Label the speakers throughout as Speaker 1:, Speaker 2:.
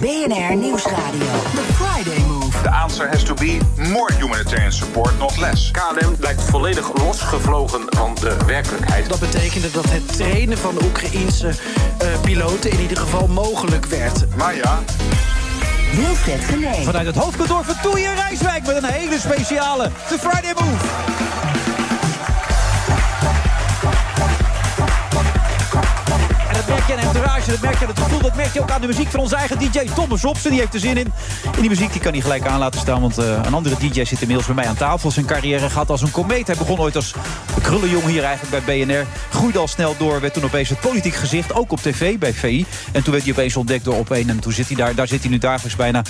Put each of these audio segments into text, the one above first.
Speaker 1: BNR Nieuwsradio. The Friday Move.
Speaker 2: The answer has to be more humanitarian support, not less.
Speaker 3: KLM lijkt volledig losgevlogen van de werkelijkheid.
Speaker 4: Dat betekende dat het trainen van Oekraïense uh, piloten in ieder geval mogelijk werd.
Speaker 2: Maar ja.
Speaker 1: Wilfred Genee.
Speaker 5: Vanuit het hoofdkantoor van Toei in Rijswijk met een hele speciale The Friday Move. En dat merk je aan de entourage, dat merk je aan het gevoel, dat merk je ook aan de muziek van onze eigen DJ Thomas Robson. Die heeft er zin in. En die muziek die kan hij gelijk aan laten staan, want eh, een andere DJ zit inmiddels bij mij aan tafel. Zijn carrière gaat als een komeet. Hij begon ooit als krullenjong hier eigenlijk bij BNR. Groeide al snel door, werd toen opeens het politiek gezicht, ook op tv bij VI. En toen werd hij opeens ontdekt door Opeen en toen zit hij daar, daar zit hij nu dagelijks bijna.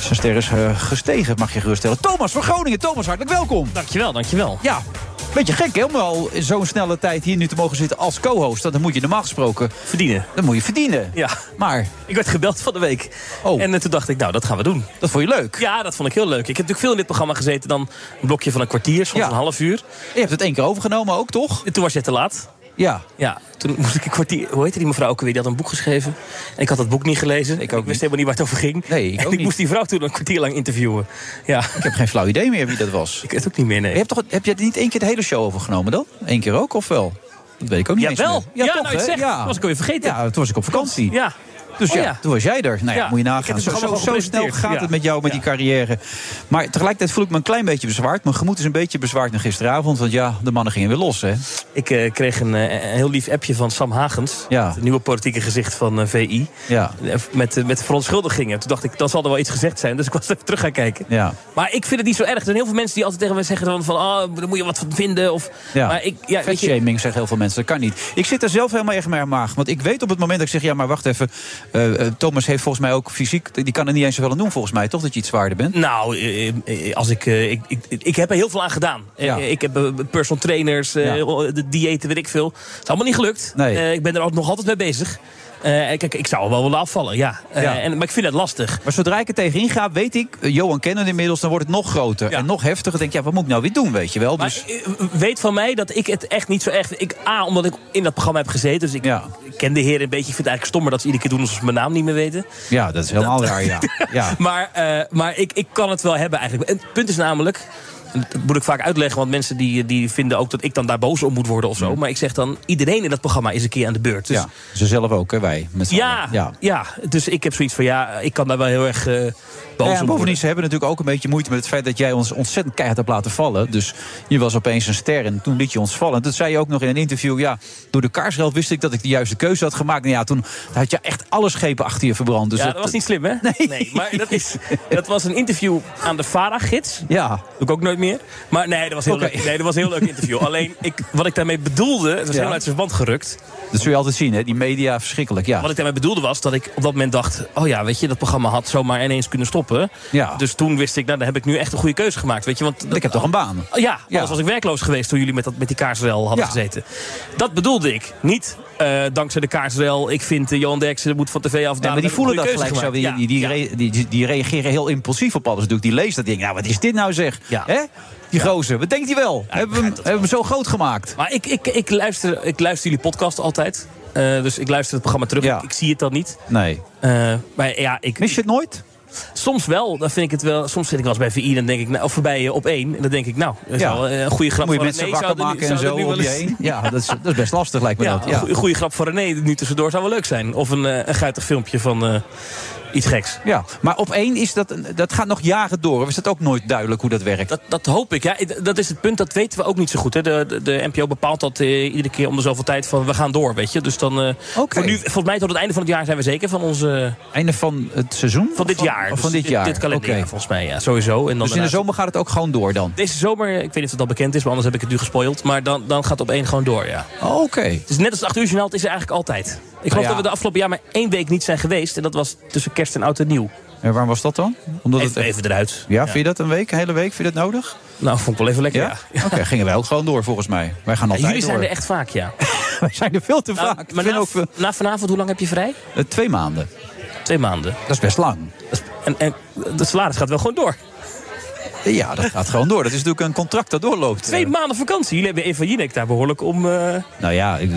Speaker 5: Zijn ster is eh, gestegen, mag je geruststellen. Thomas van Groningen, Thomas hartelijk welkom.
Speaker 6: Dankjewel, dankjewel.
Speaker 5: Ja, beetje gek hè, om al in zo'n snelle tijd hier nu te mogen zitten als co-host. Dat moet je normaal gesproken,
Speaker 6: Verdienen.
Speaker 5: dat moet je verdienen.
Speaker 6: Ja.
Speaker 5: Maar,
Speaker 6: Ik werd gebeld van de week.
Speaker 5: Oh.
Speaker 6: En eh, toen dacht ik, nou, dat gaan we doen.
Speaker 5: dat vond je leuk.
Speaker 6: Ja, dat vond ik heel leuk. Ik heb natuurlijk veel in dit programma gezeten dan een blokje van een kwartier, soms
Speaker 5: Ja.
Speaker 6: een half uur.
Speaker 5: Je hebt het één keer overgenomen ook, toch?
Speaker 6: En toen was je te laat.
Speaker 5: Ja.
Speaker 6: Ja, toen moest ik een kwartier... Hoe heette die mevrouw ook weer? Die had een boek geschreven. En ik had dat boek niet gelezen.
Speaker 5: Ik ook
Speaker 6: wist
Speaker 5: niet.
Speaker 6: helemaal niet waar het over ging.
Speaker 5: Nee, ik
Speaker 6: en
Speaker 5: ook
Speaker 6: ik
Speaker 5: niet.
Speaker 6: moest die vrouw toen een kwartier lang interviewen. Ja,
Speaker 5: Ik heb geen flauw idee meer wie dat was.
Speaker 6: ik weet het ook niet meer, nee.
Speaker 5: Je hebt, toch, heb je het niet één keer de hele show overgenomen dan? Eén keer ook, of wel? Dat weet ik ook niet eens
Speaker 6: Jawel.
Speaker 5: meer.
Speaker 6: Ja, nou, ik
Speaker 5: hè?
Speaker 6: zeg, dat was ik alweer vergeten.
Speaker 5: Ja, toen was ik op vakantie.
Speaker 6: Ja.
Speaker 5: Dus
Speaker 6: Oh,
Speaker 5: ja,
Speaker 6: ja.
Speaker 5: toen was jij er. Nou ja,
Speaker 6: Ja,
Speaker 5: moet je
Speaker 6: ik heb
Speaker 5: nagaan.
Speaker 6: het
Speaker 5: Zo,
Speaker 6: gewoon
Speaker 5: zo,
Speaker 6: al
Speaker 5: zo snel
Speaker 6: gepresenteerd.
Speaker 5: gaat
Speaker 6: Ja.
Speaker 5: het met jou, met
Speaker 6: Ja.
Speaker 5: die carrière. Maar tegelijkertijd voel ik me een klein beetje bezwaard. Mijn gemoed is een beetje bezwaard naar gisteravond. Want ja, de mannen gingen weer los, hè?
Speaker 6: Ik eh, kreeg een, eh, een heel lief appje van Sam Hagens.
Speaker 5: Ja.
Speaker 6: Het nieuwe politieke gezicht van eh, VI.
Speaker 5: Ja.
Speaker 6: Eh, Met, eh, met verontschuldigingen. Toen dacht ik, dan zal er wel iets gezegd zijn. Dus ik was even terug gaan kijken.
Speaker 5: Ja.
Speaker 6: Maar ik vind het niet zo erg. Er zijn heel veel mensen die altijd tegen me zeggen van... van ah, daar moet je wat van vinden. Of,
Speaker 5: Ja.
Speaker 6: Maar ik, ja, weet je-
Speaker 5: Vetshaming zeggen heel veel mensen, dat kan niet. Ik zit er zelf helemaal erg mee aan maag. Want ik weet op het moment dat ik zeg, ja, maar wacht even. eh, eh, Thomas heeft volgens mij ook fysiek... Die kan er niet eens zoveel aan doen, volgens mij, toch? Dat je iets zwaarder bent.
Speaker 6: Nou, eh, eh, als ik, eh, ik, ik, ik heb er heel veel aan gedaan. Eh,
Speaker 5: Ja.
Speaker 6: Ik heb eh, personal trainers, eh,
Speaker 5: Ja.
Speaker 6: de diëten, weet ik veel. Het is allemaal niet gelukt.
Speaker 5: Nee.
Speaker 6: Eh, ik ben er ook nog altijd mee bezig. Eh, kijk, ik zou wel willen afvallen, ja. Eh,
Speaker 5: Ja.
Speaker 6: En, maar ik vind het lastig.
Speaker 5: Maar zodra ik er tegenin ga, weet ik, eh, Johan kennen inmiddels, dan wordt het nog groter
Speaker 6: Ja.
Speaker 5: en nog heftiger. Dan denk ik, ja, wat moet ik nou weer doen, weet je wel?
Speaker 6: Maar
Speaker 5: Dus,
Speaker 6: eh, weet van mij dat ik het echt niet zo echt... Ik, A, omdat ik in dat programma heb gezeten. Dus ik,
Speaker 5: Ja.
Speaker 6: ik ken de heren een beetje. Ik vind het eigenlijk stommer dat ze iedere keer doen alsof ze mijn naam niet meer weten.
Speaker 5: ja, dat is helemaal raar, ja. ja.
Speaker 6: Maar, eh, maar ik, ik kan het wel hebben eigenlijk. En het punt is namelijk. en Dat moet ik vaak uitleggen, want mensen die, die vinden ook dat ik dan daar boos om moet worden of zo. Maar ik zeg dan, iedereen in dat programma is een keer aan de beurt. Dus,
Speaker 5: ja. Ze zelf ook, hè, wij. Met z'n
Speaker 6: ja,
Speaker 5: allen.
Speaker 6: ja. dus ik heb zoiets van, ja, ik kan daar wel heel erg eh, boos
Speaker 5: Nou
Speaker 6: om
Speaker 5: ja, bovendien,
Speaker 6: worden.
Speaker 5: ze hebben natuurlijk ook een beetje moeite met het feit dat jij ons ontzettend keihard hebt laten vallen. Dus je was opeens een ster en toen liet je ons vallen. En toen zei je ook nog in een interview, ja, door de kaarsgeld wist ik dat ik de juiste keuze had gemaakt. Nou ja, toen had je echt alle schepen achter je verbrand. Dus
Speaker 6: ja, dat was niet slim, hè?
Speaker 5: Nee.
Speaker 6: maar dat, is, dat was een interview aan de VARA-gids.
Speaker 5: Ja,
Speaker 6: Doe ik ook nooit meer. Maar nee, dat was heel
Speaker 5: Oké.
Speaker 6: leuk. Nee, dat was een heel leuk interview. Alleen, ik, wat ik daarmee bedoelde, het was
Speaker 5: Ja.
Speaker 6: helemaal uit zijn verband gerukt.
Speaker 5: dat zul je altijd zien, hè. Die media, verschrikkelijk, ja.
Speaker 6: Wat ik daarmee bedoelde was dat ik op dat moment dacht... oh ja, weet je, dat programma had zomaar ineens kunnen stoppen.
Speaker 5: Ja.
Speaker 6: Dus toen wist ik, nou, dan heb ik nu echt een goede keuze gemaakt. Weet je, want
Speaker 5: Ik heb toch een baan?
Speaker 6: Ja, Ah, anders
Speaker 5: Ja.
Speaker 6: was ik werkloos geweest toen jullie met, dat, met die kaarsrel hadden
Speaker 5: Ja.
Speaker 6: gezeten. Dat bedoelde ik. Niet eh, dankzij de kaarsrel. Ik vind eh, Johan Derksen moet van tv af.
Speaker 5: Ja, maar die voelen dat gelijk zo. Die,
Speaker 6: Ja.
Speaker 5: die, die,
Speaker 6: Ja.
Speaker 5: re- die, die- die reageren heel impulsief op alles. natuurlijk. Die leest dat ding. Nou, wat is dit nou zeg?
Speaker 6: Ja.
Speaker 5: Hè? Die gozer, wat denkt hij wel?
Speaker 6: ik
Speaker 5: hebben, we hem,
Speaker 6: begrijp dat
Speaker 5: hebben we hem zo groot gemaakt?
Speaker 6: Maar ik, ik, ik, luister, ik luister jullie podcast altijd. Eh, dus ik luister het programma terug.
Speaker 5: Ja.
Speaker 6: Ik, ik zie het dan niet.
Speaker 5: Nee.
Speaker 6: Eh, maar ja, ik,
Speaker 5: Mis je het nooit?
Speaker 6: Soms wel, dan vind ik het wel. Soms zit ik wel eens bij VI, dan denk ik, nou, of bij eh, op één, en dan denk ik, nou, dat is
Speaker 5: Ja.
Speaker 6: wel eh, een goede grap
Speaker 5: Moet je
Speaker 6: van
Speaker 5: mensen
Speaker 6: René.
Speaker 5: wakker
Speaker 6: zou er nu-
Speaker 5: maken
Speaker 6: zou
Speaker 5: en zo
Speaker 6: er nu
Speaker 5: om
Speaker 6: wel
Speaker 5: je
Speaker 6: eens-
Speaker 5: heen? Ja, dat is, dat is best lastig lijkt me
Speaker 6: Ja,
Speaker 5: dat.
Speaker 6: een
Speaker 5: Ja.
Speaker 6: goe- goede grap van René nu tussendoor zou wel leuk zijn. Of een, eh, een guitig filmpje van eh, iets geks.
Speaker 5: Ja. Maar op één is dat, een- dat gaat nog jaren door. Of is dat ook nooit duidelijk hoe dat werkt?
Speaker 6: Dat, dat hoop ik. Ja, I- dat is het punt, dat weten we ook niet zo goed. Hè. De, de, de NPO bepaalt dat eh, iedere keer om de zoveel tijd van we gaan door, weet je. Dus dan. eh,
Speaker 5: Oké.
Speaker 6: voor nu, volgens mij tot het einde van het jaar zijn we zeker van, onze,
Speaker 5: Einde van het seizoen?
Speaker 6: van dit
Speaker 5: Of
Speaker 6: jaar.
Speaker 5: Of
Speaker 6: Dus
Speaker 5: van dit jaar?
Speaker 6: Dit kalenderjaar,
Speaker 5: Oké.
Speaker 6: volgens mij, ja, sowieso. En dan
Speaker 5: Dus in de
Speaker 6: daarna-
Speaker 5: zomer gaat het ook gewoon door dan?
Speaker 6: eh, Deze zomer, ik weet niet of het al bekend is, maar anders heb ik het nu gespoild. Maar dan, dan gaat het op één gewoon door, ja.
Speaker 5: Oh, Oké.
Speaker 6: Het is net als het 8 uur journaal, het is er eigenlijk altijd. Ik geloof
Speaker 5: Nou ja.
Speaker 6: dat we de afgelopen jaar maar één week niet zijn geweest. En dat was tussen kerst en oud en nieuw.
Speaker 5: En waarom was dat dan? Omdat
Speaker 6: Even,
Speaker 5: het
Speaker 6: even eruit.
Speaker 5: Ja, vind je dat een week, een hele week? Vind je dat nodig?
Speaker 6: Nou, vond ik wel even lekker. Ja?
Speaker 5: Oké, gingen wij ook gewoon door volgens mij. Wij gaan altijd
Speaker 6: Jullie zijn
Speaker 5: door.
Speaker 6: er echt vaak, ja.
Speaker 5: Wij zijn er veel te
Speaker 6: Nou,
Speaker 5: vaak.
Speaker 6: maar
Speaker 5: Ik
Speaker 6: na,
Speaker 5: vind ook, we-
Speaker 6: na vanavond, hoe lang heb je vrij?
Speaker 5: eh, twee maanden.
Speaker 6: Twee maanden.
Speaker 5: Dat is best lang.
Speaker 6: En, en de salaris gaat wel gewoon door.
Speaker 5: Ja, dat gaat gewoon door. Dat is natuurlijk een contract dat doorloopt.
Speaker 6: Twee maanden vakantie. Jullie hebben Eva Jinek daar behoorlijk om... eh,
Speaker 5: Nou ja, ik-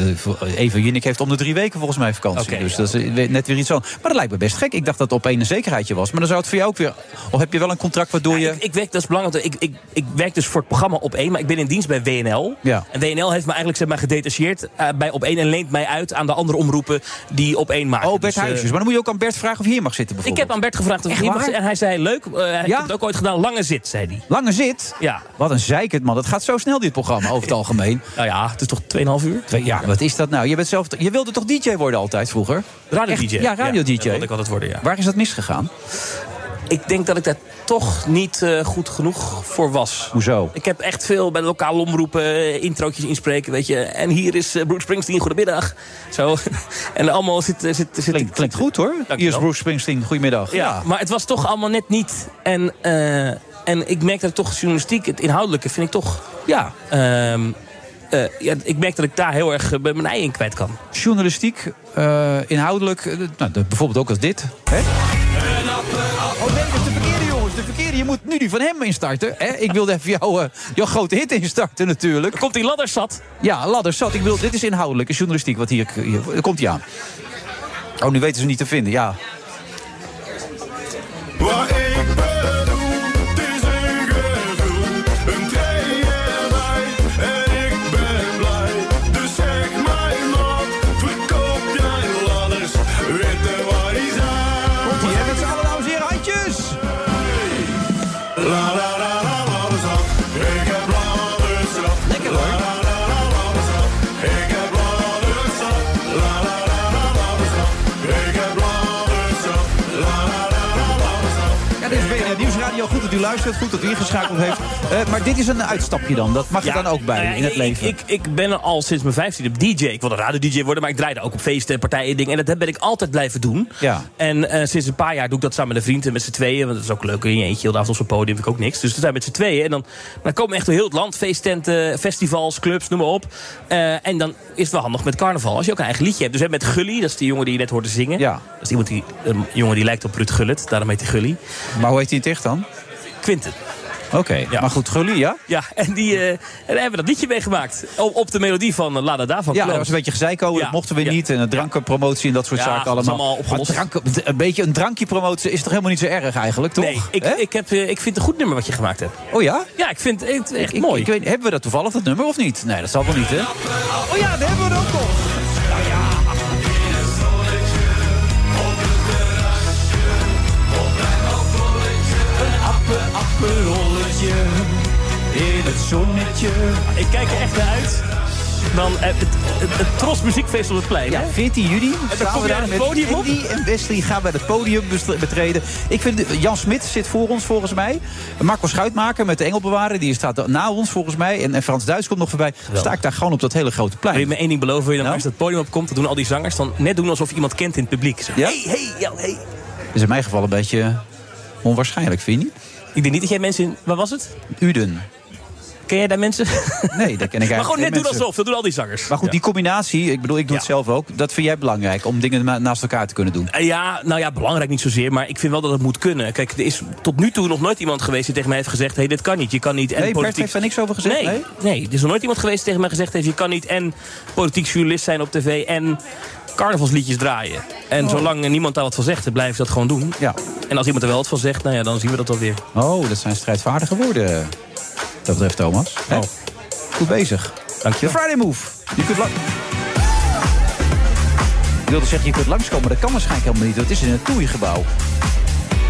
Speaker 5: Eva Jinnik heeft om de drie weken volgens mij vakantie.
Speaker 6: Oké.
Speaker 5: dus dat is weer- net weer iets anders. Maar dat lijkt me best gek. Ik dacht dat het op een zekerheidje was. Maar dan zou het voor jou ook weer... Of heb je wel een contract waardoor je...
Speaker 6: Ik, ik werk, dat is belangrijk. want Ik, ik, ik werk dus voor het programma op één, maar ik ben in dienst bij WNL.
Speaker 5: Ja.
Speaker 6: En WNL heeft me eigenlijk zeg maar, gedetacheerd eh, bij op één en leent mij uit aan de andere omroepen die op één maken.
Speaker 5: Oh, Bert
Speaker 6: Dus, eh,
Speaker 5: Huisjes. Maar dan moet je ook aan Bert vragen of hij hier mag zitten
Speaker 6: ik
Speaker 5: bijvoorbeeld.
Speaker 6: heb aan Bert gevraagd of
Speaker 5: Echt
Speaker 6: het niet
Speaker 5: waar?
Speaker 6: was. En hij zei leuk. eh, hij heeft
Speaker 5: Ja?
Speaker 6: het ook ooit gedaan. Lange zit, zei hij.
Speaker 5: Lange zit.
Speaker 6: Ja.
Speaker 5: Wat een zeikend man. Dat gaat zo snel dit programma over het algemeen.
Speaker 6: Nou ja, het is toch 2,5 uur?
Speaker 5: Twee- Ja, wat is dat nou? Je, bent zelf, je wilde toch DJ worden altijd vroeger?
Speaker 6: Radio
Speaker 5: Echt?
Speaker 6: DJ.
Speaker 5: Ja, radio DJ.
Speaker 6: dat wilde ik altijd worden, ja.
Speaker 5: Waar is dat misgegaan?
Speaker 6: Ik denk dat ik daar toch niet eh, goed genoeg voor was.
Speaker 5: Hoezo?
Speaker 6: Ik heb echt veel bij de lokale omroepen eh, introotjes inspreken, weet je. En hier is eh, Bruce Springsteen, goedemiddag. Zo. En allemaal zit... zit, zit,
Speaker 5: Klinkt, klinkt goed hoor.
Speaker 6: Dankjewel.
Speaker 5: Hier is Bruce Springsteen. Goedemiddag.
Speaker 6: Ja, maar het was toch allemaal net niet. En, eh, en ik merk dat ik toch journalistiek, het inhoudelijke, vind ik toch...
Speaker 5: Ja.
Speaker 6: ehm, eh, ja, ik merk dat ik daar heel erg eh, mijn ei in kwijt kan.
Speaker 5: Journalistiek, eh, inhoudelijk. eh, nou, de- bijvoorbeeld ook als dit. Hè? Oh nee, dat is de verkeerde jongens. De verkeerde. Je moet nu die van hem instarten. Hè? Ik wilde even jouw, eh, jouw grote hit instarten natuurlijk.
Speaker 6: Er komt die ladder zat.
Speaker 5: Ja, ladder zat. Ik bedoel, dit is inhoudelijk. is journalistiek wat hier... hier daar komt hij aan. Oh, nu weten ze hem niet te vinden. Ja,
Speaker 7: Wat ik bedoel, het is een gevoel. Een twee erbij en ik ben blij. Dus zeg mij wat, verkoop jij ladders. Witte waar die zijn.
Speaker 5: Hier hebben ze allemaal, dames en heren, handjes.
Speaker 7: La la la la ladders af. Ik heb ladders af.
Speaker 5: Lekker hoor.
Speaker 7: La la la ladders af. Ik heb ladders af. La la la la ladders af. Ik heb ladders af. La la la la ladders af.
Speaker 5: Ja, dit is BNR Nieuwsradio. Goed dat u luistert, goed dat u ingeschakeld heeft. Eh, maar dit is een uitstapje dan. Dat mag er dan ook bij
Speaker 6: nou ja,
Speaker 5: in het
Speaker 6: ik-
Speaker 5: leven.
Speaker 6: Ik, ik, ben al sinds mijn vijftiende DJ. Ik wilde radio-DJ worden, maar ik draaide ook op feesten en partijen en dingen. En dat ben ik altijd blijven doen.
Speaker 5: Ja.
Speaker 6: En eh, sinds een paar jaar doe ik dat samen met een vriend en met z'n tweeën. Want dat is ook leuk. In je eentje heel de avond op zo'n podium vind ik ook niks. Dus we zijn met z'n tweeën. En dan, dan komen we echt door heel het land. Feesttenten, festivals, clubs, noem maar op. Eh, en dan is het wel handig met carnaval. Als je ook een eigen liedje hebt. Dus we hebben met Gully, dat is die jongen die je net hoorde zingen.
Speaker 5: Ja.
Speaker 6: Dat is iemand die, een jongen die lijkt op Ruud Gullit. Daarom heet hij Gully.
Speaker 5: Maar hoe heet hij het echt dan?
Speaker 6: Quinten.
Speaker 5: Oké, maar goed, Gulli, ja?
Speaker 6: Ja, en die eh, en daar hebben we dat liedje meegemaakt. Op, op de melodie van eh, La Da Da van
Speaker 5: Ja,
Speaker 6: Kloos.
Speaker 5: dat was een beetje gezeik over.
Speaker 6: Ja.
Speaker 5: Dat mochten we
Speaker 6: Ja.
Speaker 5: niet. En een drankenpromotie en dat soort
Speaker 6: Ja,
Speaker 5: zaken
Speaker 6: dat is
Speaker 5: allemaal.
Speaker 6: allemaal opgelost.
Speaker 5: Maar dranken- een beetje een drankje promoten is toch helemaal niet zo erg eigenlijk, toch?
Speaker 6: Nee, ik,
Speaker 5: Hè?
Speaker 6: ik, heb, eh, ik vind het een goed nummer wat je gemaakt hebt.
Speaker 5: oh ja?
Speaker 6: Ja, ik vind het echt
Speaker 5: Ik-
Speaker 6: mooi.
Speaker 5: Ik, weet, hebben we dat toevallig, dat nummer, of niet? Nee, dat zal wel niet, hè? Oh ja, daar hebben we het ook nog.
Speaker 6: Ik kijk er echt naar uit. Dan eh, het, het, het Tros Muziekfeest op het plein.
Speaker 5: Ja,
Speaker 6: hè?
Speaker 5: 14 juni
Speaker 6: dan
Speaker 5: staan
Speaker 6: kom
Speaker 5: we
Speaker 6: jij
Speaker 5: daar
Speaker 6: het
Speaker 5: met
Speaker 6: podium op?
Speaker 5: Andy en Wesley gaan bij het podium best- betreden. Ik vind, eh, Jan Smit zit voor ons volgens mij. Marco Schuitmaker met de Engelbewaarder, die staat na ons volgens mij. En, en Frans Duits komt nog voorbij. Sta ik daar gewoon op dat hele grote
Speaker 6: Wil je
Speaker 5: plein.
Speaker 6: me één ding beloven? Wil je dan
Speaker 5: Nou?
Speaker 6: als dat podium opkomt, dat doen al die zangers. Dan net doen alsof je iemand kent in het publiek. Zo,
Speaker 5: Ja?
Speaker 6: Hey, hey, ja, hey.
Speaker 5: Is in mijn geval een beetje onwaarschijnlijk, vind je niet?
Speaker 6: Ik denk niet dat jij mensen... in- Waar was het?
Speaker 5: Uden.
Speaker 6: Ken jij daar mensen?
Speaker 5: Nee, dat ken ik eigenlijk
Speaker 6: maar gewoon net
Speaker 5: geen
Speaker 6: doen
Speaker 5: mensen.
Speaker 6: alsof. Dat doen al die zangers.
Speaker 5: Maar goed,
Speaker 6: Ja.
Speaker 5: die combinatie, ik bedoel, ik doe het
Speaker 6: Ja.
Speaker 5: zelf ook. Dat vind jij belangrijk, om dingen ma- naast elkaar te kunnen doen.
Speaker 6: Eh, Ja, nou ja, belangrijk niet zozeer, maar ik vind wel dat het moet kunnen. Kijk, er is tot nu toe nog nooit iemand geweest die tegen mij heeft gezegd... hé, hey, dit kan niet, je kan niet en
Speaker 5: Nee, Bert
Speaker 6: politiek...
Speaker 5: heeft daar niks over gezegd,
Speaker 6: Nee,
Speaker 5: nee?
Speaker 6: nee, er is nog nooit iemand geweest die tegen mij gezegd heeft... je kan niet en politiek journalist zijn op tv en carnavalsliedjes draaien. En
Speaker 8: Oh.
Speaker 6: zolang er niemand daar wat van zegt, dan blijf ik dat gewoon doen.
Speaker 5: Ja.
Speaker 6: En als iemand er wel wat van zegt, nou ja, dan zien we dat alweer.
Speaker 5: Oh, dat zijn strijdvaardige woorden. Dat betreft Thomas. Hè? Goed bezig. De
Speaker 6: Dankjewel.
Speaker 5: Friday Move. Je kunt lang... Ik wilde zeggen, je kunt langskomen, maar dat kan waarschijnlijk helemaal niet. want Het is in een TUI-gebouw.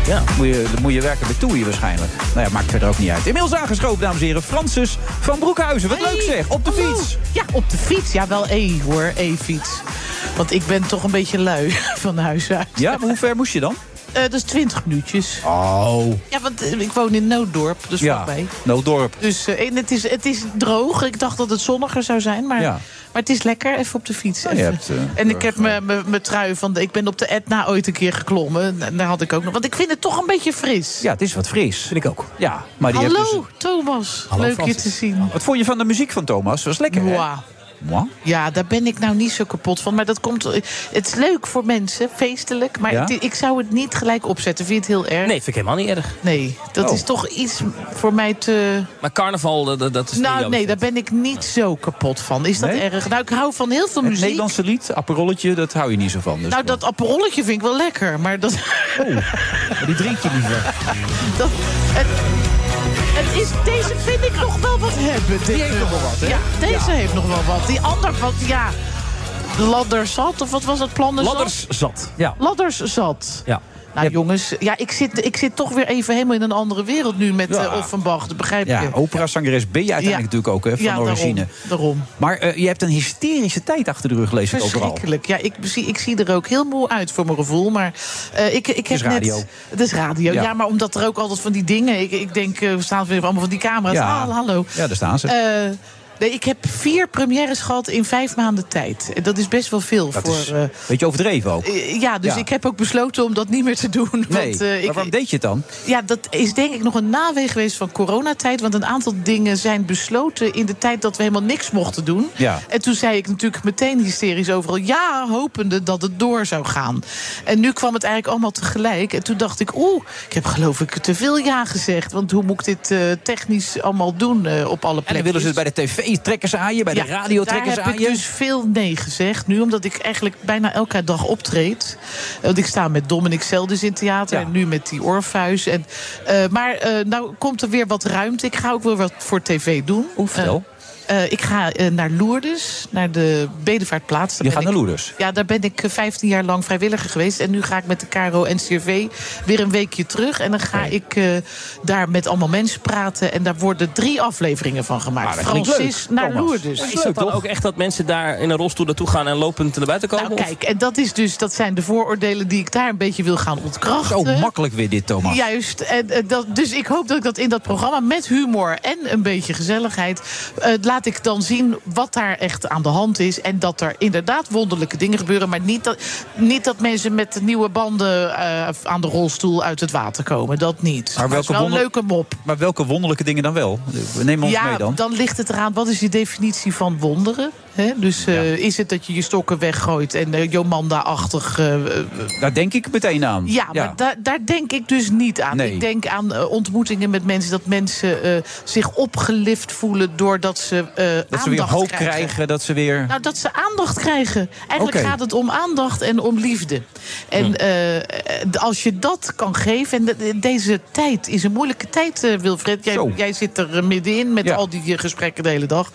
Speaker 6: Ja.
Speaker 5: Moet je, dan moet je werken bij TUI waarschijnlijk. Nou ja, maakt verder ook niet uit. Inmiddels aangeschoven, dames en heren. Francis van Broekhuizen. Wat leuk zeg. Op de
Speaker 8: hallo.
Speaker 5: fiets.
Speaker 8: Oh, Ja, op de fiets. Ja, wel E hoor, E-fiets. Want ik ben toch een beetje lui van huis uit.
Speaker 5: Ja, maar hoe ver moest je dan?
Speaker 8: Eh, dat is 20 minuutjes.
Speaker 5: Oh.
Speaker 8: Ja, want eh, ik woon in Nooddorp, dus
Speaker 5: Ja,
Speaker 8: vlakbij.
Speaker 5: Nooddorp.
Speaker 8: Dus eh, en het, is, het is droog. Ik dacht dat het zonniger zou zijn, maar
Speaker 5: Ja.
Speaker 8: Maar het is lekker, even op de fiets.
Speaker 5: je
Speaker 8: even.
Speaker 5: hebt, eh,
Speaker 8: en ik heb mijn- mijn mijn trui van... de- ik ben op de Etna ooit een keer geklommen. En Daar had ik ook nog. Want ik vind het toch een beetje fris.
Speaker 5: Ja, het is wat fris. Vind
Speaker 6: ik ook.
Speaker 5: Ja, maar die
Speaker 8: Hallo,
Speaker 5: heeft dus...
Speaker 8: Thomas.
Speaker 5: Hallo,
Speaker 8: Leuk
Speaker 5: Francis.
Speaker 8: je te zien.
Speaker 5: Wat vond je van de muziek van Thomas? Was lekker, hè?
Speaker 8: Mwah.
Speaker 5: Mwah?
Speaker 8: Ja, daar ben ik nou niet zo kapot van. Maar dat komt. Het is leuk voor mensen, feestelijk. Maar
Speaker 6: Ja?
Speaker 8: het- ik zou het niet gelijk opzetten. Vind je het heel erg?
Speaker 6: Nee, vind ik helemaal niet erg.
Speaker 8: Nee, dat
Speaker 6: Oh.
Speaker 8: is toch iets voor mij te.
Speaker 6: Maar carnaval, dat- dat, dat is niet
Speaker 8: Nou,
Speaker 6: jouw
Speaker 8: nee,
Speaker 6: shit.
Speaker 8: daar ben ik niet zo kapot van. Is dat
Speaker 5: Nee?
Speaker 8: erg? Nou, ik hou van heel veel
Speaker 5: Het
Speaker 8: muziek.
Speaker 5: Nederlandse lied, Aperolletje, dat hou je niet zo van. Dus
Speaker 8: Nou, dat apparolletje vind ik wel lekker. Maar dat.
Speaker 5: Maar Die drink je liever.
Speaker 8: dat het, het is, deze vind ik nog wel wat hebben. Die heeft nog wel wat, hè? Ja, deze heeft nog wel wat. Die ander wat, ja. Ladderzat, of wat was dat? Planderzat?
Speaker 6: Ladders zat.
Speaker 5: Ja.
Speaker 8: Ladders zat.
Speaker 6: Ja.
Speaker 8: Nou jongens, ja, ik, zit, ik zit toch weer even helemaal in een andere wereld nu met
Speaker 5: Ja.
Speaker 8: eh, Offenbach. Dat begrijp
Speaker 5: Ja,
Speaker 8: je.
Speaker 5: operazangeres ben je uiteindelijk
Speaker 8: Ja.
Speaker 5: natuurlijk ook hè, van
Speaker 8: Ja, daarom,
Speaker 5: origine.
Speaker 8: daarom.
Speaker 5: Maar eh, je hebt een hysterische tijd achter de rug, lees ik overal.
Speaker 8: Verschrikkelijk. Ja, ik zie, ik zie er ook heel moe uit voor mijn gevoel. Maar eh, ik, ik heb
Speaker 5: is radio.
Speaker 8: net. Het is radio.
Speaker 5: Ja.
Speaker 8: Ja. maar omdat er ook altijd van die dingen. Ik, ik denk, eh, we staan weer allemaal van die camera's.
Speaker 5: Ja.
Speaker 8: Ah, hallo.
Speaker 5: Ja, daar staan ze.
Speaker 8: Eh, nee, ik heb vier premières gehad in vijf maanden tijd. En Dat is best wel veel
Speaker 5: Dat
Speaker 8: voor.
Speaker 5: is
Speaker 8: eh,
Speaker 5: een beetje overdreven ook.
Speaker 8: eh, ja, dus
Speaker 5: Ja.
Speaker 8: ik heb ook besloten om dat niet meer te doen.
Speaker 5: Nee,
Speaker 8: want, eh,
Speaker 5: maar
Speaker 8: ik,
Speaker 5: waarom deed je het dan?
Speaker 8: Ja, dat is denk ik nog een naweeg geweest van coronatijd. Want een aantal dingen zijn besloten in de tijd dat we helemaal niks mochten doen.
Speaker 5: Ja.
Speaker 8: En toen zei ik natuurlijk meteen hysterisch overal... ja, hopende dat het door zou gaan. En nu kwam het eigenlijk allemaal tegelijk. En toen dacht ik, oeh, ik heb geloof ik te veel ja gezegd. Want hoe moet ik dit eh, technisch allemaal doen eh, op alle plekken?
Speaker 5: En dan willen ze het bij de tv trekken ze aan je, bij de
Speaker 8: Ja,
Speaker 5: radio trekken ze
Speaker 8: Daar heb
Speaker 5: aan
Speaker 8: ik
Speaker 5: je.
Speaker 8: dus veel nee gezegd nu, omdat ik eigenlijk bijna elke dag optreed. Eh, Want ik sta met Dominic Zelders in theater
Speaker 5: Ja.
Speaker 8: en nu met die Orpheus. En, eh, maar eh, nou komt er weer wat ruimte. Ik ga ook wel wat voor tv doen.
Speaker 5: Oeh, vertel.
Speaker 8: Eh, eh, ik ga eh, naar Lourdes, naar de Bedevaartplaats. Daar
Speaker 5: Je
Speaker 8: ben
Speaker 5: gaat naar
Speaker 8: ik-
Speaker 5: Lourdes?
Speaker 8: Ja, daar ben ik eh, 15 jaar lang vrijwilliger geweest. En nu ga ik met de KRO NCRV weer een weekje terug. En dan ga ik eh, daar met allemaal mensen praten. En daar worden drie afleveringen van gemaakt.
Speaker 5: Ah, dat klinkt
Speaker 8: Francis
Speaker 5: leuk,
Speaker 8: naar
Speaker 5: Thomas.
Speaker 8: Lourdes.
Speaker 6: Is dat dan
Speaker 5: toch?
Speaker 6: ook echt dat mensen daar in een rolstoel naartoe gaan en lopend naar buiten komen?
Speaker 8: Nou,
Speaker 6: Of-
Speaker 8: kijk, en dat, is dus, dat zijn de vooroordelen die ik daar een beetje wil gaan ontkrachten.
Speaker 5: Zo makkelijk weer dit, Thomas.
Speaker 8: Juist. En, eh, dat, dus ik hoop dat ik dat in dat programma met humor en een beetje gezelligheid. eh, laat ik dan zien wat daar echt aan de hand is. En dat er inderdaad wonderlijke dingen gebeuren. Maar niet dat, niet dat mensen met nieuwe banden eh, aan de rolstoel uit het water komen. Dat niet.
Speaker 5: Maar welke
Speaker 8: dat is wel een
Speaker 5: wonder-
Speaker 8: leuke mop.
Speaker 5: Maar welke wonderlijke dingen dan wel? Neem ons
Speaker 8: ja,
Speaker 5: mee dan.
Speaker 8: ligt het eraan, wat is je definitie van wonderen? hè? dus eh, is het dat je je stokken weggooit en eh, Jomanda-achtig eh,
Speaker 5: Daar denk ik meteen aan.
Speaker 8: ja, maar da- daar denk ik dus niet aan.
Speaker 5: Nee.
Speaker 8: Ik denk aan eh, ontmoetingen met mensen. Dat mensen eh, zich opgelift voelen doordat ze eh
Speaker 5: dat
Speaker 8: aandacht
Speaker 5: ze weer hoop
Speaker 8: krijgen.
Speaker 5: krijgen, dat ze weer...
Speaker 8: Nou, dat ze aandacht krijgen. Eigenlijk
Speaker 5: Oké.
Speaker 8: gaat het om aandacht en om liefde. En eh, eh, als je dat kan geven... en de- deze tijd is een moeilijke tijd, eh, Wilfred. Jij,
Speaker 5: Zo.
Speaker 8: jij zit er eh, middenin met
Speaker 5: Ja.
Speaker 8: al die eh, gesprekken de hele dag.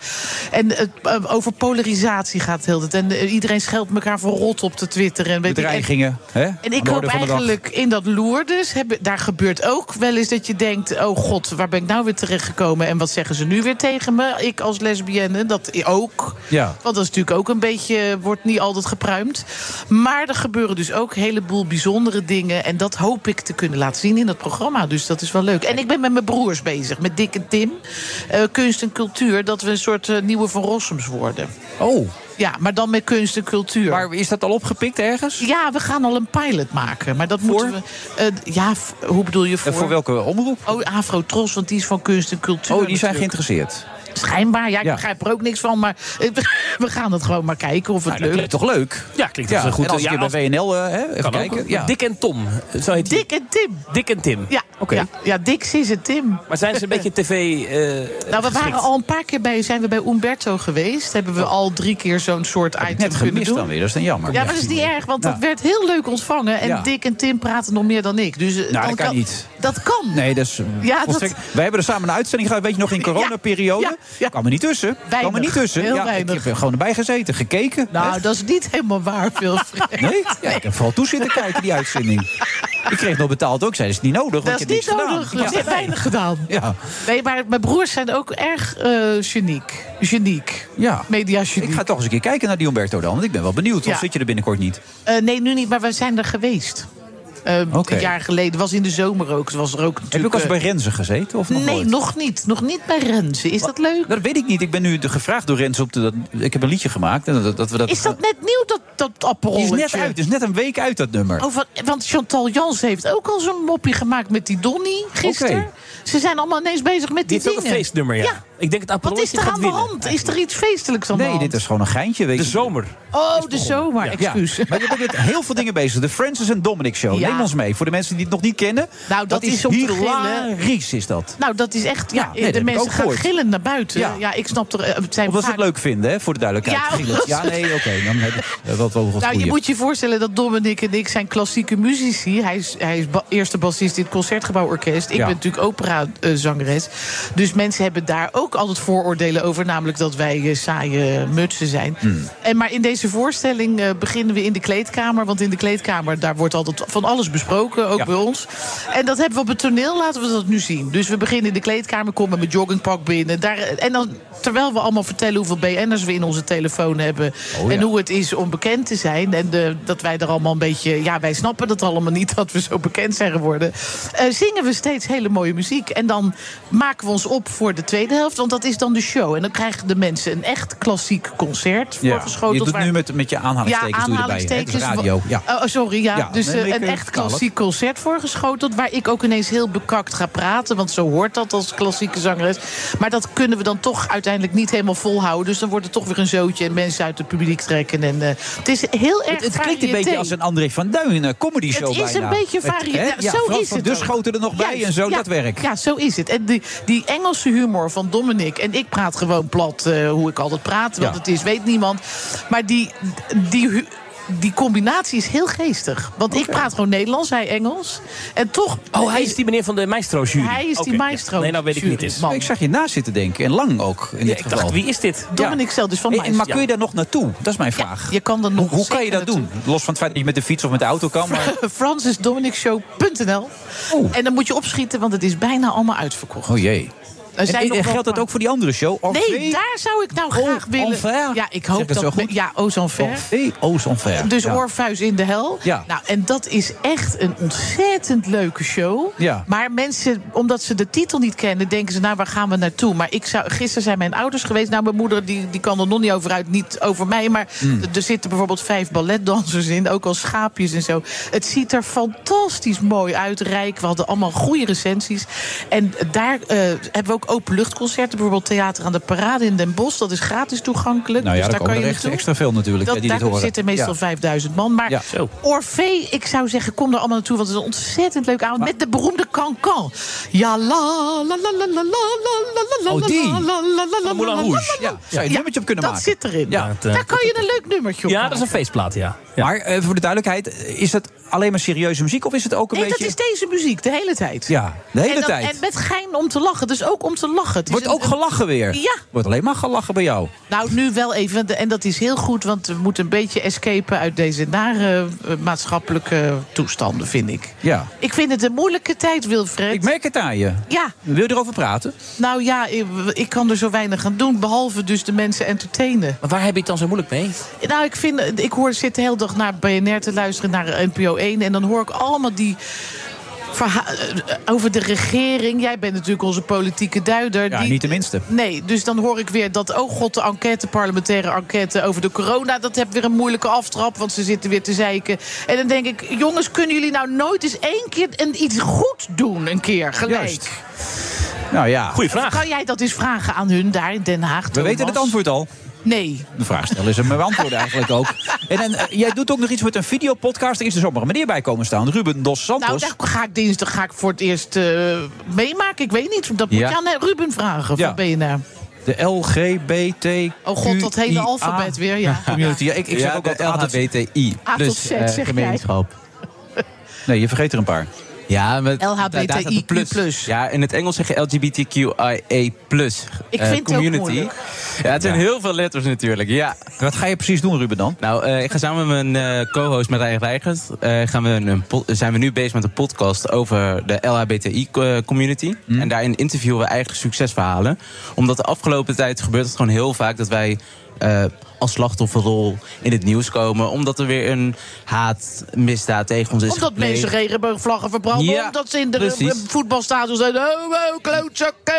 Speaker 8: En het, eh, over polarisatie gaat het heel de tijd. En eh, iedereen scheldt elkaar voor rot op de Twitter. En weet ik- en-
Speaker 5: bedreigingen. Hè? Aan
Speaker 8: en
Speaker 5: de
Speaker 8: ik
Speaker 5: orde
Speaker 8: hoop
Speaker 5: van de dag.
Speaker 8: eigenlijk in dat Lourdes, hebben, daar gebeurt ook wel eens dat je denkt... oh god, waar ben ik nou weer terechtgekomen en wat zeggen ze nu weer tegen me? Ik als lesbienne, dat ook.
Speaker 5: Ja.
Speaker 8: Want dat is natuurlijk ook een beetje, wordt niet altijd gepruimd. Maar er gebeuren dus ook een heleboel bijzondere dingen... en dat hoop ik te kunnen laten zien in dat programma, dus dat is wel leuk. En ik ben met mijn broers bezig, met Dick en Tim. Eh, kunst en cultuur, dat we een soort eh, nieuwe Van Rossums worden.
Speaker 5: Oh,
Speaker 8: Ja, maar dan met kunst en cultuur.
Speaker 5: maar is dat al opgepikt ergens?
Speaker 8: Ja, we gaan al een pilot maken. Maar dat moeten we. eh, ja, v- hoe bedoel je voor?
Speaker 5: En voor welke omroep?
Speaker 8: Oh, Afro Tros, want die is van kunst en cultuur.
Speaker 5: Oh, die zijn
Speaker 8: natuurlijk.
Speaker 5: geïnteresseerd.
Speaker 8: Schijnbaar, ja, ik
Speaker 5: Ja.
Speaker 8: begrijp er ook niks van. Maar eh, we gaan het gewoon maar kijken of
Speaker 5: Nou,
Speaker 8: het
Speaker 5: dat
Speaker 8: lukt.
Speaker 5: klinkt toch leuk?
Speaker 6: Ja, klinkt als een goed-
Speaker 5: En als
Speaker 6: ja,
Speaker 5: ik hier bij WNL, eh, hè, even
Speaker 6: Kan
Speaker 5: kijken.
Speaker 6: ook.
Speaker 5: ja.
Speaker 6: Dick en Tom, zo heet die.
Speaker 8: Dick en Tim.
Speaker 6: Dick en Tim.
Speaker 8: Ja,
Speaker 6: Oké.
Speaker 8: ja, ja, Dick, Sis en Tim.
Speaker 6: Maar zijn ze een beetje tv... eh,
Speaker 8: Nou, we waren
Speaker 6: geschikt?
Speaker 8: al een paar keer bij, zijn we bij Umberto geweest. Hebben we al drie keer zo'n soort item
Speaker 5: Oh. Net
Speaker 8: kunnen
Speaker 5: gemist
Speaker 8: doen.
Speaker 5: dan weer, dat is dan jammer.
Speaker 8: Ja, maar dat is niet erg, want
Speaker 5: Ja.
Speaker 8: dat werd heel leuk ontvangen. En
Speaker 5: Ja. Nou,
Speaker 8: Dick en Tim praten nog meer dan ik. Dus, eh,
Speaker 5: dat
Speaker 8: dan
Speaker 5: kan niet.
Speaker 8: Dat kan.
Speaker 5: Nee, dat is... eh,
Speaker 8: Ja, dat-
Speaker 5: volstrekt- Wij hebben er samen een uitzending gehad, weet je nog, in coronaperiode.
Speaker 8: Ja, ja, ja.
Speaker 5: Kwam er niet tussen. Kwam er
Speaker 8: Weinig.
Speaker 5: niet tussen.
Speaker 8: Heel
Speaker 5: ja,
Speaker 8: weinig.
Speaker 5: Ik heb er gewoon erbij gezeten, gekeken.
Speaker 8: Nou, dat is niet helemaal waar, Wilfred.
Speaker 5: Nee? Ja, ik heb vooral toe zitten kijken, die uitzending. Ik kreeg nog betaald ook. Ik zei, dat is niet nodig,
Speaker 8: Dat
Speaker 5: want
Speaker 8: is
Speaker 5: je
Speaker 8: niet
Speaker 5: hebt niks
Speaker 8: nodig.
Speaker 5: gedaan.
Speaker 8: Er is weinig gedaan.
Speaker 5: Ja.
Speaker 8: Nee, maar mijn broers zijn ook erg eh geniek. Geniek.
Speaker 5: Ja.
Speaker 8: Media
Speaker 5: Ik ga toch eens een keer kijken naar die Umberto dan, want ik ben wel benieuwd. Of
Speaker 8: Ja.
Speaker 5: zit je er binnenkort niet?
Speaker 8: nee, nu niet, maar we zijn er geweest. eh,
Speaker 5: Oké.
Speaker 8: een jaar geleden. Was in de zomer ook. Was er ook
Speaker 5: Heb je ook
Speaker 8: natuurlijk,
Speaker 5: als bij
Speaker 8: eh,
Speaker 5: Renze gezeten? Of nog
Speaker 8: Nee,
Speaker 5: nooit?
Speaker 8: nog niet. Nog niet bij Renze. Is dat leuk?
Speaker 5: Dat weet ik niet. Ik ben nu de- gevraagd door Renze. Op de, dat, ik heb een liedje gemaakt. En dat, dat we dat,
Speaker 8: Is dat net nieuw, dat, dat
Speaker 5: Die is
Speaker 8: apparolletje?
Speaker 5: net uit. is net een week uit, dat nummer.
Speaker 8: Oh, van- want Chantal Jans heeft ook al zo'n mopje gemaakt met die Donnie gisteren.
Speaker 6: Oké.
Speaker 8: Ze zijn allemaal ineens bezig met die,
Speaker 6: Dit is ook
Speaker 8: dingen.
Speaker 6: een feestnummer, ja. Ik denk het
Speaker 8: Wat
Speaker 6: Apollontje
Speaker 8: is er
Speaker 6: gaat
Speaker 8: aan de
Speaker 6: winnen.
Speaker 8: hand? Is er iets feestelijks aan de
Speaker 5: nee,
Speaker 8: hand?
Speaker 5: dit is gewoon een geintje. Weet
Speaker 6: De
Speaker 5: je.
Speaker 6: zomer.
Speaker 8: Oh, de zomer,
Speaker 5: Ja.
Speaker 8: excuus.
Speaker 5: Maar je bent met heel veel dingen bezig. De Francis en Dominic Show.
Speaker 8: Ja.
Speaker 5: Neem ons mee. Voor de mensen die het nog niet kennen.
Speaker 8: Nou, dat is om te gillen.
Speaker 5: hilarisch is dat.
Speaker 8: Nou, dat is echt... Ja,
Speaker 5: Ja, nee, dat heb
Speaker 8: de
Speaker 5: ik
Speaker 8: mensen
Speaker 5: ook
Speaker 8: gaan
Speaker 5: gehoord.
Speaker 8: gillend naar buiten.
Speaker 5: Ja.
Speaker 8: Ja, ik snap er... eh, Het zijn
Speaker 5: Omdat ze
Speaker 8: vaak-
Speaker 5: het leuk vinden, hè, voor de duidelijkheid.
Speaker 8: Ja,
Speaker 5: Gilles. ja nee, oké. dan heb ik eh, wat wel wat
Speaker 8: Nou, je
Speaker 5: goeie.
Speaker 8: moet je voorstellen dat Dominic en ik zijn klassieke muzici. Hij is, hij is ba- eerste bassist in het Concertgebouworkest. Ik
Speaker 5: Ja.
Speaker 8: ben natuurlijk operazangeres. dus mensen hebben daar ook altijd vooroordelen over. Namelijk dat wij eh, saaie mutsen zijn. En, Eh, maar in deze voorstelling eh, beginnen we in de kleedkamer. Want in de kleedkamer daar wordt altijd van alles besproken. Ook
Speaker 5: Ja.
Speaker 8: bij ons. En dat hebben we op het toneel. Laten we dat nu zien. Dus we beginnen in de kleedkamer. Komen met joggingpak binnen. Daar, eh, en dan, terwijl we allemaal vertellen hoeveel BN'ers we in onze telefoon hebben.
Speaker 5: Oh,
Speaker 8: En
Speaker 5: ja.
Speaker 8: hoe het is om bekend te zijn. En de, dat wij er allemaal een beetje. Ja, wij snappen dat allemaal niet dat we zo bekend zijn geworden. Eh, zingen we steeds hele mooie muziek. En dan maken we ons op voor de tweede helft. Want dat is dan de show. En dan krijgen de mensen een echt klassiek concert
Speaker 5: Ja,
Speaker 8: voorgeschoteld.
Speaker 5: Je doet
Speaker 8: waar-
Speaker 5: nu met, met je aanhalingstekens,
Speaker 8: ja,
Speaker 5: doe je erbij. hè. Het is
Speaker 8: aanhalingstekens.
Speaker 5: radio. Ja.
Speaker 8: Oh, oh, sorry, ja.
Speaker 5: Ja,
Speaker 8: dus
Speaker 5: nee,
Speaker 8: eh,
Speaker 5: nee, ik,
Speaker 8: een
Speaker 5: eh,
Speaker 8: echt
Speaker 5: vertaal het.
Speaker 8: klassiek concert voorgeschoteld... waar ik ook ineens heel bekakt ga praten. Want zo hoort dat als klassieke zangeres. Maar dat kunnen we dan toch uiteindelijk niet helemaal volhouden. Dus dan wordt het toch weer een zootje... en mensen uit het publiek trekken. En, eh, het is heel erg
Speaker 5: Het, het klinkt een
Speaker 8: variété.
Speaker 5: beetje als een André van Duin eh, comedy show
Speaker 8: Het
Speaker 5: bijna.
Speaker 8: is een beetje
Speaker 5: Met,
Speaker 8: varie.
Speaker 5: hè,
Speaker 8: Ja,
Speaker 5: ja,
Speaker 8: zo
Speaker 5: Frans
Speaker 8: is
Speaker 5: van
Speaker 8: het.
Speaker 5: Dus
Speaker 8: ook.
Speaker 5: schoten er nog bij
Speaker 8: Juist,
Speaker 5: en zo,
Speaker 8: ja,
Speaker 5: dat werkt.
Speaker 8: Ja, zo is het. En die, die Engelse humor van Dominic. En ik praat gewoon plat eh, hoe ik altijd praat. Wat
Speaker 5: Ja.
Speaker 8: het is, weet niemand. Maar die. die hu- die combinatie is heel geestig. Want ik praat gewoon Nederlands, hij Engels. En toch.
Speaker 6: Oh, hij is die meneer van de Maestro-jury.
Speaker 8: Hij is die
Speaker 6: Oké, ja.
Speaker 8: maestro.
Speaker 6: Nee, nou weet ik
Speaker 8: jury,
Speaker 6: niet eens.
Speaker 8: man.
Speaker 5: Ik zag je na zitten denken, en lang ook in
Speaker 6: Ja,
Speaker 5: dit
Speaker 6: ik
Speaker 5: geval.
Speaker 6: dacht, wie is dit?
Speaker 8: Dominic zelf dus van
Speaker 5: Hey,
Speaker 8: Maestro.
Speaker 5: maar kun je daar nog naartoe? Dat is mijn vraag.
Speaker 8: je kan er nog
Speaker 5: hoe, hoe kan je
Speaker 8: zeker
Speaker 5: dat doen? Los van het feit dat je met de fiets of met de auto kan. Maar...
Speaker 8: FrancisDominicShow.nl.
Speaker 5: Oeh.
Speaker 8: En dan moet je opschieten, want het is bijna allemaal uitverkocht.
Speaker 5: Oh jee.
Speaker 8: Er
Speaker 5: En,
Speaker 8: zijn
Speaker 5: en-
Speaker 8: nog
Speaker 5: en
Speaker 8: wel
Speaker 5: geldt dat
Speaker 8: maar-
Speaker 5: ook voor die andere show?
Speaker 8: Nee, daar zou ik nou graag willen.
Speaker 5: Enfer.
Speaker 8: Ja, ik
Speaker 5: Oh, Zeg
Speaker 8: hoop
Speaker 5: het zo
Speaker 8: dat.
Speaker 5: goed?
Speaker 8: Ja, oh, Ozan Ver.
Speaker 5: Orfee, Oos Onver.
Speaker 8: Dus
Speaker 5: Ja. Nou
Speaker 8: Orpheus in de hel.
Speaker 5: Ja.
Speaker 8: Nou, en dat is echt een ontzettend leuke show.
Speaker 5: Ja.
Speaker 8: Maar mensen, omdat ze de titel niet kennen, denken ze, nou, waar gaan we naartoe? Maar ik zou, gisteren zijn mijn ouders geweest. Nou, mijn moeder die, die kan er nog niet over uit, niet over mij. Maar
Speaker 5: Hmm.
Speaker 8: d- er zitten bijvoorbeeld vijf balletdansers in, ook al schaapjes en zo. Het ziet er fantastisch mooi uit, rijk. We hadden allemaal goede recensies. En daar eh, hebben we ook openluchtconcerten. Bijvoorbeeld Theater aan de Parade in Den Bosch. Dat is gratis toegankelijk.
Speaker 5: Nou ja,
Speaker 8: dus
Speaker 5: daar
Speaker 8: daar kan
Speaker 5: komen
Speaker 8: je
Speaker 5: er echt
Speaker 8: naartoe.
Speaker 5: extra veel natuurlijk,
Speaker 8: Dat,
Speaker 5: hè, die dit
Speaker 8: daar
Speaker 5: horen.
Speaker 8: zitten meestal
Speaker 5: Ja.
Speaker 8: 5000 man. Maar
Speaker 5: Ja.
Speaker 6: Zo.
Speaker 8: Orfee, ik zou zeggen, kom er allemaal naartoe. Want het is een ontzettend leuk avond. Met de beroemde Cancan. Ja, la, la, la, la, la, la, la, la, la,
Speaker 5: Oh, die.
Speaker 8: la, la, la, la, la, la,
Speaker 6: Moulin
Speaker 8: la,
Speaker 6: Rouge.
Speaker 8: la, la, la.
Speaker 5: Ja, zou je een nummertje op kunnen
Speaker 8: dat
Speaker 5: maken.
Speaker 8: zit erin.
Speaker 5: Ja.
Speaker 8: Daar kan je een leuk nummertje op
Speaker 6: eh, Ja, dat is een
Speaker 8: maken.
Speaker 6: feestplaat, ja. ja.
Speaker 5: Maar eh, voor de duidelijkheid, is dat alleen maar serieuze muziek of is het ook een
Speaker 8: Nee, dat
Speaker 5: beetje...
Speaker 8: is deze muziek, de hele tijd.
Speaker 5: Ja, de hele
Speaker 8: en dan-
Speaker 5: tijd.
Speaker 8: En met gein om te lachen. Dus ook om te lachen. Het is
Speaker 5: Wordt
Speaker 8: een-
Speaker 5: ook gelachen weer.
Speaker 8: Ja.
Speaker 5: Wordt alleen maar gelachen bij jou.
Speaker 8: Nou, nu wel even. want- En dat is heel goed, want we moeten een beetje escapen uit deze nare eh, maatschappelijke toestanden, vind ik.
Speaker 5: Ja.
Speaker 8: Ik vind het een moeilijke tijd, Wilfred.
Speaker 5: Ik merk het aan je.
Speaker 8: Ja,
Speaker 5: Wil je erover praten?
Speaker 8: nou ja, ik, ik kan er zo weinig aan doen. Behalve dus de mensen entertainen.
Speaker 6: Maar waar heb je het dan zo moeilijk mee?
Speaker 8: Nou, ik, vind, ik hoor, zit de hele dag naar BNR te luisteren, naar NPO 1. En dan hoor ik allemaal die. verha- eh, Over de regering. Jij bent natuurlijk onze politieke duider.
Speaker 5: Ja,
Speaker 8: die-
Speaker 5: niet de minste.
Speaker 8: Nee, dus dan hoor ik weer dat, oh god, de enquête, parlementaire enquête over de corona, dat heb weer een moeilijke aftrap, want ze zitten weer te zeiken. En dan denk ik, jongens, kunnen jullie nou nooit eens één keer een, iets goed doen, een keer, gelijk?
Speaker 5: Juist. Nou ja,
Speaker 6: Goeie vraag.
Speaker 8: Kan jij Ah, dat eens vragen aan hun daar in Den Haag?
Speaker 5: we weten het antwoord al.
Speaker 8: Nee.
Speaker 5: De vraag stellen is hem maar antwoorden eigenlijk ook. En, en eh, jij doet ook nog iets met een videopodcast. Er is er zomaar een meneer bij komen staan. Ruben Dos
Speaker 8: Nou,
Speaker 5: Santos.
Speaker 8: daar ga ik dinsdag ga ik voor het eerst eh, meemaken. Ik weet niet. Dat moet
Speaker 5: Ja.
Speaker 8: je aan eh, Ruben vragen
Speaker 5: Ja.
Speaker 8: van BNR.
Speaker 5: de LGBT.
Speaker 8: Oh god, dat hele alfabet weer. Ja.
Speaker 5: Community. Ja, ik, ik zeg ook altijd LHBTI.
Speaker 8: A
Speaker 9: dus,
Speaker 8: tot Z,
Speaker 9: eh,
Speaker 8: zeg jij.
Speaker 5: Nee, je vergeet er een paar.
Speaker 9: Ja, met,
Speaker 8: LHBTIQ+.
Speaker 9: daar staat een plus. Ja, in het Engels zeg je LGBTQIA+. plus eh,
Speaker 8: Ik vind het ook
Speaker 9: community.
Speaker 8: moeilijk.
Speaker 9: ja, het zijn heel veel letters natuurlijk. Ja.
Speaker 5: Wat ga je precies doen, Ruben, dan?
Speaker 9: Nou, eh, ik ga samen met mijn eh, co-host Marijn Reigert... eh, gaan we een pod- zijn we nu bezig met een podcast over de eh, LHBTI-community.
Speaker 5: Mhm.
Speaker 9: En daarin interviewen we eigen succesverhalen. Omdat de afgelopen tijd gebeurt het gewoon heel vaak... dat wij eh, als slachtofferrol in het nieuws komen. Omdat er weer een haatmisdaad tegen
Speaker 5: Dus
Speaker 9: ons is
Speaker 8: Omdat
Speaker 9: gepleegd.
Speaker 8: mensen regenboogvlaggen verbranden.
Speaker 9: Ja,
Speaker 8: omdat ze in de
Speaker 9: precies.
Speaker 8: voetbalstadion voetbalstadion zijn. Oh, oh, klootzakken.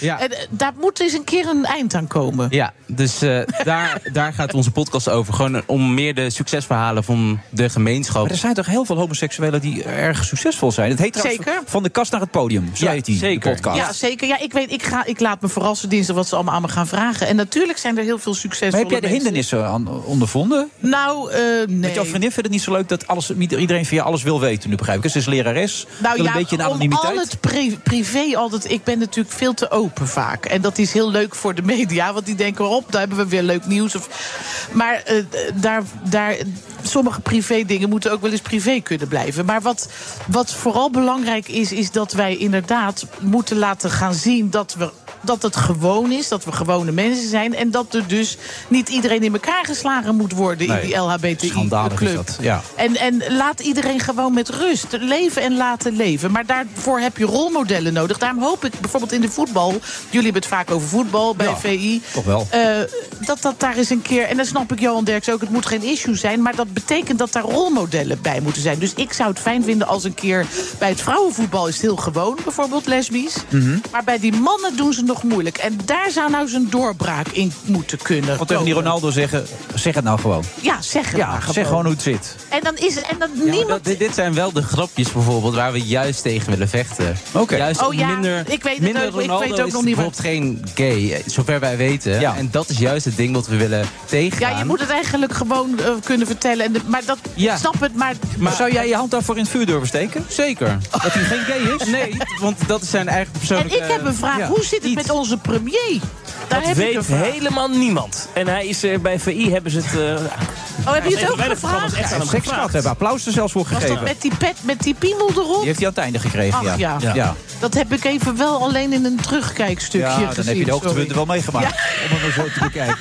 Speaker 9: Ja.
Speaker 8: En, eh, daar moet eens een keer een eind aan komen.
Speaker 9: Ja, dus eh, daar, daar gaat onze podcast over. Gewoon om meer de succesverhalen van de gemeenschap.
Speaker 5: Maar er zijn toch heel veel homoseksuelen die erg succesvol zijn. Het heet trouwens
Speaker 8: Zeker.
Speaker 5: Van de kast naar het podium. Zo heet die de podcast.
Speaker 8: Ja, zeker. Ja, ik, weet, ik, ga, ik laat me verrassen dinsdag wat ze allemaal aan me gaan vragen. En natuurlijk zijn er heel veel succesvolle
Speaker 5: maar heb jij de
Speaker 8: mensen.
Speaker 5: hindernissen aan, ondervonden?
Speaker 8: Nou, eh, nee.
Speaker 5: Want jouw vriendin vindt het niet zo leuk dat alles, iedereen van je alles wil weten, nu begrijp ik. hè? Ze is lerares, wil een beetje een anonimiteit.
Speaker 8: Nou Om al het pri- privé altijd. Ik ben natuurlijk veel te open vaak. En dat is heel leuk voor de media. Want die denken, op, daar hebben we weer leuk nieuws. Of, maar eh, daar, daar, sommige privé dingen moeten ook wel eens privé kunnen blijven. Maar wat, wat vooral belangrijk is, is dat wij inderdaad moeten laten gaan zien dat we. Dat het gewoon is, dat we gewone mensen zijn. En dat er dus niet iedereen in elkaar geslagen moet worden
Speaker 5: Nee,
Speaker 8: in die LHBTI-club.
Speaker 5: Schandalig is dat, ja.
Speaker 8: En, en laat iedereen gewoon met rust leven en laten leven. Maar daarvoor heb je rolmodellen nodig. Daarom hoop ik bijvoorbeeld in de voetbal. Jullie hebben het vaak over voetbal bij
Speaker 5: Ja,
Speaker 8: VI.
Speaker 5: toch wel.
Speaker 8: eh, dat dat daar eens een keer. En dan snap ik Johan Derks ook. Het moet geen issue zijn. Maar dat betekent dat daar rolmodellen bij moeten zijn. Dus ik zou het fijn vinden als een keer. Bij het vrouwenvoetbal is het heel gewoon, bijvoorbeeld lesbisch.
Speaker 5: Mhm.
Speaker 8: Maar bij die mannen doen ze nog moeilijk. En daar zou nou eens een doorbraak in moeten kunnen.
Speaker 5: Wat tegen die
Speaker 8: komen.
Speaker 5: Ronaldo zeggen, zeg het nou gewoon.
Speaker 8: Ja, zeg het
Speaker 5: Ja,
Speaker 8: maar
Speaker 5: zeg gewoon hoe het zit.
Speaker 8: En dan is het. En dan niemand.
Speaker 9: Dat- dit, dit zijn wel de grapjes bijvoorbeeld waar we juist tegen willen vechten. Juist
Speaker 8: Oh ja,
Speaker 9: minder,
Speaker 8: ik weet het
Speaker 9: minder
Speaker 8: ook, ik
Speaker 9: Ronaldo
Speaker 8: weet ook
Speaker 9: is
Speaker 8: nog niet waar-
Speaker 9: bijvoorbeeld geen gay, eh, zover wij weten. En dat is juist het ding wat we willen tegengaan.
Speaker 8: Ja, je moet het eigenlijk gewoon eh, kunnen vertellen. En de- maar dat
Speaker 9: Ja.
Speaker 8: snap het, maar,
Speaker 5: Maar zou jij je hand daarvoor in het vuur durven steken?
Speaker 9: Zeker.
Speaker 5: Dat hij geen gay is?
Speaker 9: Nee, want dat is zijn eigen
Speaker 8: En
Speaker 9: persoonlijke...
Speaker 8: ik heb een vraag. Hoe zit het met onze premier? Daar
Speaker 6: Dat
Speaker 8: heb ik een
Speaker 6: weet
Speaker 8: vraag.
Speaker 6: helemaal niemand. En hij is eh, bij VI hebben ze het.
Speaker 8: Oh, hebben jullie het ook
Speaker 6: Bij de programma's
Speaker 8: gevraagd?
Speaker 6: echt aan hem
Speaker 5: Seks
Speaker 6: gevraagd.
Speaker 5: gehad hebben, applaus er zelfs voor
Speaker 8: Was
Speaker 5: gegeven.
Speaker 8: dat met die pet, met die piemel erop?
Speaker 5: Die heeft hij aan het einde gekregen,
Speaker 8: Ach,
Speaker 5: ja.
Speaker 8: ja. Dat heb ik even wel alleen in een terugkijkstukje
Speaker 5: Ja, dan heb
Speaker 8: gezien.
Speaker 5: je de
Speaker 8: sorry.
Speaker 5: hoogtepunten wel meegemaakt. Om het maar zo te bekijken.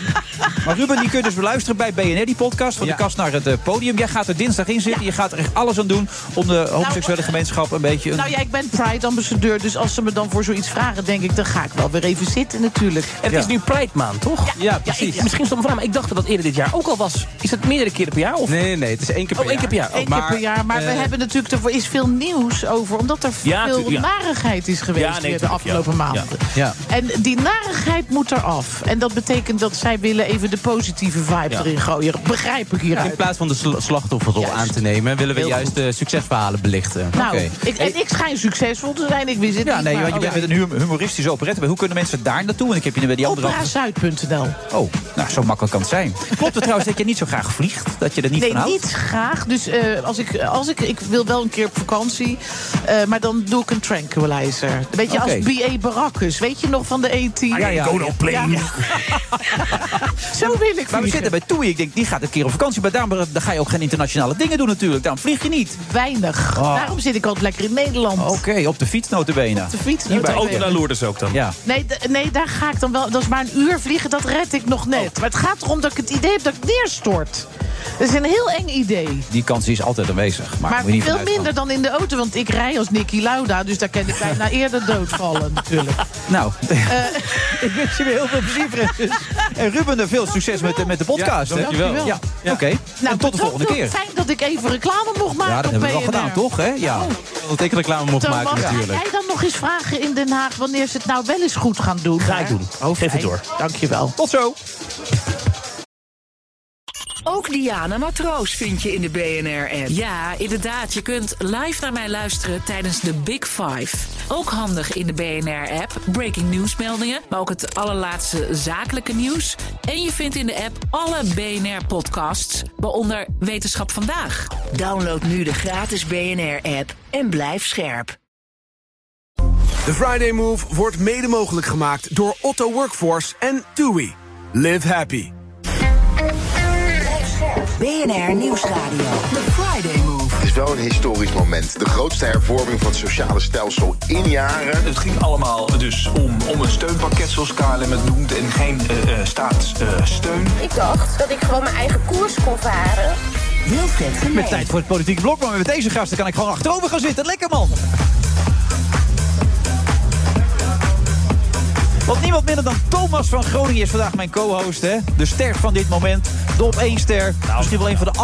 Speaker 5: Maar Ruben, die kun je dus beluisteren bij BNR, die podcast. Van de kast naar het eh, podium. Jij gaat er dinsdag in zitten. Je gaat er echt alles aan doen om de homoseksuele gemeenschap een beetje... Een...
Speaker 8: Nou ja, ik ben Pride-ambassadeur, dus als ze me dan voor zoiets vragen, denk ik, dan ga ik wel weer even zitten natuurlijk.
Speaker 6: Het is nu Pride maand, toch? Ja,
Speaker 9: precies.
Speaker 6: ik- misschien stond me vraag, maar ik dacht dat dat eerder dit jaar ook al was. Is dat meerdere keren per jaar? Of?
Speaker 9: Nee, nee, nee, het is één keer per
Speaker 6: Oh, één keer per jaar.
Speaker 8: Eén keer per jaar, maar we
Speaker 6: eh,
Speaker 8: hebben natuurlijk, er is veel nieuws over, omdat er
Speaker 6: Ja,
Speaker 8: veel
Speaker 6: tuurlijk, ja.
Speaker 8: narigheid is geweest
Speaker 6: Ja, nee,
Speaker 8: weer de
Speaker 6: tuurlijk, ja.
Speaker 8: afgelopen
Speaker 6: Ja.
Speaker 8: maanden.
Speaker 9: Ja.
Speaker 8: En die narigheid moet eraf. En dat betekent dat zij willen even de positieve vibe
Speaker 9: Ja.
Speaker 8: erin gooien. Begrijp ik hieruit.
Speaker 9: In plaats van de sla- slachtofferrol aan te nemen... willen we
Speaker 8: Heel
Speaker 9: juist de succesverhalen belichten.
Speaker 8: Nou,
Speaker 9: Oké.
Speaker 8: ik, en ik schijn succesvol te zijn, ik wist het
Speaker 5: Ja,
Speaker 8: niet.
Speaker 5: nee,
Speaker 8: maar-
Speaker 5: want je
Speaker 8: oh,
Speaker 5: bent
Speaker 8: ja.
Speaker 5: met een hum- humoristische operette. Maar hoe kunnen mensen daar naartoe? Want ik heb je bij die andere...
Speaker 8: Operazuid.nl.
Speaker 5: Oh, nou, zo makkelijk kan het zijn. Klopt het trouwens dat je niet zo graag vliegt? Dat je er niet
Speaker 8: nee,
Speaker 5: van houdt?
Speaker 8: niet graag. Dus eh, als ik, als ik, ik wil wel een keer op vakantie. eh, maar dan doe ik een tranquilizer. Een beetje
Speaker 5: Oké.
Speaker 8: als B.A. Baracus. Weet je nog van de E E.T.?
Speaker 5: Ah, ja, ja. Go no plane.
Speaker 8: Ja. Zo wil
Speaker 5: Maar
Speaker 8: ik
Speaker 5: we
Speaker 8: vliegen.
Speaker 5: zitten bij Toei. Ik denk, die gaat een keer op vakantie. Maar daarom dan ga je ook geen internationale dingen doen natuurlijk. Daarom vlieg je niet.
Speaker 8: Weinig.
Speaker 5: Oh.
Speaker 8: Daarom zit ik altijd lekker in Nederland.
Speaker 5: Oké, op de fiets notabene.
Speaker 8: Op de fiets.
Speaker 5: Hierbij.
Speaker 8: notabene.
Speaker 5: Ook naar
Speaker 6: Loerders ook dan.
Speaker 5: Ja.
Speaker 8: Nee, d- nee, daar ga ik dan wel. Dat is maar een uur vliegen, dat red ik nog
Speaker 5: Oh.
Speaker 8: net. Maar het gaat erom dat ik het idee heb dat ik neerstort. Dat is een heel eng idee.
Speaker 5: Die kans die is altijd aanwezig. Maar,
Speaker 8: Maar
Speaker 5: moet je niet
Speaker 8: veel
Speaker 5: vanuitgaan.
Speaker 8: minder dan in de auto, want ik rij als Nicky Lauda, dus daar kan ik bijna eerder doodvallen Eh, natuurlijk.
Speaker 5: Nou, ik wens je weer heel veel plezier, Francis. En Ruben, eh, veel succes met, de- met de podcast.
Speaker 9: Ja,
Speaker 5: hè?
Speaker 9: dankjewel.
Speaker 5: Ja, oké. en tot de
Speaker 8: bedankt
Speaker 5: volgende
Speaker 8: wel.
Speaker 5: keer.
Speaker 8: Fijn dat ik even reclame mocht maken
Speaker 5: Ja, dat hebben we
Speaker 8: op
Speaker 5: wel
Speaker 8: BNR.
Speaker 5: gedaan, toch? Hè? Ja.
Speaker 8: Oh.
Speaker 9: Dat ik reclame mocht
Speaker 8: Thomas,
Speaker 9: maken
Speaker 8: ga
Speaker 9: natuurlijk.
Speaker 8: jij dan nog eens vragen in Den Haag wanneer ze het nou wel eens goed gaan doen?
Speaker 6: Ga ik doen. Geef het door.
Speaker 8: Dankjewel.
Speaker 5: Tot zo.
Speaker 1: Ook Diana Matroos vind je in de BNR-app.
Speaker 10: Ja, inderdaad. Je kunt live naar mij luisteren tijdens de Big Five. Ook handig in de BNR-app. Breaking nieuwsmeldingen, maar ook het allerlaatste zakelijke nieuws. En je vindt in de app alle BNR-podcasts, waaronder Wetenschap Vandaag.
Speaker 1: Download nu de gratis BNR-app en blijf scherp.
Speaker 11: De Friday Move wordt mede mogelijk gemaakt door Otto Workforce en TUI. Live happy.
Speaker 1: BNR Nieuwsradio. The Friday Move.
Speaker 12: Het is wel een historisch moment. De grootste hervorming van het sociale stelsel in jaren.
Speaker 13: Het ging allemaal dus om, om een steunpakket, zoals KLM het noemt, en geen eh, eh, staatssteun.
Speaker 14: Ik dacht dat ik gewoon mijn eigen koers kon varen.
Speaker 1: Wilfred
Speaker 5: Met tijd voor het politieke blok, maar met deze gasten kan ik gewoon achterover gaan zitten. Lekker man. Want niemand minder dan Thomas van Groningen is vandaag mijn co-host. Hè? De ster van dit moment. De op één ster. Misschien wel een van de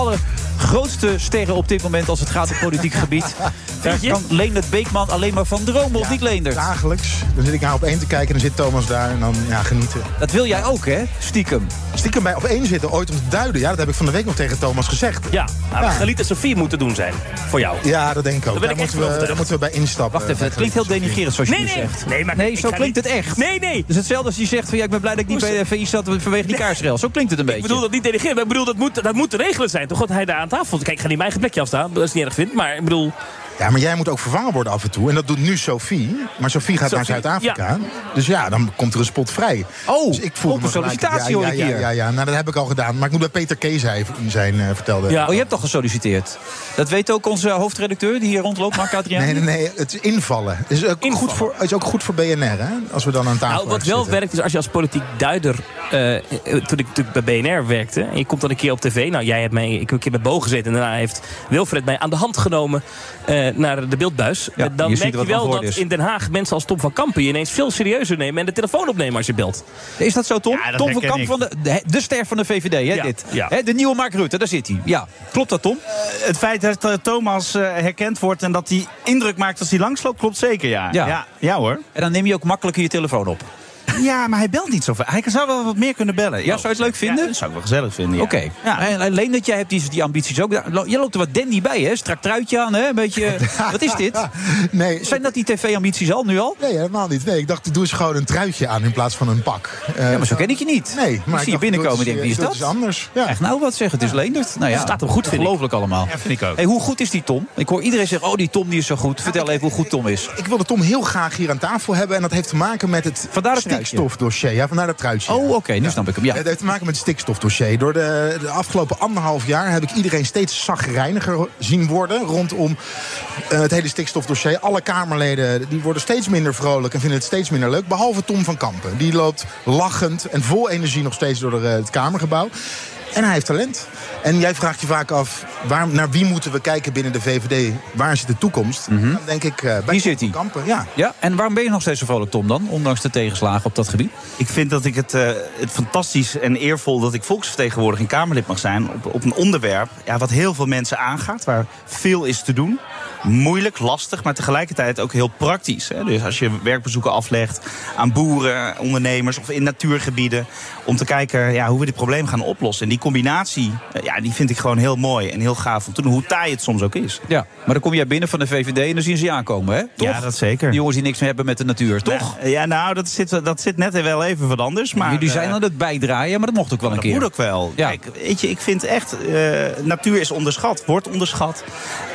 Speaker 5: allergrootste sterren op dit moment als het gaat om politiek gebied. Daar
Speaker 15: je?
Speaker 5: kan Leendert Beekman alleen maar van dromen, of niet Leendert?
Speaker 15: Dagelijks. Dan zit ik naar op één te kijken en dan zit Thomas daar en dan ja, genieten.
Speaker 5: Dat wil jij ook, hè? Stiekem.
Speaker 15: Stiekem bij op één zitten, ooit om te duiden. Ja, dat heb ik van de week nog tegen Thomas gezegd.
Speaker 6: Ja, nou, Galit en Sofie moeten doen zijn. Voor jou.
Speaker 15: Ja, dat denk ik ook.
Speaker 6: Daar ben ik echt
Speaker 15: moeten
Speaker 6: van
Speaker 15: we,
Speaker 6: overtuigd.
Speaker 15: daar moeten we bij instappen.
Speaker 5: Wacht even, het klinkt heel denigrerend zoals je
Speaker 6: Nee,
Speaker 5: nu
Speaker 6: nee.
Speaker 5: zegt.
Speaker 6: Nee, maar ik
Speaker 5: zo
Speaker 6: ga
Speaker 5: klinkt
Speaker 6: niet-
Speaker 5: het echt.
Speaker 6: Nee, nee.
Speaker 5: Dus hetzelfde als je zegt van ja, ik ben blij dat ik niet bij de VI zat vanwege die kaarsrel. Zo klinkt het een beetje.
Speaker 6: Ik bedoel dat niet denigreren, maar ik bedoel dat moet, dat moet te regelen zijn. Toch dat hij daar aan tafel... Kijk, ik ga niet mijn eigen plekje afstaan, dat is niet erg vindt, maar ik bedoel...
Speaker 15: Ja, maar jij moet ook vervangen worden af en toe. En dat doet nu Sophie. Maar Sophie gaat naar
Speaker 6: Sophie,
Speaker 15: Zuid-Afrika. Dus ja, dan komt er een spot vrij. Oh, dus ik voelde
Speaker 5: ook
Speaker 15: me
Speaker 5: een
Speaker 15: gelijk-
Speaker 5: sollicitatie
Speaker 15: ja,
Speaker 5: hoor
Speaker 15: ja,
Speaker 5: ik
Speaker 15: ja,
Speaker 5: hier.
Speaker 15: Ja, ja, nou dat heb ik al gedaan. Maar ik moet bij Peter Kees zijn eh, vertelde.
Speaker 5: Ja. Oh, je hebt al gesolliciteerd. Dat weet ook onze hoofdredacteur die hier rondloopt, Mark Adriaan.
Speaker 15: Nee, nee, nee, het is invallen. Het is ook, Goed, voor, het is ook goed voor BNR, hè? Als we dan aan tafel
Speaker 6: Nou, wat wel
Speaker 15: zitten.
Speaker 6: werkt is als je als politiek duider... eh, eh, toen ik natuurlijk bij BNR werkte... en je komt dan een keer op tv... Nou, jij hebt mij... Ik heb een keer bij Bo gezeten... en daarna heeft Wilfred mij aan de hand genomen... eh, naar de beeldbuis. Eh, dan
Speaker 5: je ziet
Speaker 6: merk
Speaker 5: wat
Speaker 6: je wel
Speaker 5: aan
Speaker 6: dat
Speaker 5: gehoord is.
Speaker 6: in Den Haag... mensen als Tom van Kampen je ineens veel serieuzer nemen... en de telefoon opnemen als je belt.
Speaker 5: Is dat zo, Tom?
Speaker 6: dat
Speaker 5: Tom van
Speaker 6: herken
Speaker 5: Kamp
Speaker 6: ik.
Speaker 5: van de, de, de ster van de VVD, hè, dit. Hè, de nieuwe Mark Rutte, daar zit hij. Ja, klopt dat, Tom?
Speaker 16: Het feit dat eh, Thomas eh, herkend wordt en dat hij indruk maakt als hij langsloopt, klopt zeker, ja. ja.
Speaker 5: hoor. En dan neem je ook makkelijker je telefoon op.
Speaker 16: Ja, maar hij belt niet zo vaak. Hij zou wel wat meer kunnen bellen. Ja, zou
Speaker 5: je het leuk vinden?
Speaker 16: dat zou ik wel gezellig vinden, ja.
Speaker 5: Oké. En alleen dat jij hebt die, die ambities ook. Ja, lo- Jij loopt er wat dandy bij, hè? Strak truitje aan, hè? Een beetje... wat is dit?
Speaker 15: Nee.
Speaker 5: Zijn dat die tv-ambities al, nu al?
Speaker 15: Nee, helemaal niet. Nee, ik dacht, ik doe eens gewoon een truitje aan in plaats van een pak. ja,
Speaker 5: maar zo ken ik je niet.
Speaker 15: Nee,
Speaker 5: Maar
Speaker 15: maar
Speaker 5: ik zie je
Speaker 15: dacht,
Speaker 5: binnenkomen en denk, wie is
Speaker 15: dat
Speaker 5: dat?
Speaker 15: is anders. Ja.
Speaker 5: Echt nou wat zeggen, het is Leendert. Nou ja,
Speaker 15: Het staat hem goed, vind ik.
Speaker 5: Ongelooflijk allemaal.
Speaker 15: Ja, vind ik ook.
Speaker 5: Hey, hoe goed is die Tom? Ik hoor iedereen zeggen, oh die Tom die is zo goed. Vertel even hoe goed Tom is.
Speaker 15: Ik wilde Tom heel graag hier aan tafel hebben. En dat heeft te maken met het
Speaker 5: truitje.
Speaker 15: stikstofdossier. Ja, vandaar dat truitje. Oh, oké.
Speaker 5: nu snap ik hem. Ja.
Speaker 15: Het heeft te maken met het stikstofdossier. Door de, de afgelopen anderhalf jaar heb ik iedereen steeds zagrijniger zien worden. Rondom eh, het hele stikstofdossier. Alle Kamerleden die worden steeds minder vrolijk en vinden het steeds minder leuk. Behalve Tom van Kampen. Die loopt lachend en vol energie nog steeds door eh, het Kamergebouw. En hij heeft talent. En jij vraagt je vaak af, waar, naar wie moeten we kijken binnen de VVD? Waar zit de toekomst?
Speaker 5: Mhm.
Speaker 15: Dan denk ik eh, bij Tom van Kampen. Ja.
Speaker 5: Ja, en waarom ben je nog steeds zo vrolijk, Tom, dan? Ondanks de tegenslagen op dat gebied?
Speaker 16: Ik vind dat ik het, eh, het fantastisch en eervol dat ik volksvertegenwoordiger en Kamerlid mag zijn op, op een onderwerp ja, wat heel veel mensen aangaat, waar veel is te doen. Moeilijk, lastig, maar tegelijkertijd ook heel praktisch. Hè? Dus als je werkbezoeken aflegt aan boeren, ondernemers of in natuurgebieden, om te kijken ja, hoe we dit probleem gaan oplossen. En die combinatie, eh, ja, die vind ik gewoon heel mooi en heel gaaf om te doen, hoe taai het soms ook is.
Speaker 5: Ja, maar dan kom jij binnen van de VVD en dan zien ze je aankomen, hè? Toch?
Speaker 16: Ja, dat zeker.
Speaker 5: Die jongens die niks meer hebben met de natuur, toch?
Speaker 16: Ja, nou, dat zit, dat zit net wel even wat anders. Maar,
Speaker 5: Jullie zijn
Speaker 16: eh,
Speaker 5: aan het bijdraaien, maar dat mocht ook wel een keer.
Speaker 16: Dat moet ook wel. Kijk, weet je, ik vind echt, eh, natuur is onderschat, wordt onderschat.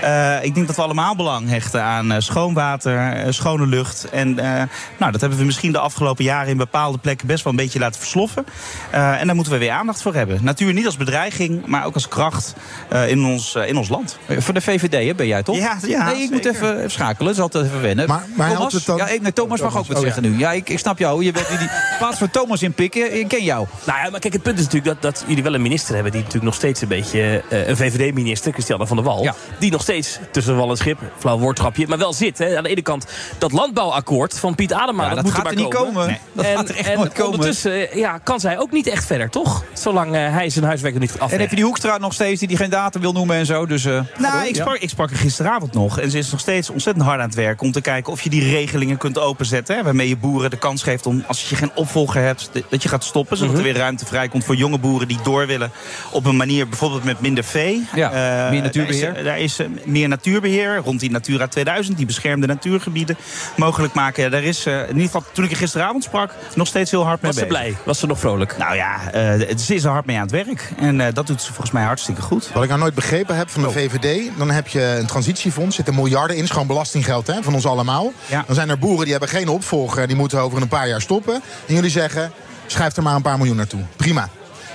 Speaker 16: Eh, ik denk dat we allemaal belang hechten aan eh, schoon water, eh, schone lucht. En eh, nou, dat hebben we misschien de afgelopen jaren in bepaalde plekken best wel een beetje laten versloffen. Eh, en daar moeten we weer aandacht voor hebben. Natuur niet als bedreiging, maar ook als kracht eh, in, ons, eh, in ons land.
Speaker 5: Voor de VVD hè, ben jij toch?
Speaker 16: Ja, ja,
Speaker 5: nee, ik moet even even schakelen. Dat is altijd even wennen.
Speaker 16: Maar- maar
Speaker 5: Thomas?
Speaker 16: helpt het dan-
Speaker 5: Ja, ik- nee, Thomas mag ook
Speaker 16: Thomas,
Speaker 5: wat
Speaker 16: oh,
Speaker 5: zeggen nu. Ja, ik, ik snap jou. Je bent die, die plaats voor Thomas in pikken. Ik ken jou.
Speaker 6: Nou ja, maar kijk, het punt is natuurlijk dat, dat jullie wel een minister hebben... die natuurlijk nog steeds een beetje... eh, een VVD-minister, Christiane van der Wal... die nog steeds tussen wal en schip, flauw woordgrapje... maar wel zit. Hè. Aan de ene kant dat landbouwakkoord van Piet Adema...
Speaker 5: Ja,
Speaker 6: dat,
Speaker 5: dat
Speaker 6: moet
Speaker 5: gaat
Speaker 6: maar
Speaker 5: er niet komen. Nee. Dat
Speaker 6: en
Speaker 5: gaat er echt
Speaker 6: en
Speaker 5: nooit komen.
Speaker 6: ondertussen eh, ja, kan zij ook niet echt verder, toch? Zolang eh, hij zijn huiswerk nog niet af.
Speaker 5: En heb je die hoekstra nog steeds die, die geen datum wil noemen en zo. Dus, eh, ga door.
Speaker 16: Nou, ik
Speaker 5: Ja.
Speaker 16: sprak, ik sprak haar gisteravond nog. En ze is nog steeds ontzettend hard aan het werk om te kijken of je die regelingen kunt openzetten. Hè, waarmee je boeren de kans geeft om, als je geen opvolger hebt, de- dat je gaat stoppen. Zodat
Speaker 6: Mhm.
Speaker 16: er weer ruimte vrijkomt voor jonge boeren die door willen. Op een manier bijvoorbeeld met minder vee.
Speaker 5: Ja,
Speaker 16: Eh,
Speaker 5: meer natuurbeheer.
Speaker 16: Daar is, daar is, eh, meer natuurbeheer rond die Natura 2000. Die beschermde natuurgebieden mogelijk maken. Ja, daar is, eh, in ieder geval toen ik haar gisteravond sprak, nog steeds heel hard mee
Speaker 6: Was ze
Speaker 16: bezig.
Speaker 6: blij? Was ze nog vrolijk?
Speaker 16: Nou ja, eh, ze is er hard mee aan het werk. En eh, dat doet ze volgens mij hartstikke goed.
Speaker 15: Wat ik nou nooit begrepen heb van de VVD, dan heb je een transitiefonds, zitten miljarden in, is gewoon belastinggeld hè, van ons allemaal. Dan zijn er boeren die hebben geen opvolger, die moeten over een paar jaar stoppen. En jullie zeggen, schrijf er maar een paar miljoen naartoe. Prima.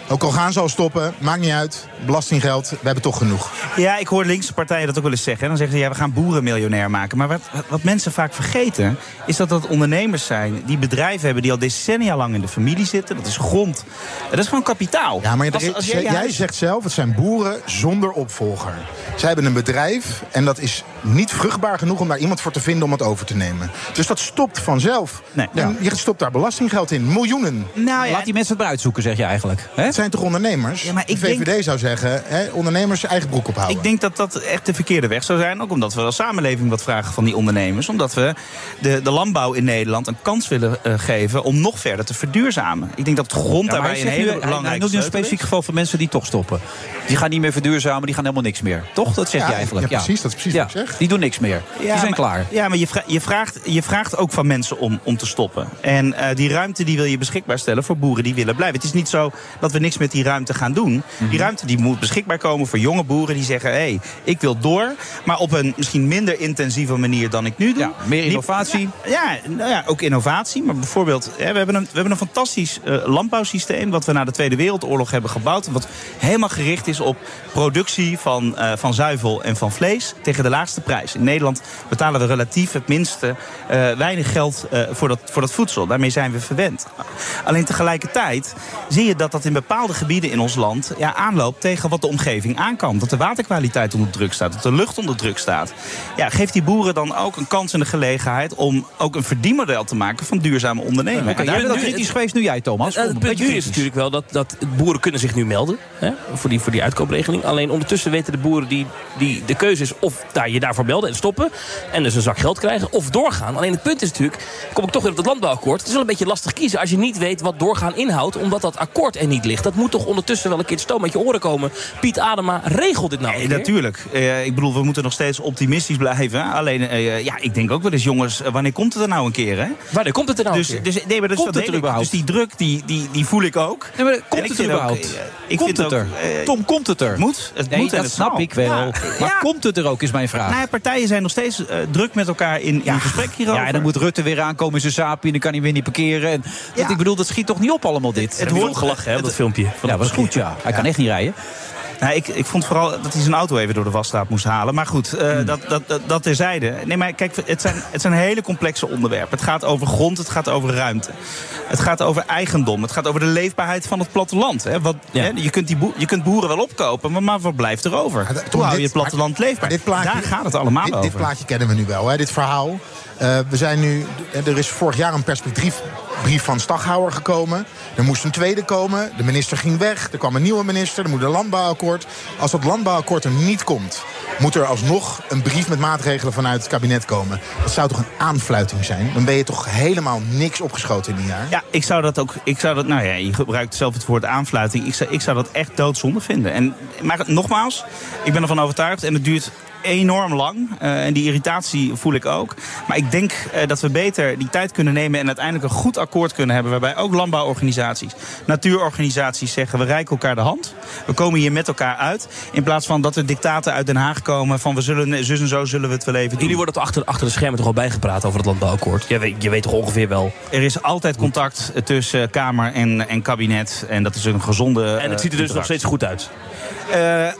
Speaker 15: Ook al gaan ze al stoppen, maakt niet uit. belastinggeld, we hebben toch genoeg.
Speaker 16: Ja, ik hoor linkse partijen dat ook wel eens zeggen. Dan zeggen ze, ja, we gaan boeren miljonair maken. Maar wat, wat mensen vaak vergeten, is dat dat ondernemers zijn... die bedrijven hebben die al decennia lang in de familie zitten. Dat is grond. Dat is gewoon kapitaal.
Speaker 15: Ja, maar
Speaker 16: Als-
Speaker 15: er is-
Speaker 16: als
Speaker 15: jij,
Speaker 16: je huis-
Speaker 15: zegt zelf, het zijn boeren zonder opvolger. Zij hebben een bedrijf en dat is niet vruchtbaar genoeg om daar iemand voor te vinden om het over te nemen. Dus dat stopt vanzelf. En je stopt daar belastinggeld in, miljoenen.
Speaker 16: Nou,
Speaker 5: Laat die mensen het maar uitzoeken, zeg je eigenlijk.
Speaker 15: Het zijn toch ondernemers?
Speaker 16: Ja, maar ik
Speaker 15: de VVD zou zeggen, hè, ondernemers eigen broek ophouden.
Speaker 16: Ik denk dat dat echt de verkeerde weg zou zijn. Ook omdat we als samenleving wat vragen van die ondernemers. Omdat we de, de landbouw in Nederland een kans willen eh, geven om nog verder te verduurzamen. Ik denk dat grond
Speaker 5: Ja, maar
Speaker 16: daarbij
Speaker 5: hij
Speaker 16: een
Speaker 5: zegt nu-
Speaker 16: hele
Speaker 5: hij-
Speaker 16: belangrijke
Speaker 5: Hij noemt nu een
Speaker 16: sleutel is.
Speaker 5: specifiek geval van mensen die toch stoppen. Die gaan niet meer verduurzamen, die gaan helemaal niks meer. Toch? Dat zeg
Speaker 16: Ja,
Speaker 5: je eigenlijk.
Speaker 16: ja, precies,
Speaker 15: dat is precies
Speaker 5: wat ik zeg. Die doen niks meer. die zijn
Speaker 16: maar,
Speaker 5: klaar.
Speaker 16: Ja, maar je, vra- je, vraagt, je vraagt ook van mensen om, om te stoppen. En eh, die ruimte die wil je beschikbaar stellen voor boeren die willen blijven. Het is niet zo dat we niks met die ruimte gaan doen.
Speaker 5: Mhm.
Speaker 16: Die ruimte die moet beschikbaar komen voor jonge boeren die zeggen... hé, hey, ik wil door, maar op een misschien minder intensieve manier dan ik nu doe. meer
Speaker 5: innovatie.
Speaker 16: ja, nou ja, ook innovatie. Maar bijvoorbeeld, hè, we, hebben een, we hebben een fantastisch eh, landbouwsysteem... wat we na de Tweede Wereldoorlog hebben gebouwd. Wat helemaal gericht is op productie van, eh, van zuivel en van vlees... tegen de laagste prijs. In Nederland betalen we relatief het minste eh, weinig geld eh, voor, dat, voor dat voedsel. Daarmee zijn we verwend. Alleen tegelijkertijd zie je dat dat in bepaalde gebieden in ons land... Ja, aanloopt tegen wat de omgeving aankan. Dat de waterkwaliteit onder druk staat, dat de lucht onder druk staat. Ja, geeft die boeren dan ook een kans en de gelegenheid... om ook een verdienmodel te maken van duurzame ondernemen.
Speaker 5: Oké, jij bent al kritisch geweest, nu jij,
Speaker 6: Het,
Speaker 5: Thomas. Kom,
Speaker 6: Eh, het
Speaker 5: een
Speaker 6: punt
Speaker 5: beetje
Speaker 6: nu is
Speaker 5: kritisch.
Speaker 6: natuurlijk wel dat, dat boeren kunnen zich nu melden hè, voor, die, voor die uitkoopregeling. Alleen ondertussen weten de boeren die, die de keuze is of daar, je daarvoor melden en stoppen. En dus een zak geld krijgen of doorgaan. Alleen het punt is natuurlijk, kom ik toch weer op dat landbouwakkoord. Het is wel een beetje lastig kiezen als je niet weet wat doorgaan inhoudt. Omdat dat akkoord er niet ligt. Dat moet toch ondertussen wel een keer het stoom uit je oren komen. Piet Adema, regel dit nou. een keer.
Speaker 16: Natuurlijk. Eh, ik bedoel, we moeten nog steeds optimistisch blijven. Alleen, eh, ja, ik denk ook wel eens, jongens, eh, wanneer komt het er nou een keer, hè?
Speaker 6: Wanneer komt het er nou
Speaker 16: dus,
Speaker 6: een keer?
Speaker 16: Dus, nee, maar dus,
Speaker 6: Komt het
Speaker 16: dat
Speaker 6: er
Speaker 16: hele-
Speaker 6: überhaupt?
Speaker 16: dus die druk, die, die, die voel ik ook.
Speaker 5: Nee, maar komt
Speaker 16: En ik
Speaker 5: het er
Speaker 16: vind ook,
Speaker 5: überhaupt?
Speaker 16: eh, ik
Speaker 5: komt
Speaker 16: vind
Speaker 5: het
Speaker 16: ook,
Speaker 5: er?
Speaker 16: eh,
Speaker 5: Tom, komt het er?
Speaker 16: het moet. Het
Speaker 5: nee,
Speaker 16: moet en
Speaker 5: dat
Speaker 16: het
Speaker 5: snap
Speaker 16: zal.
Speaker 5: ik wel.
Speaker 16: Ja.
Speaker 5: Maar
Speaker 16: Ja.
Speaker 5: komt het er ook, is mijn vraag.
Speaker 16: Nou ja, partijen zijn nog steeds eh, druk met elkaar in, in gesprek hierover.
Speaker 5: Ja, en dan moet Rutte weer aankomen in zijn saapje en dan kan hij weer niet parkeren. En, dat, ik bedoel, dat schiet toch niet op allemaal dit?
Speaker 16: Het hoort gelachen, hè, op dat filmpje.
Speaker 5: Ja, was goed, ja. Hij kan echt niet rijden.
Speaker 16: Nou, ik, ik vond vooral dat hij zijn auto even door de wasstraat moest halen. Maar goed, eh,
Speaker 5: Hmm.
Speaker 16: dat, dat, dat, dat terzijde. Nee, maar kijk, het zijn, het zijn hele complexe onderwerpen. Het gaat over grond, het gaat over ruimte. Het gaat over eigendom, het gaat over de leefbaarheid van het platteland. Hè? Wat, hè, je, kunt die boer- je kunt boeren wel opkopen, maar, maar wat blijft er over? Hoe hou je het platteland leefbaar?
Speaker 15: dit plaatje,
Speaker 16: Daar gaat het allemaal
Speaker 15: dit,
Speaker 16: over.
Speaker 15: Dit plaatje kennen we nu wel, hè, dit verhaal. Eh, we zijn nu, eh, er is vorig jaar een perspectiefbrief van Staghouwer gekomen. Er moest een tweede komen. De minister ging weg. Er kwam een nieuwe minister. Er moet een landbouwakkoord. Als dat landbouwakkoord er niet komt, moet er alsnog een brief met maatregelen vanuit het kabinet komen. Dat zou toch een aanfluiting zijn? Dan ben je toch helemaal niks opgeschoten in een jaar?
Speaker 16: Ja, ik zou dat ook. Ik zou dat, nou ja, je gebruikt zelf het woord aanfluiting. Ik zou, ik zou dat echt doodzonde vinden. En, maar nogmaals, ik ben ervan overtuigd en het duurt enorm lang. Eh, en die irritatie voel ik ook. Maar ik denk eh, dat we beter die tijd kunnen nemen en uiteindelijk een goed akkoord kunnen hebben. Waarbij ook landbouworganisaties, natuurorganisaties zeggen: we reiken elkaar de hand. We komen hier met elkaar uit. In plaats van dat er dictaten uit Den Haag komen van we zullen zus en zo zullen we het wel even doen.
Speaker 6: Jullie worden toch achter, achter de schermen toch al bijgepraat over het landbouwakkoord. Je weet, je weet toch ongeveer wel.
Speaker 16: Er is altijd contact eh, tussen Kamer en, en kabinet. En dat is een gezonde. eh,
Speaker 6: En het ziet er dus nog steeds goed uit.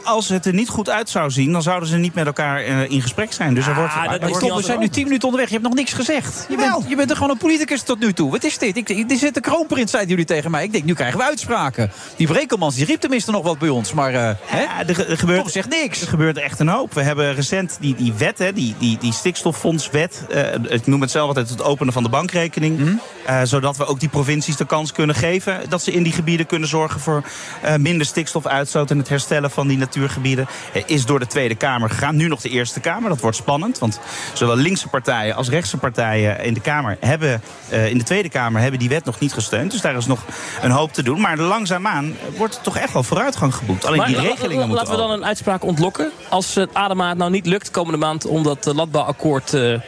Speaker 16: als het er niet goed uit zou zien, dan zouden ze niet met elkaar eh, in gesprek zijn. Dus er
Speaker 6: Ah,
Speaker 16: wordt. er wordt
Speaker 5: Tom, we zijn nu 10 minuten onderweg. Je hebt nog niks gezegd. Je bent, je bent er gewoon een politicus tot nu toe. Wat is dit? Ik, ik- er zit de kroonprins, zeiden jullie tegen mij. Ik denk, nu krijgen we uitspraken. Die Brekelmans die riep tenminste nog wat bij ons. Maar eh,
Speaker 16: hè? Er, er gebeurt,
Speaker 5: zegt niks.
Speaker 16: Er gebeurt echt een hoop. We hebben recent die, die wet, hè, die, die, die stikstoffondswet. eh, ik noem het zelf altijd het openen van de bankrekening.
Speaker 5: Mhm.
Speaker 16: Eh, zodat we ook die provincies de kans kunnen geven. Dat ze in die gebieden kunnen zorgen voor eh, minder stikstofuitstoot. En het herstellen van die natuurgebieden. Eh, is door de Tweede Kamer gegaan. Nu nog de Eerste Kamer. Dat wordt spannend. Want zowel linkse partijen als rechtse partijen in de Kamer hebben. eh, in de Tweede Kamer hebben die wet nog niet gesteund. Dus daar is nog een hoop te doen. Maar langzaamaan wordt er toch echt wel vooruitgang geboekt. Alleen
Speaker 6: Maar
Speaker 16: die
Speaker 6: la- la-
Speaker 16: regelingen moeten
Speaker 6: Laten we dan een uitspraak ontlokken. Als het Adema het nou niet lukt komende maand om dat eh, landbouwakkoord eh, eh,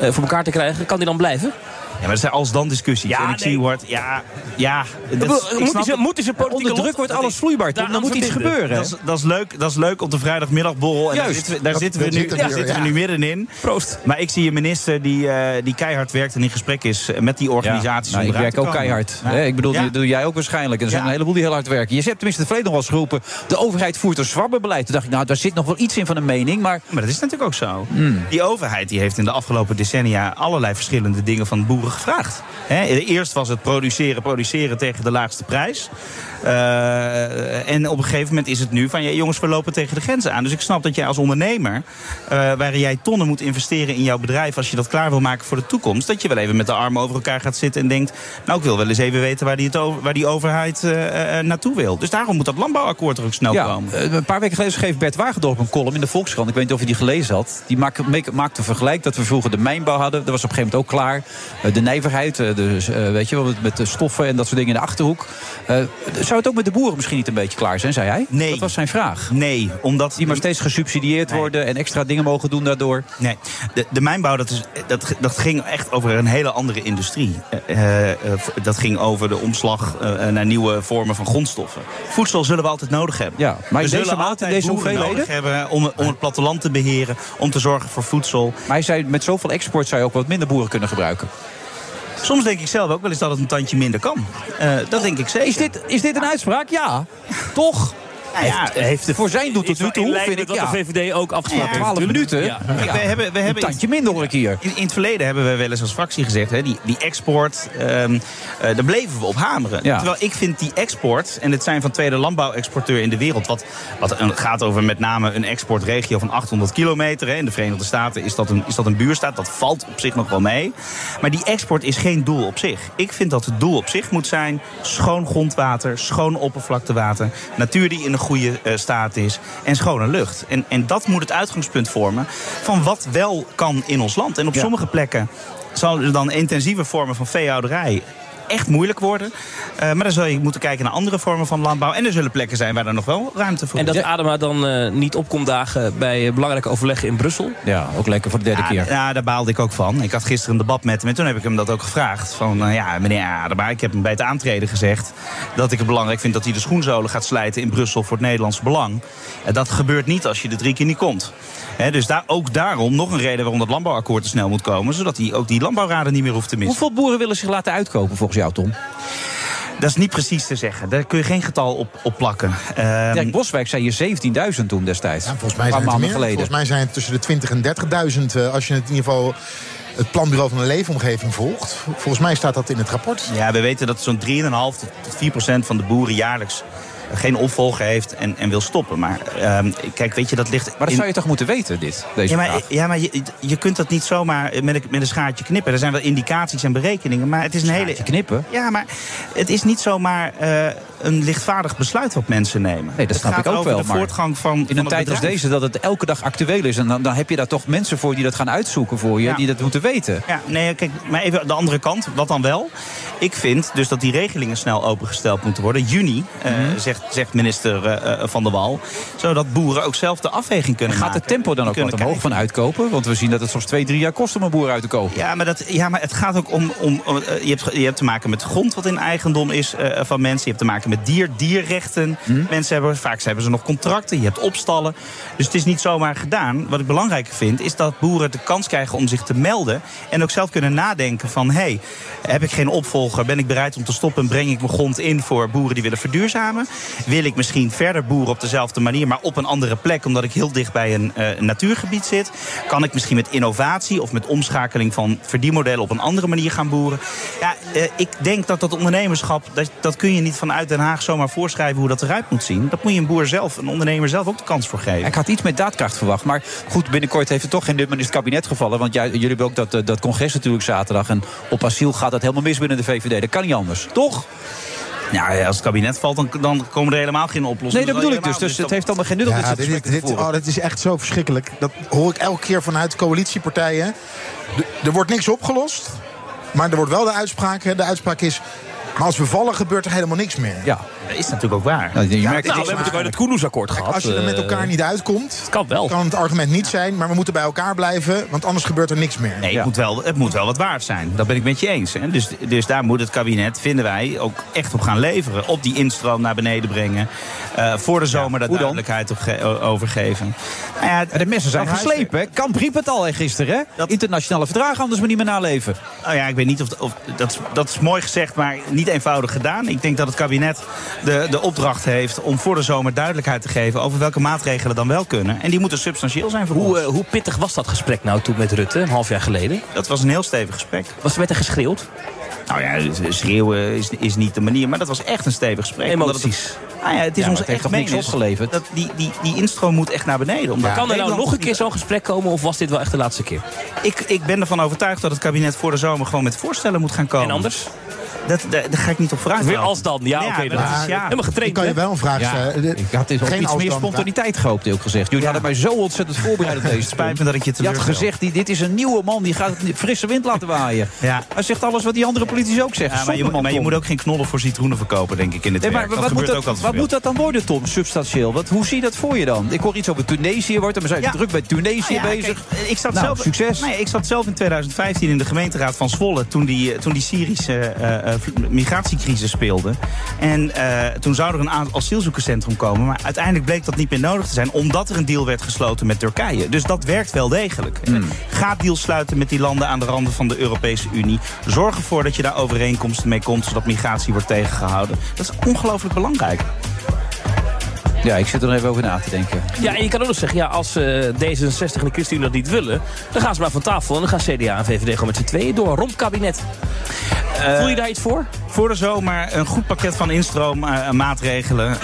Speaker 6: voor elkaar te krijgen, kan die dan blijven?
Speaker 16: Ja, maar dat zijn als dan discussies.
Speaker 6: Ja,
Speaker 16: en ik
Speaker 6: nee.
Speaker 16: zie Ward, ja, ja.
Speaker 6: Ik bedoel, moet die zijn- moet die zijn politieke
Speaker 16: Onder
Speaker 6: lot-
Speaker 16: druk wordt alles
Speaker 5: vloeibaar,
Speaker 6: Tom. Dan moet iets gebeuren, hè?
Speaker 16: Dat is, dat, is leuk, dat is leuk op de vrijdagmiddagborrel. Oh, En daar
Speaker 6: Juist.
Speaker 16: zitten we, daar
Speaker 6: Dat-
Speaker 16: zitten we,
Speaker 6: dat
Speaker 16: nu,
Speaker 6: zit er
Speaker 16: daar
Speaker 6: weer,
Speaker 16: zitten we
Speaker 6: ja.
Speaker 16: nu middenin. Proost. Maar ik zie een minister die, eh, die keihard werkt en in gesprek is met die organisaties.
Speaker 5: Nou,
Speaker 16: om
Speaker 5: ik
Speaker 16: eruit
Speaker 5: werk
Speaker 16: te
Speaker 5: ook
Speaker 16: komen.
Speaker 5: keihard.
Speaker 16: Ja.
Speaker 5: Hè, ik bedoel,
Speaker 16: Ja.
Speaker 5: die doe jij ook waarschijnlijk. En er zijn een heleboel die heel hard werken. Je hebt tenminste het verleden nog wel eens geroepen. De overheid voert een zwabberbeleid. Toen dacht ik, nou, daar zit nog wel iets in van een mening. Maar, Hmm.
Speaker 16: maar dat is natuurlijk ook zo. Die overheid die heeft in de afgelopen decennia allerlei verschillende dingen van boeren gevraagd. Hè, eerst was het produceren, produceren tegen de laagste prijs. Eh, en op een gegeven moment is het nu van ja, jongens, we lopen tegen de grenzen aan. Dus ik snap dat jij als ondernemer, eh waarin jij tonnen moet investeren in jouw bedrijf, als je dat klaar wil maken voor de toekomst, dat je wel even met de armen over elkaar gaat zitten en denkt, nou ik wil wel eens even weten waar die, het over- waar die overheid eh, eh, naartoe wil. Dus daarom moet dat landbouwakkoord er ook snel
Speaker 5: ja,
Speaker 16: komen.
Speaker 5: eh, een paar weken geleden schreef Bert Wagendorp een column in de Volkskrant. Ik weet niet of je die gelezen had. Die maak- make- maakte een vergelijk dat we vroeger de mijnbouw hadden. Dat was op een gegeven moment ook klaar. Eh, De nijverheid, eh, dus, eh, weet je, wel, met- met de stoffen en dat soort dingen in de Achterhoek. Eh, Zou het ook met de boeren misschien niet een beetje klaar zijn, zei hij? Nee. Dat was zijn vraag.
Speaker 16: Nee, omdat...
Speaker 5: Die maar steeds gesubsidieerd worden en extra dingen mogen doen daardoor.
Speaker 16: Nee, de, de mijnbouw dat is, dat, dat ging echt over een hele andere industrie. Eh, eh, v- dat ging over de omslag eh, naar nieuwe vormen van grondstoffen. Voedsel zullen we altijd nodig hebben.
Speaker 5: Ja, maar
Speaker 16: we
Speaker 5: in
Speaker 16: zullen
Speaker 5: deze mate,
Speaker 16: altijd
Speaker 5: deze
Speaker 16: boeren
Speaker 5: hoeveelheden?
Speaker 16: nodig hebben om, om het platteland te beheren, om te zorgen voor voedsel.
Speaker 5: Maar hij zei, met zoveel export zou je ook wat minder boeren kunnen gebruiken.
Speaker 16: Soms denk ik zelf ook wel eens dat het een tandje minder kan. Eh, dat denk ik zeker.
Speaker 5: Is dit, is dit een uitspraak? Ja. Toch?
Speaker 16: Nou ja, heeft het-
Speaker 5: voor zijn doet tot
Speaker 16: is
Speaker 5: nu
Speaker 16: wel in
Speaker 5: toe,
Speaker 16: lijn
Speaker 5: vind ik
Speaker 16: met
Speaker 5: ja.
Speaker 16: wat de VVD
Speaker 6: ook
Speaker 16: afgesproken heeft,
Speaker 5: 12
Speaker 16: natuurlijk.
Speaker 5: minuten.
Speaker 16: Ja. Kijk, we hebben- we hebben
Speaker 5: een tandje minder hoor ik hier.
Speaker 16: In, in het verleden hebben we wel eens als fractie gezegd, hè, die, die export, ehm, eh, daar bleven we op hameren.
Speaker 5: Ja.
Speaker 16: Terwijl ik vind die export, en het zijn van tweede landbouwexporteur in de wereld, wat, wat een- gaat over met name een exportregio van 800 kilometer. Hè. In de Verenigde Staten is dat, een, is dat een buurstaat, dat valt op zich nog wel mee. Maar die export is geen doel op zich. Ik vind dat het doel op zich moet zijn schoon grondwater, schoon oppervlaktewater, natuur die in een goede eh, staat is en schone lucht. En, en dat moet het uitgangspunt vormen van wat wel kan in ons land. En op sommige plekken zullen dan intensieve vormen van veehouderij echt moeilijk worden. Eh, maar dan zul je moeten kijken naar andere vormen van landbouw. En er zullen plekken zijn waar er nog wel ruimte voor
Speaker 6: En
Speaker 16: is.
Speaker 6: dat Adema dan eh, niet opkomt dagen bij eh, belangrijke overleggen in Brussel.
Speaker 5: Ja, ook lekker voor de derde
Speaker 16: Ja, ja, daar baalde ik ook van. Ik had gisteren een debat met hem en toen heb ik hem dat ook gevraagd. Van eh, ja, meneer Adema, ik heb hem bij het aantreden gezegd... dat ik het belangrijk vind dat hij de schoenzolen gaat slijten in Brussel voor het Nederlands belang. En dat gebeurt niet als je er drie keer niet komt. Hè, dus daar, ook daarom nog een reden waarom dat landbouwakkoord er snel moet komen... zodat hij ook die landbouwraden niet meer hoeft te missen.
Speaker 5: Hoeveel boeren willen zich laten uitkopen volgens jou, Tom?
Speaker 16: Dat is niet precies te zeggen. Daar kun je geen getal op, op plakken. Ehm,
Speaker 5: Dirk Boswijk zei je 17.000 toen destijds. volgens
Speaker 16: mij
Speaker 5: een paar
Speaker 16: zijn het
Speaker 5: maanden
Speaker 16: meer.
Speaker 5: geleden.
Speaker 15: Volgens mij zijn het tussen de 20 en 30.000. eh, als je het in ieder geval het planbureau van de leefomgeving volgt. Volgens mij staat dat in het rapport.
Speaker 16: Ja, we weten dat zo'n 3,5 tot 4 procent van de boeren jaarlijks geen opvolger heeft en, en wil stoppen. Maar ehm, kijk, weet je, dat ligt... Maar
Speaker 5: dat zou je toch moeten weten, dit, deze
Speaker 16: ja, maar,
Speaker 5: vraag?
Speaker 16: Ja, maar je, je kunt dat niet zomaar met een, met een schaartje knippen. Er zijn wel indicaties en berekeningen, maar het is een hele...
Speaker 5: knippen?
Speaker 16: Ja, maar het is niet zomaar eh, een lichtvaardig besluit wat mensen nemen.
Speaker 5: Nee, dat
Speaker 16: Het
Speaker 5: snap
Speaker 16: gaat
Speaker 5: ik ook
Speaker 16: over
Speaker 5: wel.
Speaker 16: de
Speaker 5: maar
Speaker 16: voortgang van
Speaker 5: in
Speaker 16: van
Speaker 5: een
Speaker 16: het
Speaker 5: tijd als
Speaker 16: bedrijf.
Speaker 5: deze dat het elke dag actueel is. En dan, dan heb je daar toch mensen voor die dat gaan uitzoeken voor je.
Speaker 16: Ja.
Speaker 5: Die dat moeten weten.
Speaker 16: Ja, nee, kijk, maar even de andere kant. Wat dan wel? Ik vind dus dat die regelingen snel opengesteld moeten worden. Juni, eh,
Speaker 5: Mhm.
Speaker 16: zegt, zegt minister eh, eh, Van der Wal. Zodat boeren ook zelf de afweging kunnen
Speaker 5: Gaat
Speaker 16: maken.
Speaker 5: het tempo dan ook wat
Speaker 16: Kunnen
Speaker 5: omhoog van uitkopen? Want we zien dat het soms twee, drie jaar kost om een boer uit te kopen.
Speaker 16: Ja, maar, dat, ja, maar het gaat ook om... om, om, eh, je, hebt, je hebt te maken met grond wat in eigendom is eh, van mensen. Je hebt te maken met dier, dierrechten.
Speaker 5: Mhm.
Speaker 16: Mensen hebben, vaak hebben ze nog contracten. Je hebt opstallen. Dus het is niet zomaar gedaan. Wat ik belangrijker vind, is dat boeren de kans krijgen om zich te melden. En ook zelf kunnen nadenken van... hey, heb ik geen opvolger? Ben ik bereid om te stoppen? En breng ik mijn grond in voor boeren die willen verduurzamen? Wil ik misschien verder boeren op dezelfde manier, maar op een andere plek, omdat ik heel dicht bij een eh, natuurgebied zit? Kan ik misschien met innovatie of met omschakeling van verdienmodellen op een andere manier gaan boeren? Ja, eh, ik denk dat dat ondernemerschap, dat, dat kun je niet vanuit Den Haag zomaar voorschrijven hoe dat eruit moet zien. Dat moet je een boer zelf, een ondernemer zelf ook de kans voor geven.
Speaker 5: Ik had iets met daadkracht verwacht. Maar goed, binnenkort heeft het toch geen nummer in het kabinet gevallen. Want jij, jullie hebben ook dat, eh, dat congres natuurlijk zaterdag. En op asiel gaat dat helemaal mis binnen de VVD. Dat kan niet anders, toch?
Speaker 16: Nou ja, als het kabinet valt, dan, dan komen er helemaal geen oplossingen.
Speaker 5: Nee, dat bedoel ik
Speaker 16: Dan
Speaker 5: dus. Dus
Speaker 16: helemaal-
Speaker 5: het heeft allemaal geen nut om dit
Speaker 15: Ja,
Speaker 5: soort
Speaker 15: dit, dit,
Speaker 5: gesprekken te
Speaker 15: dit-
Speaker 5: voeren.
Speaker 15: oh, dat is echt zo verschrikkelijk. Dat hoor ik elke keer vanuit coalitiepartijen. D- er wordt niks opgelost, maar er wordt wel de uitspraak. hè. De uitspraak is, maar als we vallen gebeurt er helemaal niks meer.
Speaker 5: Ja.
Speaker 16: is natuurlijk ook waar.
Speaker 17: je merkt-
Speaker 6: Nou,
Speaker 15: het
Speaker 6: we
Speaker 15: is
Speaker 6: hebben natuurlijk
Speaker 15: waar.
Speaker 6: ook het Koenhoes-akkoord
Speaker 15: Kijk,
Speaker 6: gehad.
Speaker 15: als je er met
Speaker 6: eh,
Speaker 15: elkaar niet uitkomt,
Speaker 6: kan,
Speaker 15: het argument niet zijn. Maar we moeten bij elkaar blijven, want anders gebeurt er niks meer.
Speaker 16: Nee, het, moet wel, het moet wel wat waard zijn. Dat ben ik met je eens. Hè? Dus, dus daar moet het kabinet, vinden wij, ook echt op gaan leveren. Op die instroom naar beneden brengen. Eh, voor de zomer daar duidelijkheid op ge- o- over geven. Nou ja,
Speaker 17: de messen zijn geslepen. hè? Kamp riep het al hè, gisteren. Hè? Internationale verdragen anders maar niet meer naleven.
Speaker 16: Nou ja, ik weet niet of, of dat, is- dat is mooi gezegd, maar niet eenvoudig gedaan. Ik denk dat het kabinet de, de opdracht heeft om voor de zomer duidelijkheid te geven over welke maatregelen dan wel kunnen. En die moeten substantieel zijn voor
Speaker 6: Hoe,
Speaker 16: ons.
Speaker 6: eh, hoe pittig was dat gesprek nou toen met Rutte, een half jaar geleden?
Speaker 16: Dat was een heel stevig gesprek.
Speaker 6: Was er met haar geschreeuwd?
Speaker 16: Nou ja, schreeuwen is, is niet de manier, maar dat was echt een stevig gesprek. omdat
Speaker 6: Emoties.
Speaker 16: Het, nou ja, het is
Speaker 6: Ja, maar het
Speaker 16: ons echt
Speaker 6: heeft toch niks
Speaker 16: menens.
Speaker 6: opgeleverd?
Speaker 16: Dat die, die, die instroom moet echt naar beneden. Omdat
Speaker 6: Maar kan er nou
Speaker 16: Nederland-
Speaker 6: nog een keer zo'n gesprek komen of was dit wel echt de laatste keer?
Speaker 16: Ik, ik ben ervan overtuigd dat het kabinet voor de zomer gewoon met voorstellen moet gaan komen. En anders? Dat, daar, daar ga ik niet op vragen.
Speaker 6: Weer als dan, ja, oké,
Speaker 16: maar
Speaker 6: dan.
Speaker 16: dat is- ja.
Speaker 6: Ja. Helemaal getraind,
Speaker 15: kan je wel een vraag
Speaker 5: Ja,
Speaker 15: stellen. De-
Speaker 5: ik had dit op
Speaker 15: geen
Speaker 5: iets meer
Speaker 15: afstand.
Speaker 5: spontaniteit gehoopt, heel gezegd. Jullie hadden mij zo ontzettend voorbereid op deze
Speaker 16: Spijt me dat ik je
Speaker 5: Je had
Speaker 16: teleurstel.
Speaker 5: gezegd, die- dit is een nieuwe man, die gaat het frisse wind laten waaien.
Speaker 16: Ja.
Speaker 5: Hij zegt alles wat die andere politici ook zeggen.
Speaker 16: Ja, maar, je, moet-
Speaker 5: Zonderman,
Speaker 16: maar je
Speaker 5: Tom.
Speaker 16: moet ook geen knollen voor citroenen verkopen, denk ik, in dit
Speaker 5: Nee, maar
Speaker 16: werk. Dat
Speaker 5: wat, moet
Speaker 16: gebeurt
Speaker 5: dat,
Speaker 16: ook altijd
Speaker 5: wat
Speaker 16: veel.
Speaker 5: moet dat dan worden, Tom, substantieel? Wat, hoe zie je dat voor je dan? Ik hoor iets over Tunesië wordt, en we zijn
Speaker 16: Ja.
Speaker 5: druk bij Tunesië
Speaker 16: Nou ja,
Speaker 5: bezig.
Speaker 16: kijk, ik zat
Speaker 5: Nou,
Speaker 16: zelf,
Speaker 5: succes.
Speaker 16: Nee, ik zat zelf in 2015 in de gemeenteraad van Zwolle toen die, eh, toen die Syrische eh, eh, vl- migratiecrisis speelde. En eh, toen zou er een a- asielzoekerscentrum komen, maar uiteindelijk bleek dat niet meer nodig te zijn omdat er een deal werd gesloten met Turkije. Dus dat werkt wel degelijk. Ga deals sluiten met die landen aan de randen van de Europese Unie. Zorg ervoor dat je daar overeenkomsten mee komt zodat migratie wordt tegengehouden. Dat is ongelooflijk belangrijk.
Speaker 5: Ja, ik zit er nog even over na te denken.
Speaker 6: Ja, en je kan ook nog zeggen, ja, als eh, D66 en de ChristenUnie dat niet willen... dan gaan ze maar van tafel en dan gaan CDA en VVD gewoon met z'n tweeën door. Rompkabinet. Voel je daar iets voor?
Speaker 16: Eh, Voor de zomer een goed pakket van instroommaatregelen.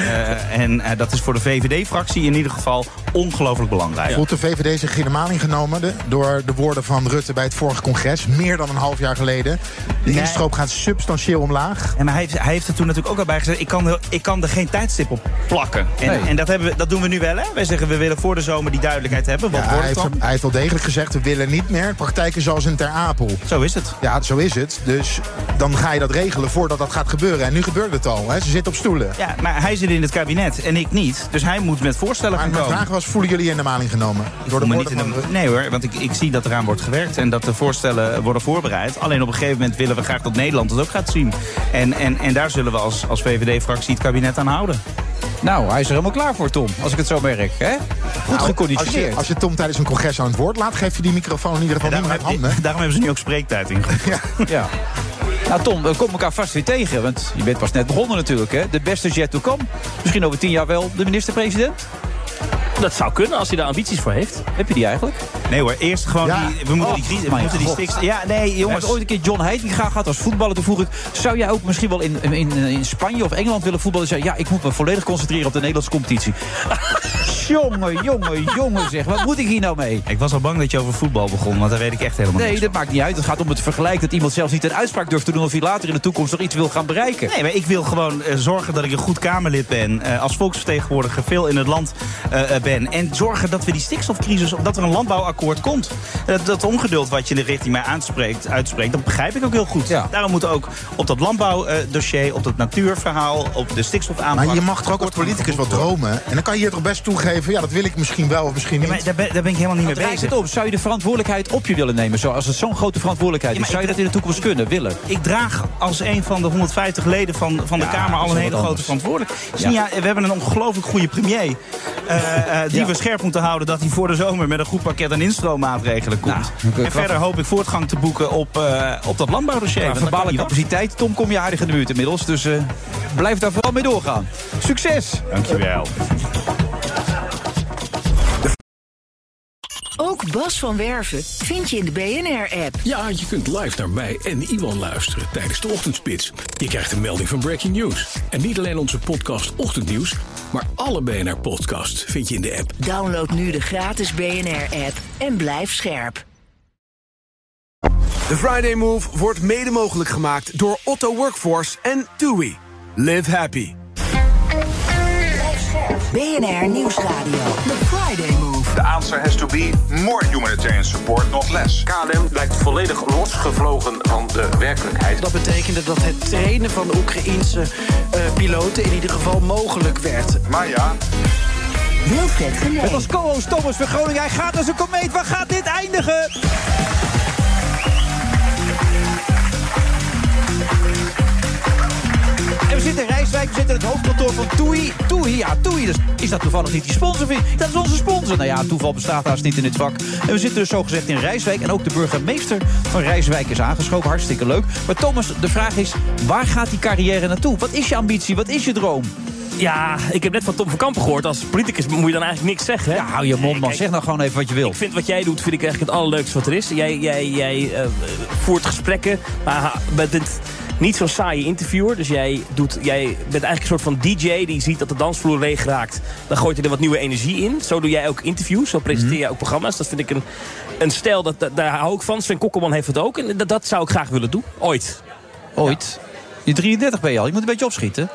Speaker 16: en eh, dat is voor de VVD-fractie in ieder geval ongelooflijk belangrijk.
Speaker 15: Voelt de VVD zich in de maling genomen de- door de woorden van Rutte bij het vorige congres, meer dan een half jaar geleden? De
Speaker 16: Nee.
Speaker 15: instroop gaat substantieel omlaag.
Speaker 16: En maar hij, heeft, hij heeft er toen natuurlijk ook al bij gezegd... ik kan, er- ik kan er geen tijdstip op plakken. En,
Speaker 15: Nee.
Speaker 16: en dat, hebben we, dat doen we nu wel, hè? Wij zeggen we willen voor de zomer die duidelijkheid hebben. Wat
Speaker 15: Ja, hij,
Speaker 16: wordt het
Speaker 15: heeft,
Speaker 16: dan?
Speaker 15: hij heeft wel degelijk gezegd, we willen niet meer. De praktijk is zoals in Ter Apel.
Speaker 16: Zo is het.
Speaker 15: Ja, zo is het. Dus dan ga je dat regelen voordat dat gaat gebeuren. En nu gebeurt het al. Hè. Ze zitten op stoelen.
Speaker 16: Ja, maar hij zit in het kabinet en ik niet. Dus hij moet met voorstellen
Speaker 15: Maar
Speaker 16: gaan
Speaker 15: mijn
Speaker 16: komen.
Speaker 15: vraag was, voelen jullie in de maling genomen?
Speaker 16: Ik voel me
Speaker 15: woorden
Speaker 16: niet in
Speaker 15: van
Speaker 16: de- Nee hoor, want ik, ik zie dat eraan wordt gewerkt en dat de voorstellen worden voorbereid. Alleen op een gegeven moment willen we graag dat Nederland het ook gaat zien. En, en, en daar zullen we als, als VVD-fractie het kabinet aan houden.
Speaker 5: Nou, hij is er helemaal klaar voor, Tom, als ik het zo merk. Hè? Goed
Speaker 15: Nou,
Speaker 5: geconditioneerd.
Speaker 15: Als je, als je Tom tijdens een congres aan het woord laat, geef je die microfoon in ieder geval niet meer uit handen.
Speaker 16: Daarom hebben ze nu ook spreektijd in.
Speaker 5: Ja. Nou Tom, we komen elkaar vast weer tegen. Want je bent pas net begonnen natuurlijk. Hè? De beste jet to come. Misschien over tien jaar wel de minister-president.
Speaker 6: Dat zou kunnen als hij daar ambities voor heeft.
Speaker 5: Heb je die eigenlijk?
Speaker 16: Nee hoor, eerst gewoon die- we moeten
Speaker 5: Oh,
Speaker 16: die crisis- we moeten die stikstof- ja, nee, jongens.
Speaker 5: Er is ooit een keer John Heitinga gehad als voetballer. Toen vroeg ik, zou jij ook misschien wel in, in, in Spanje of Engeland willen voetballen? Zei, hij, ja, ik moet me volledig concentreren op de Nederlandse competitie. jongen, jongen, jongen zeg. Wat moet ik hier nou mee?
Speaker 16: Ik was al bang dat je over voetbal begon, want daar weet ik echt helemaal
Speaker 5: Nee,
Speaker 16: niks
Speaker 5: dat maakt niet uit. Het gaat om het vergelijk dat iemand zelfs niet een uitspraak durft te doen... of hij later in de toekomst nog iets wil gaan bereiken.
Speaker 16: Nee, maar ik wil gewoon eh, zorgen dat ik een goed Kamerlid ben. eh, als volksvertegenwoordiger veel in het land eh, eh, ben. En zorgen dat we die stikstofcrisis, dat er een landbouwakkoord komt. Eh, dat ongeduld wat je in de richting mij aanspreekt, uitspreekt, dat begrijp ik ook heel goed. Daarom moeten ook op dat landbouwdossier, op dat natuurverhaal, op de stikstofaanpak...
Speaker 15: Maar je mag toch ook als politicus wat dromen. En dan kan je hier toch best toegeven, ja, dat wil ik misschien wel of misschien niet.
Speaker 16: maar daar ben, daar ben ik helemaal niet
Speaker 5: Wat
Speaker 16: mee
Speaker 5: draait
Speaker 16: bezig.
Speaker 5: het om? Zou je de verantwoordelijkheid op je willen nemen? Zo, als het zo'n grote verantwoordelijkheid is, zou je dat in de toekomst kunnen, willen?
Speaker 16: Ik draag als een van de 150 leden van, van de
Speaker 5: Ja,
Speaker 16: Kamer
Speaker 5: dat
Speaker 16: al
Speaker 5: is
Speaker 16: een
Speaker 5: wel
Speaker 16: hele
Speaker 5: wat
Speaker 16: grote
Speaker 5: anders.
Speaker 16: verantwoordelijkheid.
Speaker 5: Ja.
Speaker 16: Ja. we hebben een ongelooflijk goede premier. eh, eh, die we scherp moeten houden dat hij voor de zomer met een goed pakket aan instroommaatregelen
Speaker 5: Nou,
Speaker 16: komt. en verder hoop ik voortgang te boeken op, eh, op dat landbouwdossier.
Speaker 5: Ja,
Speaker 16: want dat kan
Speaker 5: verbale
Speaker 16: niet
Speaker 5: capaciteit. Tom, kom je aardig in de buurt inmiddels. Dus eh, blijf daar vooral mee doorgaan. Succes!
Speaker 16: Dankjewel.
Speaker 1: Ook Bas van Werven vind je in de BNR-app.
Speaker 18: Ja, je kunt live naar mij en Iwan luisteren tijdens de ochtendspits. Je krijgt een melding van Breaking News. En niet alleen onze podcast Ochtendnieuws, maar alle BNR-podcasts vind je in de app.
Speaker 1: Download nu de gratis BNR-app en blijf scherp.
Speaker 2: De Friday Move wordt mede mogelijk gemaakt door Otto Workforce en TUI. Live happy. BNR Nieuwsradio. The Friday Move.
Speaker 19: The answer has to be more humanitarian support, not less.
Speaker 20: KLM lijkt volledig losgevlogen van de werkelijkheid.
Speaker 21: Dat betekende dat het trainen van Oekraïense eh, piloten in ieder geval mogelijk werd.
Speaker 19: Maar ja,
Speaker 2: Wilfred Genee.
Speaker 5: Het was co-host Thomas van Groningen. Hij gaat als een komeet. Waar gaat dit eindigen? En we zitten in Rijswijk, we zitten in het hoofdkantoor van TUI. TUI, ja, TUI. Dus is dat toevallig niet die sponsor? Vind je? Dat is onze sponsor. Nou ja, toeval bestaat haast niet in dit vak. En we zitten dus zogezegd in Rijswijk. En ook de burgemeester van Rijswijk is aangeschoven. Hartstikke leuk. Maar Thomas, de vraag is, waar gaat die carrière naartoe? Wat is je ambitie? Wat is je droom?
Speaker 6: Ja, ik heb net van Tom van Kampen gehoord. Als politicus moet je dan eigenlijk niks zeggen. Hè? Ja,
Speaker 5: hou je mond, man. Zeg nou gewoon even wat je wil.
Speaker 6: Ik vind wat jij doet, vind ik eigenlijk het allerleukste wat er is. Jij, jij, jij eh, voert gesprekken, maar ha- bent het niet zo'n saaie interviewer. Dus jij, doet, jij bent eigenlijk een soort van DJ die ziet dat de dansvloer leeg raakt. Dan gooit hij er wat nieuwe energie in. Zo doe jij ook interviews, zo
Speaker 5: Mhm.
Speaker 6: presenteer jij ook programma's. Dat vind ik een, een stijl, dat, dat- daar hou ik van. Sven Kokkelman heeft het ook. En dat, dat zou ik graag willen doen, ooit.
Speaker 5: Ooit? Je 33 ben je al, je moet een beetje opschieten.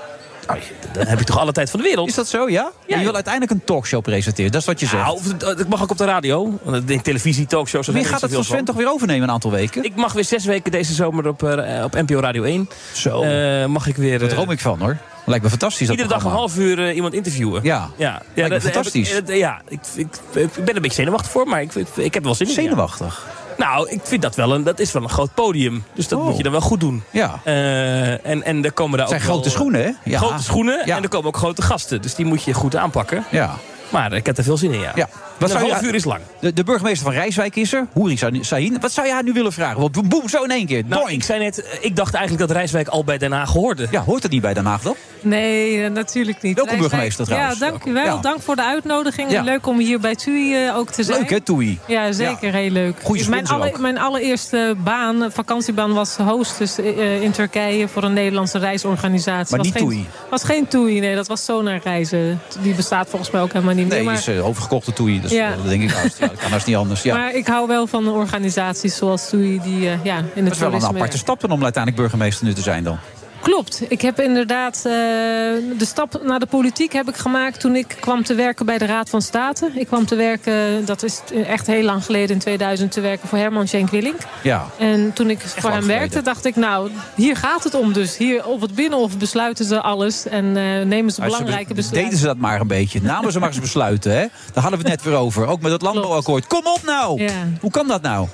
Speaker 6: Dan heb je toch alle tijd van de wereld.
Speaker 5: Is dat zo, ja? Maar je wil uiteindelijk een talkshow presenteren, dat is wat je zegt.
Speaker 6: Ja, of, eh, het mag ook op de radio. Want In televisie, talkshows. daar
Speaker 5: Wie
Speaker 6: zijn
Speaker 5: gaat
Speaker 6: er
Speaker 5: het
Speaker 6: niet zoveel
Speaker 5: van Sven toch weer overnemen een aantal weken?
Speaker 6: Ik mag weer zes weken deze zomer op, eh, op NPO Radio 1. Zo. mag ik weer... eh,
Speaker 5: Daar droom ik van, hoor. Lijkt me fantastisch, dat
Speaker 6: Iedere dag een
Speaker 5: programma.
Speaker 6: half uur eh, iemand interviewen.
Speaker 5: Ja.
Speaker 6: ja.
Speaker 5: me
Speaker 6: dat- dat
Speaker 5: fantastisch.
Speaker 6: heb ik- eh, ja, ik, ik, eh, ik ben een beetje zenuwachtig voor, maar ik, ik, ik heb wel zin in. ja.
Speaker 5: Zenuwachtig?
Speaker 6: Nou, ik vind dat wel een, dat is wel een groot podium. Dus dat
Speaker 5: Oh.
Speaker 6: moet je dan wel goed doen.
Speaker 5: Ja.
Speaker 6: Eh, en, en er komen daar
Speaker 5: Zijn
Speaker 6: ook wel, eh,
Speaker 5: grote schoenen, hè? Ja.
Speaker 6: Grote schoenen en er komen ook grote gasten. Dus die moet je goed aanpakken.
Speaker 5: Ja.
Speaker 6: Maar ik heb er veel zin in, ja.
Speaker 5: Ja.
Speaker 6: En een
Speaker 5: zou je-
Speaker 6: half uur is lang.
Speaker 5: De, de burgemeester van Rijswijk is er, Hoeri Sa- Sahin. Wat zou je haar nu willen vragen? Want boem, boem, zo in één keer.
Speaker 6: Nou, ik zei net, ik dacht eigenlijk dat Rijswijk al bij Den Haag hoorde.
Speaker 5: Ja, hoort het niet bij Den Haag dan?
Speaker 22: Nee, eh, natuurlijk niet.
Speaker 5: Welkom,
Speaker 22: Wij zijn-
Speaker 5: burgemeester, trouwens.
Speaker 22: Ja, dank u wel.
Speaker 5: Ja.
Speaker 22: Dank voor de uitnodiging.
Speaker 5: Ja.
Speaker 22: Leuk om hier bij TUI eh, ook te zijn.
Speaker 5: Leuk, hè, TUI?
Speaker 22: Ja, zeker. Heel leuk.
Speaker 5: Goeie
Speaker 22: mijn,
Speaker 5: sponsor ook.
Speaker 22: mijn allereerste baan, eh, vakantiebaan, was hostess eh, in Turkije voor een Nederlandse reisorganisatie.
Speaker 5: Maar
Speaker 22: was
Speaker 5: niet
Speaker 22: geen,
Speaker 5: TUI.
Speaker 22: Was geen TUI, nee. Dat was Sonar Reizen. Die bestaat volgens mij ook helemaal niet
Speaker 5: Nee,
Speaker 22: meer.
Speaker 5: die
Speaker 22: maar-
Speaker 5: is eh, overgekocht door Toei. Dus
Speaker 22: Ja.
Speaker 5: dat denk ik, haast. ja, dat kan haast niet anders. Ja.
Speaker 22: Maar ik hou wel van organisaties zoals TUI die eh, ja, in
Speaker 5: dat
Speaker 22: het
Speaker 5: is wel een
Speaker 22: toerisme-
Speaker 5: aparte stap dan om uiteindelijk burgemeester nu te zijn dan.
Speaker 22: Klopt. Ik heb inderdaad eh, de stap naar de politiek heb ik gemaakt toen ik kwam te werken bij de Raad van State. Ik kwam te werken, dat is echt heel lang geleden in 2000, te werken voor Herman Schenk Willink.
Speaker 5: Ja.
Speaker 22: En toen ik voor hem
Speaker 5: geleden.
Speaker 22: werkte, dacht ik, nou, hier gaat het om dus. Hier op het Binnenhof besluiten ze alles en eh, nemen ze
Speaker 5: Maar ze
Speaker 22: belangrijke
Speaker 5: be- dus
Speaker 22: besluiten.
Speaker 5: Deden ze dat maar een beetje. Namen ze maar eens besluiten, hè? Daar hadden we het net weer over. Ook met het landbouwakkoord. Kom op nou!
Speaker 22: Ja.
Speaker 5: Hoe kan dat nou?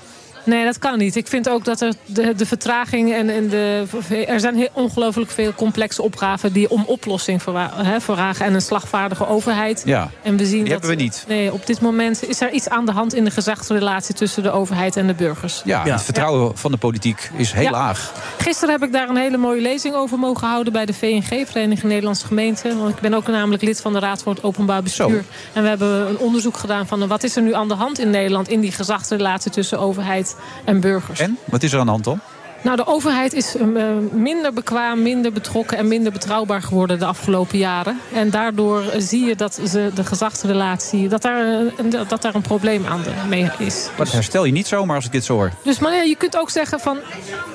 Speaker 22: Nee, dat kan niet. Ik vind ook dat er de, de vertraging en, en de. Er zijn heel ongelooflijk veel complexe opgaven die om oplossing verwa- hè, vragen. En een slagvaardige overheid.
Speaker 5: Ja.
Speaker 22: En we zien
Speaker 5: Die
Speaker 22: dat,
Speaker 5: hebben we niet.
Speaker 22: Nee, op dit moment is er iets aan de hand in de gezagsrelatie tussen de overheid en de burgers.
Speaker 5: Ja, het vertrouwen van de politiek is heel
Speaker 22: Ja.
Speaker 5: laag.
Speaker 22: Gisteren heb ik daar een hele mooie lezing over mogen houden bij de VNG, Vereniging Nederlandse Gemeenten. Want ik ben ook namelijk lid van de Raad voor het Openbaar Bestuur. En we hebben een onderzoek gedaan van eh, wat is er nu aan de hand in Nederland in die gezagsrelatie tussen overheid en burgers.
Speaker 5: En? Wat is er aan de hand dan?
Speaker 22: Nou, de overheid is ehm, eh, minder bekwaam, minder betrokken en minder betrouwbaar geworden de afgelopen jaren. En daardoor eh, zie je dat ze de gezagsrelatie, dat daar, eh, een- dat daar een probleem aan de, mee is.
Speaker 5: Maar dat herstel je niet zomaar als ik dit zo hoor.
Speaker 22: Dus maar ja, je kunt ook zeggen van,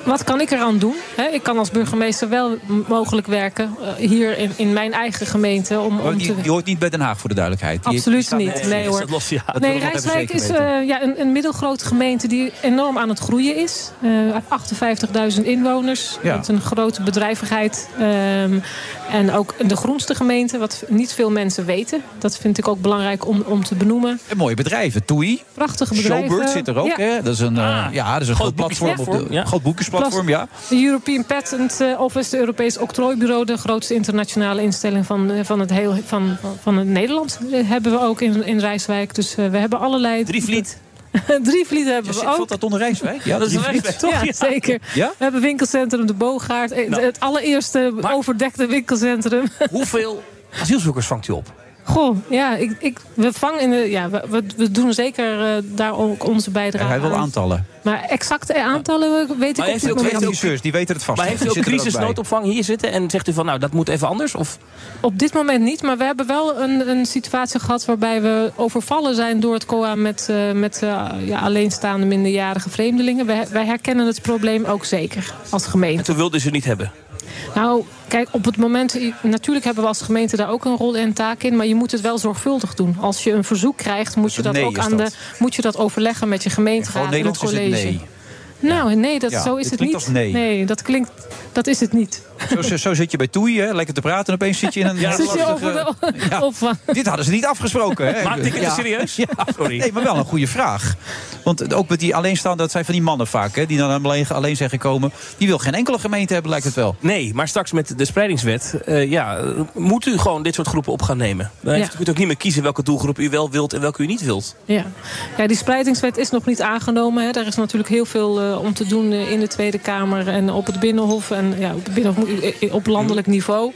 Speaker 22: wat kan ik eraan doen? Hè, ik kan als burgemeester wel m- mogelijk werken eh, hier in, in mijn eigen gemeente om,
Speaker 5: Maar
Speaker 22: om te...
Speaker 5: Die, die hoort niet bij Den Haag, voor de duidelijkheid. Die-
Speaker 22: Absoluut
Speaker 5: die staat
Speaker 22: niet.
Speaker 5: net-
Speaker 22: Nee, hoor.
Speaker 5: Dat
Speaker 22: nee,
Speaker 5: wil ik nog even
Speaker 22: Rijswijk
Speaker 5: zeker
Speaker 22: is
Speaker 5: weten.
Speaker 22: eh, ja, een, een middelgrote gemeente die enorm aan het groeien is. Eh 58.000 inwoners.
Speaker 5: Ja.
Speaker 22: Met een grote bedrijvigheid. Ehm, en ook de groenste gemeente, wat niet veel mensen weten. Dat vind ik ook belangrijk om, om te benoemen.
Speaker 5: En mooie bedrijven. TUI.
Speaker 22: Prachtige bedrijven.
Speaker 5: Showbird zit er ook.
Speaker 22: Ja.
Speaker 5: Hè? Dat is een, eh, ja, dat is een groot, platform. Op de,
Speaker 22: boekenplatform, ja.
Speaker 5: Groot boekensplatform, ja.
Speaker 22: De European Patent eh, Office, de Europees Octrooibureau, de grootste internationale instelling van, eh, van, het, heel, van, van het Nederland, eh, hebben we ook in, in Rijswijk. Dus eh, we hebben allerlei. Drievliet. Drievliet hebben we ook.
Speaker 5: Valt dat onder Rijswijk?
Speaker 22: Ja, dat is
Speaker 5: Drievliet.
Speaker 22: Rijswijk, toch? Ja, zeker.
Speaker 5: Ja?
Speaker 22: We hebben winkelcentrum De Boogaard. eh,
Speaker 5: Nou.
Speaker 22: Het allereerste overdekte winkelcentrum.
Speaker 6: Hoeveel asielzoekers vangt u op?
Speaker 22: Goh, ja, ik, ik, we vangen in de, ja, we, we- we doen zeker eh, daar ook onze bijdrage
Speaker 5: Hij wil
Speaker 22: aan.
Speaker 5: aantallen.
Speaker 22: Maar exacte aantallen eh, weet ik
Speaker 6: Maar
Speaker 22: op
Speaker 6: heeft
Speaker 22: dit
Speaker 6: u ook-
Speaker 22: moment
Speaker 6: heeft u ook-
Speaker 22: niet.
Speaker 5: Dus die weten het vast.
Speaker 6: Maar heeft u ook
Speaker 5: Die zitten er ook bij.
Speaker 6: crisisnoodopvang hier zitten en zegt u van nou dat moet even anders? Of
Speaker 22: Op dit moment niet, maar we hebben wel een, een situatie gehad waarbij we overvallen zijn door het COA met, eh, met eh, ja, alleenstaande minderjarige vreemdelingen. Wij, wij herkennen het probleem ook zeker als gemeente.
Speaker 6: en toen wilden ze het niet hebben?
Speaker 22: Nou, kijk, op het moment. Natuurlijk hebben we als gemeente daar ook een rol en taak in. Maar je moet het wel zorgvuldig doen. Als je een verzoek krijgt, moet je
Speaker 5: een
Speaker 22: dat
Speaker 5: Dus nee
Speaker 22: ook
Speaker 5: is
Speaker 22: aan
Speaker 5: dat.
Speaker 22: de. Moet je dat overleggen met je
Speaker 5: Gewoon
Speaker 22: gemeenteraad en het
Speaker 5: Nederlands is het
Speaker 22: college.
Speaker 5: nee.
Speaker 22: Nou, nee, dat,
Speaker 5: Ja,
Speaker 22: zo
Speaker 5: dit
Speaker 22: is het niet.
Speaker 5: klinkt als nee.
Speaker 22: dat klinkt. Dat is het niet.
Speaker 5: Zo, zo, zo zit je bij Toei, hè, lekker te praten en opeens zit je in een...
Speaker 22: Ja,
Speaker 5: heel
Speaker 22: zit je
Speaker 5: lastige-
Speaker 22: over de- eh, opvang.
Speaker 5: Dit hadden ze niet afgesproken. Hè?
Speaker 22: Maakt dit het
Speaker 6: serieus? Oh, Sorry.
Speaker 5: Nee, maar wel een goede vraag. Want ook met die alleenstaande, dat zijn van die mannen vaak... Hè, die dan alleen, alleen zijn gekomen. Die wil geen enkele gemeente hebben, lijkt het wel.
Speaker 6: Nee, maar straks met de spreidingswet eh, ja, eh, moet u gewoon dit soort groepen op gaan nemen. Dan
Speaker 22: Ja.
Speaker 6: heeft- kunt u ook niet meer kiezen welke doelgroep u wel wilt en welke u niet wilt.
Speaker 22: Ja. ja, die spreidingswet is nog niet aangenomen. Hè. Daar is natuurlijk heel veel eh, om te doen eh, in de Tweede Kamer en op het Binnenhof en ja, op, het Binnenhof, moet- eh, eh, op landelijk niveau.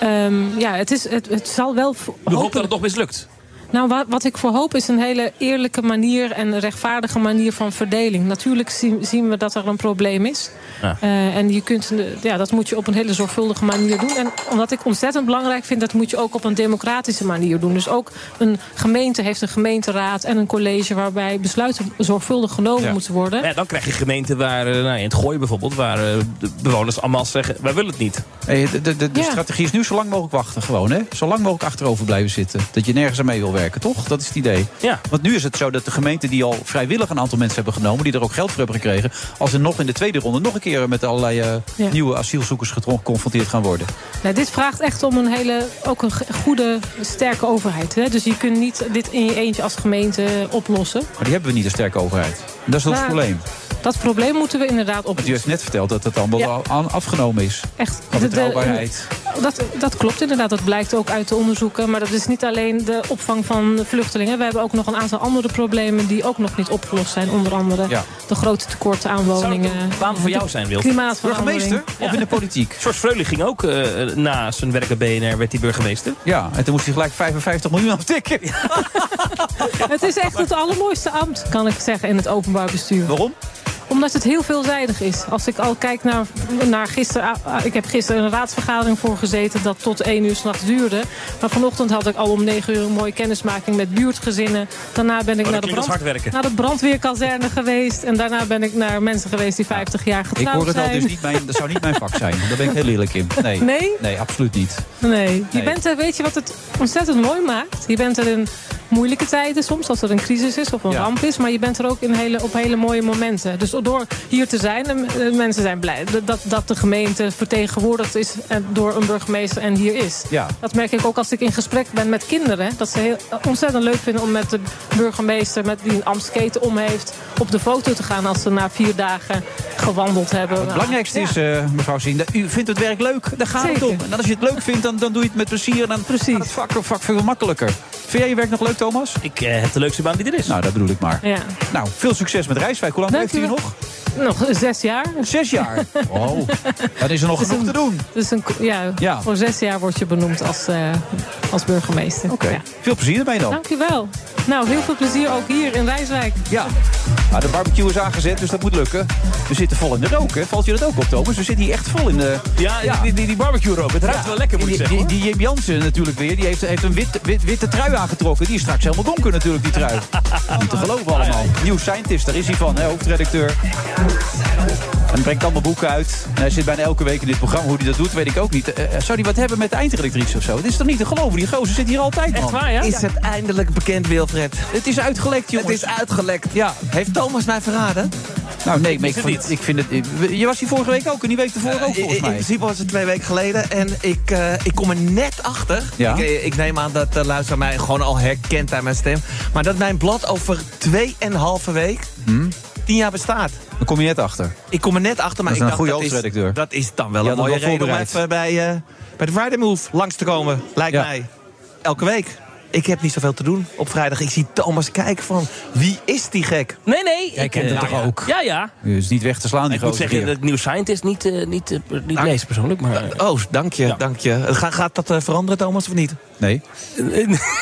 Speaker 22: Ehm, ja, het, is, het, het zal wel. voor-
Speaker 6: Ik hoop dat het nog mislukt.
Speaker 22: Nou, wat, wat ik voor hoop is een hele eerlijke manier en een rechtvaardige manier van verdeling. Natuurlijk zien, zien we dat er een probleem is.
Speaker 6: Ja.
Speaker 22: Eh, en je kunt, een- ja, dat moet je op een hele zorgvuldige manier doen. En omdat ik ontzettend belangrijk vind, dat moet je ook op een democratische manier doen. Dus ook een gemeente heeft een gemeenteraad en een college waarbij besluiten zorgvuldig genomen
Speaker 6: Ja.
Speaker 22: moeten worden.
Speaker 6: Maar Ja, dan krijg je gemeenten waar, eh, nou, in het Gooi bijvoorbeeld, waar eh, de bewoners allemaal zeggen, wij willen het niet.
Speaker 5: Nee, de de, de, de
Speaker 22: Ja.
Speaker 5: strategie is nu zo lang mogelijk wachten gewoon. Hè? Zo lang mogelijk achterover blijven zitten. Dat je nergens aan mee wil werken, toch? Dat is het idee.
Speaker 6: Ja.
Speaker 5: Want nu is het zo dat de gemeenten die al vrijwillig een aantal mensen hebben genomen... die er ook geld voor hebben gekregen... als ze nog in de tweede ronde nog een keer met allerlei eh,
Speaker 22: Ja.
Speaker 5: nieuwe asielzoekers getro- geconfronteerd gaan worden.
Speaker 22: Nou, dit vraagt echt om een hele, ook een ge- goede, sterke overheid. Hè? Dus je kunt niet dit in je eentje als gemeente oplossen.
Speaker 5: Maar die hebben we niet, een sterke overheid. En dat is ons
Speaker 22: Nou,
Speaker 5: probleem.
Speaker 22: Dat probleem moeten we inderdaad
Speaker 5: Want u
Speaker 22: oplossen.
Speaker 5: heeft net verteld dat het allemaal al aan- afgenomen is.
Speaker 22: Echt.
Speaker 5: Van
Speaker 22: de- de-
Speaker 5: betrouwbaarheid.
Speaker 22: dat, dat klopt inderdaad, dat blijkt ook uit de onderzoeken. Maar dat is niet alleen de opvang van vluchtelingen. We hebben ook nog een aantal andere problemen die ook nog niet opgelost zijn. Onder andere
Speaker 6: Ja.
Speaker 22: de grote tekorten aan woningen.
Speaker 6: Baan voor jou
Speaker 22: De
Speaker 6: zijn, Wilt.
Speaker 22: Klimaatverandering.
Speaker 5: Of in de politiek?
Speaker 6: George Freulich ging ook eh, na zijn werk bij BNR, werd hij burgemeester.
Speaker 5: Ja, en toen moest hij gelijk 55 miljoen aftikken.
Speaker 22: Het is echt het allermooiste ambt, kan ik zeggen, in het openbaar bestuur.
Speaker 5: Waarom?
Speaker 22: Omdat het heel veelzijdig is. Als ik al kijk naar, naar gisteren... ah, Ik heb gisteren een raadsvergadering voor gezeten... dat tot één uur s'nachts duurde. Maar vanochtend had ik al om negen uur een mooie kennismaking... met buurtgezinnen. Daarna ben ik
Speaker 6: Oh, dat
Speaker 22: naar, de
Speaker 6: klinkt als
Speaker 22: brand,
Speaker 6: hard werken.
Speaker 22: naar de brandweerkazerne geweest. En daarna ben ik naar mensen geweest die 50 jaar
Speaker 5: Ik
Speaker 22: getrouwd
Speaker 5: hoor het al,
Speaker 22: zijn.
Speaker 5: dus niet mijn, dat zou niet mijn vak zijn. Daar ben ik heel eerlijk in. Nee,
Speaker 22: Nee?
Speaker 5: nee absoluut niet.
Speaker 22: Nee, je
Speaker 5: Nee.
Speaker 22: bent er, weet je wat het ontzettend mooi maakt? Je bent er in moeilijke tijden soms, als er een crisis is of een
Speaker 5: Ja.
Speaker 22: ramp is. Maar je bent er ook in hele, op hele mooie momenten. Dus door hier te zijn, en, eh, mensen zijn blij dat- dat, dat de gemeente vertegenwoordigd is eh, door een burgemeester en hier is.
Speaker 5: Ja.
Speaker 22: Dat merk ik ook als ik in gesprek ben met kinderen. Dat ze heel, eh, ontzettend leuk vinden om met de burgemeester, met die een Amstketen om heeft, op de foto te gaan als ze na vier dagen gewandeld hebben.
Speaker 5: Het belangrijkste is, eh, mevrouw Zien, dat u vindt het werk leuk. Daar gaat het
Speaker 22: Zeker.
Speaker 5: om. En dan als je het leuk vindt, dan, dan doe je het met plezier. En dan Precies. gaat het vak, vak veel makkelijker. Vind jij je werk nog leuk, Thomas?
Speaker 6: Ik eh, heb de leukste baan die er is.
Speaker 5: Nou, dat bedoel ik maar.
Speaker 22: Ja.
Speaker 5: Nou, veel succes met Rijswijk. Hoe lang
Speaker 22: Dank
Speaker 5: heeft u
Speaker 22: u wel.
Speaker 5: nog?
Speaker 22: Nog zes jaar.
Speaker 5: Zes jaar?
Speaker 6: Oh.
Speaker 5: Wow. Dan is er nog
Speaker 22: Dus
Speaker 5: genoeg te
Speaker 22: een-
Speaker 5: doen.
Speaker 22: Dus een, ja,
Speaker 5: Ja.
Speaker 22: voor zes jaar word je benoemd als, eh, als burgemeester. Oké.
Speaker 5: Veel plezier ermee dan.
Speaker 22: Dankjewel. Nou, heel veel plezier ook hier in Rijswijk.
Speaker 5: Ja. Nou, de barbecue is aangezet, dus dat moet lukken. We zitten vol in de rook, hè? Valt je dat ook op, Thomas? We zitten hier echt vol in de...
Speaker 6: Ja, die- die- die barbecue-rook. Het ruikt wel lekker, moet ik
Speaker 5: die,
Speaker 6: zeggen,
Speaker 5: Die, die Jim Jansen natuurlijk weer, die heeft, heeft een wit, wit- witte trui aangetrokken. Die is straks helemaal donker natuurlijk, die trui. Niet te geloven allemaal. Nieuw Scientist, daar is hij van, hè, hoofdredacteur. En hij brengt allemaal boeken uit. En hij zit bijna elke week in dit programma. Hoe hij dat doet, weet ik ook niet. Eh, eh, zou hij wat hebben met de eindredactrice of zo? Het is toch niet te geloven? Die gozer zit hier altijd, man.
Speaker 21: Is het eindelijk bekend, Wilfred?
Speaker 5: Het is uitgelekt, jongens.
Speaker 21: Het is uitgelekt.
Speaker 5: Ja.
Speaker 21: Heeft Thomas mij verraden?
Speaker 5: Nou, nee, maar ik, vond, ik vind het... ik- je was hier vorige week ook en die week ervoor ook,
Speaker 21: Eh,
Speaker 5: Oh, volgens
Speaker 21: in- In
Speaker 5: mij.
Speaker 21: principe was het twee weken geleden. En ik, eh, ik kom er net achter.
Speaker 5: Ja.
Speaker 21: Ik, eh, ik neem aan dat de luisteraar mij gewoon al herkent aan mijn stem. Maar dat mijn blad over tweeënhalve week
Speaker 5: Hm?
Speaker 21: tien jaar bestaat.
Speaker 5: Dan kom je net achter.
Speaker 21: Ik kom er net achter, maar
Speaker 5: Dat is
Speaker 21: ik
Speaker 5: een goede
Speaker 21: dat is-
Speaker 5: hoofdredacteur.
Speaker 21: Dat is dan wel
Speaker 5: Je
Speaker 21: een
Speaker 5: had het
Speaker 21: mooie
Speaker 5: wel
Speaker 21: reden om
Speaker 5: voorbereid.
Speaker 21: even bij, eh, bij de Friday Move langs te komen. Lijkt mij. Elke week. Ik heb niet zoveel te doen op vrijdag. Ik zie Thomas kijken van, wie is die gek?
Speaker 6: Nee, nee.
Speaker 21: Jij kent hem
Speaker 6: eh,
Speaker 21: toch
Speaker 6: ja.
Speaker 21: ook?
Speaker 6: Ja, ja.
Speaker 5: Het is niet weg te slaan, die
Speaker 6: Ik moet
Speaker 5: gozer
Speaker 6: zeggen
Speaker 5: hier.
Speaker 6: dat New Scientist niet, eh, niet, eh, niet leest persoonlijk, maar...
Speaker 21: Oh, dank je, dank je. Ga- gaat dat eh, veranderen, Thomas, of niet?
Speaker 5: Nee.
Speaker 6: ik,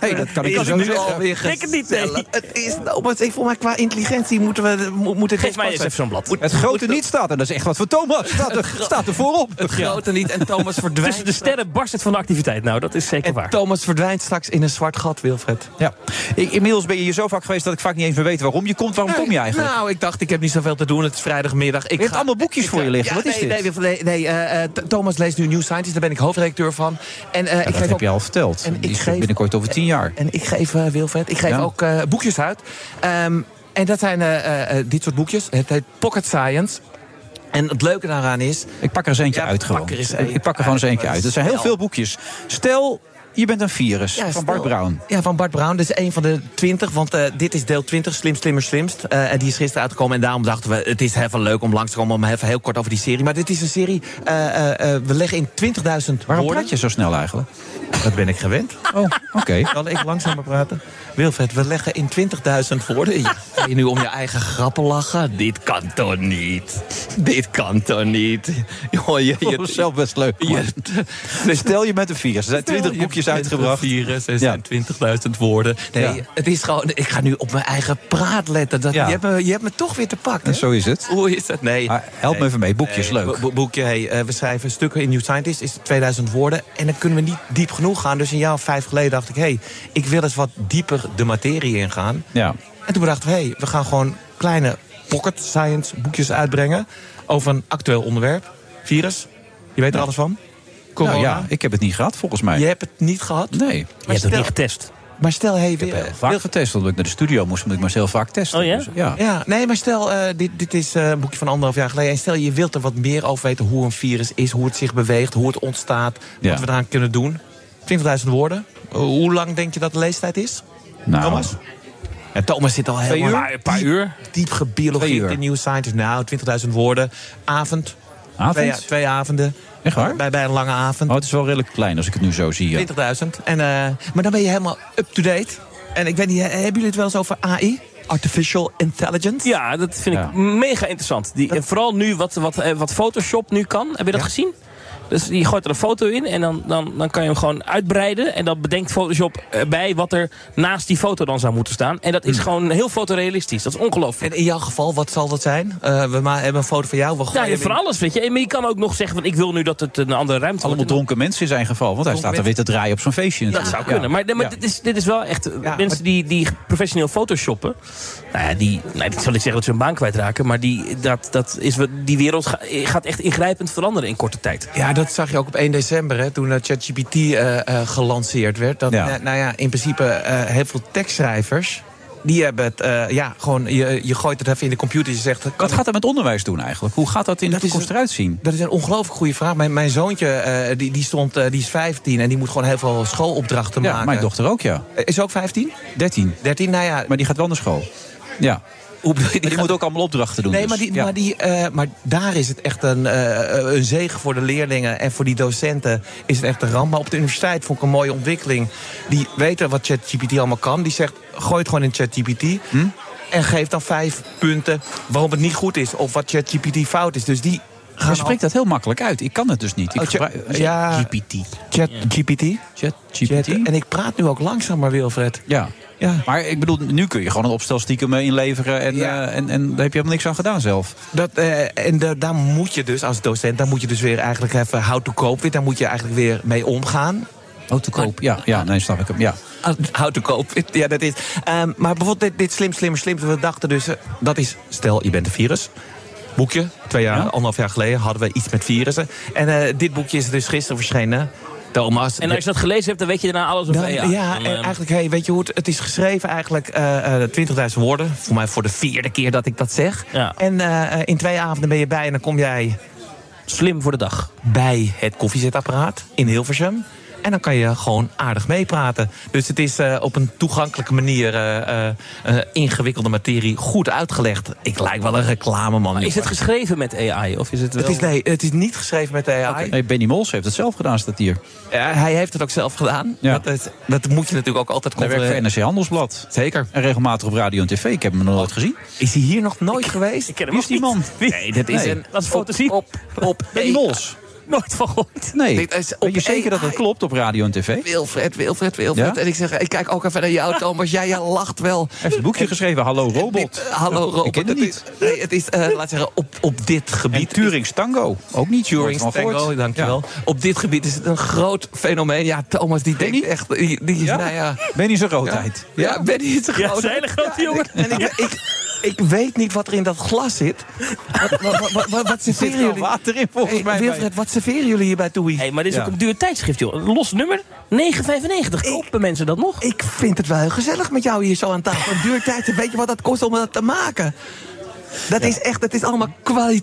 Speaker 5: Nee, dat kan ik je
Speaker 6: het
Speaker 5: zo
Speaker 6: nu
Speaker 5: zeggen.
Speaker 6: alweer
Speaker 5: Ik denk het
Speaker 21: niet,
Speaker 6: gesteld.
Speaker 21: Het is, nou, maar ik voel mij qua intelligentie moeten we mo- moet het
Speaker 6: Geef
Speaker 21: ons
Speaker 6: mij
Speaker 21: pas
Speaker 6: eens
Speaker 21: zijn.
Speaker 6: even zo'n blad.
Speaker 21: Moet-
Speaker 5: Het grote niet staat, en dat is echt wat voor Thomas. Staat er,
Speaker 21: Het gro-
Speaker 5: staat er voorop.
Speaker 21: Het grote niet en Thomas verdwijnt.
Speaker 6: Tussen de sterren barst het van de activiteit. Nou, dat is zeker waar.
Speaker 21: Thomas verdwijnt straks in een zwart gat, Wilfred.
Speaker 5: Ja. Ik, inmiddels ben je hier zo vaak geweest dat ik vaak niet eens meer weet waarom je komt. Waarom kom je eigenlijk?
Speaker 21: Nou, ik dacht, ik heb niet zoveel te doen. Het is vrijdagmiddag. Ik
Speaker 5: je hebt
Speaker 21: ga-
Speaker 5: allemaal boekjes
Speaker 21: ik
Speaker 5: voor je
Speaker 21: ga-
Speaker 5: liggen.
Speaker 21: Ja,
Speaker 5: Wat is
Speaker 21: nee,
Speaker 5: dit?
Speaker 21: Nee, nee, nee eh, eh, Th- Thomas leest nu New Scientist. Daar ben ik hoofdredacteur van. En, eh, ik
Speaker 5: dat
Speaker 21: geef
Speaker 5: heb
Speaker 21: ook,
Speaker 5: je al verteld.
Speaker 21: En
Speaker 5: Die
Speaker 21: ik
Speaker 5: is
Speaker 21: geef,
Speaker 5: binnenkort over tien jaar.
Speaker 21: En ik geef, eh, Wilfred, ik geef
Speaker 5: Ja.
Speaker 21: ook eh, boekjes uit. Ehm, en dat zijn eh, eh, eh, dit soort boekjes. Het heet Pocket Science. En het leuke daaraan is...
Speaker 5: Ik pak er eens eentje
Speaker 21: Ja,
Speaker 5: uit
Speaker 21: pak
Speaker 5: gewoon.
Speaker 21: er eens
Speaker 5: Ik-
Speaker 21: een-
Speaker 5: ik pak er gewoon eens eentje uit. Er zijn heel
Speaker 21: Stel.
Speaker 5: veel boekjes. Stel, je bent een virus.
Speaker 21: Ja,
Speaker 5: van
Speaker 21: stel-
Speaker 5: Bart Brown.
Speaker 21: Ja, van Bart Brown. Dit is een van de 20, want eh, dit is deel 20, Slim Slimmer Slimst. Eh, en die is gisteren uitgekomen en daarom dachten we... het is even leuk om langs te komen, om even heel kort over die serie. Maar dit is een serie, eh, eh, eh, we leggen in 20.000 woorden...
Speaker 5: Waarom praat je zo snel eigenlijk?
Speaker 21: Dat ben ik gewend.
Speaker 5: Oh, oké.
Speaker 21: Kan ik langzamer praten? Wilfred, we leggen in 20.000 woorden. Ja, ga je nu om je eigen grappen lachen? Dit kan toch niet? Dit kan toch niet? Joh, je, je,
Speaker 5: Dat is zelf Oh, best leuk. man. Dus stel je met een virus. Er zijn
Speaker 21: Stel,
Speaker 5: twintig
Speaker 21: je
Speaker 5: boekjes
Speaker 21: bent
Speaker 5: uitgebracht.
Speaker 21: een virus, er zijn 20.000 woorden. Nee,
Speaker 5: Ja.
Speaker 21: het is gewoon, ik ga nu op mijn eigen praat letten. Dat,
Speaker 5: Ja.
Speaker 21: je, hebt me, je hebt me toch weer te pakken.
Speaker 5: Zo is het.
Speaker 21: Hoe is dat? Nee.
Speaker 5: Maar help me
Speaker 21: Nee.
Speaker 5: even mee. Boekjes,
Speaker 21: Nee,
Speaker 5: leuk.
Speaker 21: bo- bo- boekje, hey, eh, we schrijven stukken in New Scientist, is 2000 woorden. En dan kunnen we niet diep genoeg gaan. Dus een jaar of vijf geleden dacht ik, hé, hey, ik wil eens wat dieper de materie ingaan.
Speaker 5: Ja.
Speaker 21: En toen bedachten we, hé, we gaan gewoon kleine pocket science boekjes uitbrengen over een actueel onderwerp. Virus, je weet er alles van. Corona.
Speaker 5: Nou ja, ik heb het niet gehad volgens mij.
Speaker 21: Je hebt het niet gehad?
Speaker 5: Nee.
Speaker 21: Maar hebt het stel- niet
Speaker 6: getest.
Speaker 21: Maar stel, hey,
Speaker 5: Ik heb heel vaak getest. Omdat ik naar de studio moest, moet ik mezelf vaak testen.
Speaker 21: Oh ja?
Speaker 5: Dus, ja.
Speaker 21: Ja, nee, maar stel, eh, dit, dit is eh, een boekje van anderhalf jaar geleden. En stel, je wilt er wat meer over weten hoe een virus is, hoe het zich beweegt, hoe het ontstaat,
Speaker 5: Ja.
Speaker 21: wat we eraan kunnen doen. 20.000 woorden. Eh, hoe lang denk je dat de leestijd is?
Speaker 5: Nou,
Speaker 21: Thomas? Ja, Thomas zit al
Speaker 5: Twee
Speaker 21: heel
Speaker 5: uur?
Speaker 21: lang-
Speaker 5: Een paar
Speaker 21: diep-
Speaker 5: uur?
Speaker 21: Diep
Speaker 5: Twee
Speaker 21: gebiologie,
Speaker 5: uur.
Speaker 21: de nieuwe scientist. Nou, 20.000 woorden. Avond.
Speaker 5: Avond?
Speaker 21: Twee, twee avonden.
Speaker 5: Echt waar?
Speaker 21: Bij, bij een lange avond.
Speaker 5: Oh, het is wel redelijk klein als ik het nu zo zie. ja.
Speaker 21: 20.000. En, eh, maar dan ben je helemaal up-to-date. En ik weet niet, eh, hebben jullie het wel eens over AI? Artificial Intelligence?
Speaker 6: Ja, dat vind ik mega interessant. Die, en vooral nu wat, wat, eh, wat Photoshop nu kan. Heb je dat gezien? Dus je gooit er een foto in en dan, dan, dan kan je hem gewoon uitbreiden. En dan bedenkt Photoshop erbij wat er naast die foto dan zou moeten staan. En dat is gewoon heel fotorealistisch. Dat is ongelooflijk.
Speaker 21: Hmm. En in jouw geval, wat zal dat zijn? Eh, we ma- hebben een foto van jou. We gooien
Speaker 6: Ja, je
Speaker 21: hem in-
Speaker 6: van alles, weet je. Maar je kan ook nog zeggen, van, ik wil nu dat het een andere ruimte wordt.
Speaker 5: Allemaal dronken mensen in zijn geval. Want hij
Speaker 6: Dronken
Speaker 5: staat er weer te draaien op zo'n feestje.
Speaker 6: Dat
Speaker 5: natuurlijk.
Speaker 6: zou
Speaker 5: Ja.
Speaker 6: kunnen. Maar, maar
Speaker 5: Ja.
Speaker 6: dit, is, dit is wel echt... eh, mensen die, die professioneel photoshoppen... Nou ja, die, nou, dat zal niet zeggen dat ze hun baan kwijtraken... maar die, dat, dat is, wat- die wereld ga- eh, gaat echt ingrijpend veranderen in korte tijd.
Speaker 21: Ja, dat zag je ook op 1 december, hè, toen eh, ChatGPT eh, eh, gelanceerd werd. Dat,
Speaker 6: Ja.
Speaker 21: eh, nou ja, in principe eh, heel veel tekstschrijvers... die hebben het, eh, ja, gewoon, je, je gooit het even in de computer. Je zegt,
Speaker 5: Wat gaat dat met onderwijs doen eigenlijk? Hoe gaat dat in de toekomst eruit zien?
Speaker 21: Dat is een ongelooflijk goede vraag. Mijn, mijn zoontje, eh, die, die, stond, eh, die is 15 en die moet gewoon heel veel schoolopdrachten
Speaker 5: Ja,
Speaker 21: maken.
Speaker 5: mijn dochter ook, ja.
Speaker 21: Eh, Is ze ook 15?
Speaker 5: 13.
Speaker 21: 13, nou ja.
Speaker 5: Maar die gaat wel naar school. Ja.
Speaker 21: Maar
Speaker 5: die moet ook allemaal opdrachten doen.
Speaker 21: Nee,
Speaker 5: dus.
Speaker 21: maar, die,
Speaker 5: Ja.
Speaker 21: maar, die, eh, maar daar is het echt een, eh, eh, een zegen voor de leerlingen en voor die docenten is het echt een ramp. Maar op de universiteit vond ik een mooie ontwikkeling. Die weten wat ChatGPT allemaal kan. Die zegt, gooi het gewoon in ChatGPT.
Speaker 5: Hm?
Speaker 21: En geef dan vijf punten waarom het niet goed is of wat ChatGPT fout is. Dus die gaan
Speaker 5: Hij spreekt dat heel makkelijk uit. Ik kan het dus niet. Ik
Speaker 21: Oh, tja-
Speaker 5: gebruik-
Speaker 21: ja.
Speaker 5: GPT.
Speaker 21: Chat GPT.
Speaker 5: Chat GPT.
Speaker 21: En ik praat nu ook langzamer, Wilfred.
Speaker 5: Ja.
Speaker 21: ja.
Speaker 5: Maar ik bedoel, nu kun je gewoon een opstel stiekem eh, inleveren. En, eh, en, en daar heb je helemaal niks aan gedaan zelf.
Speaker 21: Dat, eh, en da- daar moet je dus als docent, daar moet je dus weer eigenlijk even hout to koop weer. Daar moet je eigenlijk weer mee omgaan.
Speaker 5: Oh, te koop. Ja, ja, nee, snap ik hem. Ja.
Speaker 21: Hout to koop. Ja, dat is. ehm, maar bijvoorbeeld dit, dit slim, slimmer, slim. We dachten dus, eh, dat is, stel je bent een virus. Boekje, twee jaar, anderhalf jaar geleden hadden we iets met virussen. En eh, dit boekje is dus gisteren verschenen. Thomas.
Speaker 6: En als je dat gelezen hebt, dan weet je daarna alles over
Speaker 21: Dan-
Speaker 6: AI.
Speaker 21: ja,
Speaker 6: Dan,
Speaker 21: en
Speaker 6: ehm,
Speaker 21: eigenlijk, hey, weet je hoe het, het is geschreven? Eigenlijk eh, eh, 20.000 woorden. Voor mij voor de vierde keer dat ik dat zeg. En eh, eh, in twee avonden ben je bij en dan kom jij
Speaker 6: Slim voor de dag.
Speaker 21: bij het koffiezetapparaat in Hilversum. En dan kan je gewoon aardig meepraten. Dus het is eh, op een toegankelijke manier eh, eh, eh, ingewikkelde materie goed uitgelegd. Ik lijk wel een reclameman.
Speaker 6: Is het geschreven met E AI? Of is het wel...
Speaker 21: Het is, nee, het is niet geschreven met de AI.
Speaker 5: Nee, Benny Mols heeft het zelf gedaan, staat hier.
Speaker 21: Ja, hij heeft het ook zelf gedaan.
Speaker 5: Ja.
Speaker 21: Dat, is- dat moet je natuurlijk ook altijd
Speaker 5: Hij werkt voor
Speaker 21: controleren.
Speaker 5: NRC Handelsblad.
Speaker 21: Zeker.
Speaker 5: En regelmatig op radio en tv. Ik heb hem nog nooit gezien.
Speaker 21: Is hij hier nog nooit geweest?
Speaker 6: Ik ken hem
Speaker 5: Wie is die man?
Speaker 6: Nee,
Speaker 21: dat is
Speaker 5: Nee.
Speaker 21: een...
Speaker 6: Dat is fantasie.
Speaker 21: Op, E op, op
Speaker 5: Benny Mols.
Speaker 6: Nooit van gehoord.
Speaker 5: Nee.
Speaker 21: Dit is
Speaker 5: Weet je
Speaker 21: op
Speaker 5: zeker dat dat
Speaker 21: AI.
Speaker 5: klopt op radio en tv?
Speaker 21: Wilfred, Wilfred, Wilfred.
Speaker 5: Ja?
Speaker 21: En ik zeg, ik kijk ook even naar jou, Thomas. Jij, jij lacht wel.
Speaker 5: Hij heeft een boekje geschreven, Hallo Robot.
Speaker 21: Hallo, Robert.
Speaker 5: Ik ken het niet.
Speaker 21: Is, nee, het is, eh, laat zeggen, op, op dit gebied...
Speaker 5: Turing's Tango, ook niet Turing's
Speaker 21: Turing's Tango,
Speaker 5: Tango.
Speaker 21: dankjewel. Op dit gebied is het een groot fenomeen. Ja, Thomas, die denkt echt... Die, die is, nou ja...
Speaker 5: Benny is een grootheid.
Speaker 21: Ja, Benny is een
Speaker 5: Ja,
Speaker 21: grootheid.
Speaker 5: is een hele grote jongen.
Speaker 21: En ik, ik, ik weet niet wat er in dat glas zit. Wat, wat, wat, wat, wat serveren jullie?
Speaker 5: water in, volgens
Speaker 21: mij. Wilfred, wat serveren jullie hier bij Toei?
Speaker 6: Hey, maar dit is ook een duur tijdschrift, joh. Een los nummer, 9,95. Kopen mensen dat nog?
Speaker 21: Ik vind het wel heel gezellig met jou hier zo aan tafel. Het duurt tijd. Weet je wat dat kost om dat te maken? Dat is echt, het is allemaal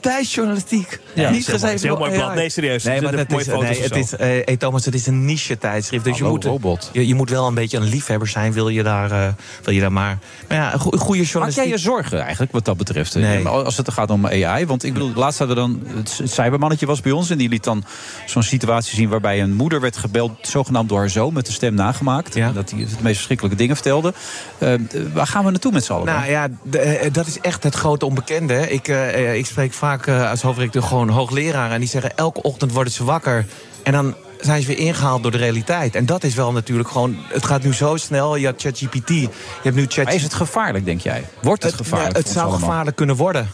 Speaker 21: kwaliteitsjournalistiek.
Speaker 6: Ja,
Speaker 21: niet
Speaker 6: dat is heel mooi. Dat
Speaker 21: gezegd
Speaker 6: is heel mooi
Speaker 21: door
Speaker 6: blad.
Speaker 21: AI.
Speaker 6: Nee, serieus. Er
Speaker 21: Nee, maar
Speaker 6: zitten
Speaker 21: het
Speaker 6: mooie
Speaker 21: is,
Speaker 6: foto's
Speaker 21: nee,
Speaker 6: of
Speaker 21: het
Speaker 6: zo.
Speaker 21: is, eh, hey, Thomas, het is een niche tijdschrift. Dus je
Speaker 6: Hallo,
Speaker 21: moet, Je, je moet wel een beetje een liefhebber zijn, wil je daar, eh, wil je daar maar. Maar ja, een goe- goede
Speaker 5: Maak
Speaker 21: journalistiek.
Speaker 5: jij je zorgen eigenlijk wat dat betreft?
Speaker 21: Nee.
Speaker 5: Maar Als het gaat om AI. Want ik bedoel, laatst hadden we dan. Het het cybermannetje was bij ons. En die liet dan zo'n situatie zien waarbij een moeder werd gebeld. zogenaamd door haar zoon met de stem nagemaakt. En Dat hij het meest verschrikkelijke dingen vertelde. Eh, waar gaan we naartoe met z'n allen?
Speaker 21: Nou ja, d- eh, dat is echt het grote onbekende. hè. Ik, eh, eh, ik spreek vaak eh, als hoofdrecteur gewoon hoogleraren. En die zeggen elke ochtend worden ze wakker. En dan zijn ze weer ingehaald door de realiteit. En dat is wel natuurlijk gewoon... Het gaat nu zo snel. Je had ChatGPT. Je hebt nu ChatGPT.
Speaker 5: is het gevaarlijk, denk jij? Wordt het gevaarlijk
Speaker 21: Het,
Speaker 5: voor ons
Speaker 21: zou
Speaker 5: allemaal?
Speaker 21: gevaarlijk kunnen worden.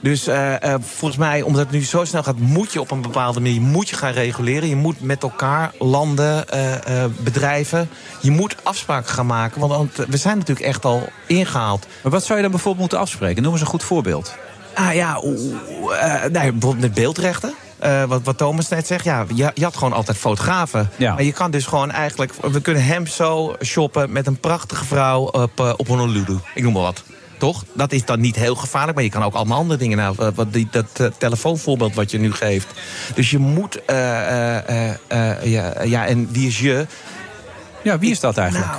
Speaker 21: Dus eh, eh, volgens mij, omdat het nu zo snel gaat... moet je op een bepaalde manier moet je gaan reguleren. Je moet met elkaar landen, eh, eh, bedrijven... je moet afspraken gaan maken. Want, want we zijn natuurlijk echt al ingehaald.
Speaker 5: Maar wat zou je dan bijvoorbeeld moeten afspreken? Noem eens een goed voorbeeld.
Speaker 21: Ah ja, oeh, oeh, eh, nou, ja, bijvoorbeeld met beeldrechten. Eh, wat, wat Thomas net zegt, ja, je, je had gewoon altijd fotografen. Maar je kan dus gewoon eigenlijk... We kunnen hem zo shoppen met een prachtige vrouw op, eh, op Honolulu. Ik noem maar wat. Toch? Dat is dan niet heel gevaarlijk, maar je kan ook allemaal andere dingen. Nou, eh, wat die, dat eh, telefoonvoorbeeld wat je nu geeft. Dus je moet... eh, eh, eh, eh, ja, ja, en wie is je? Nou,
Speaker 5: Ja, wie is dat eigenlijk?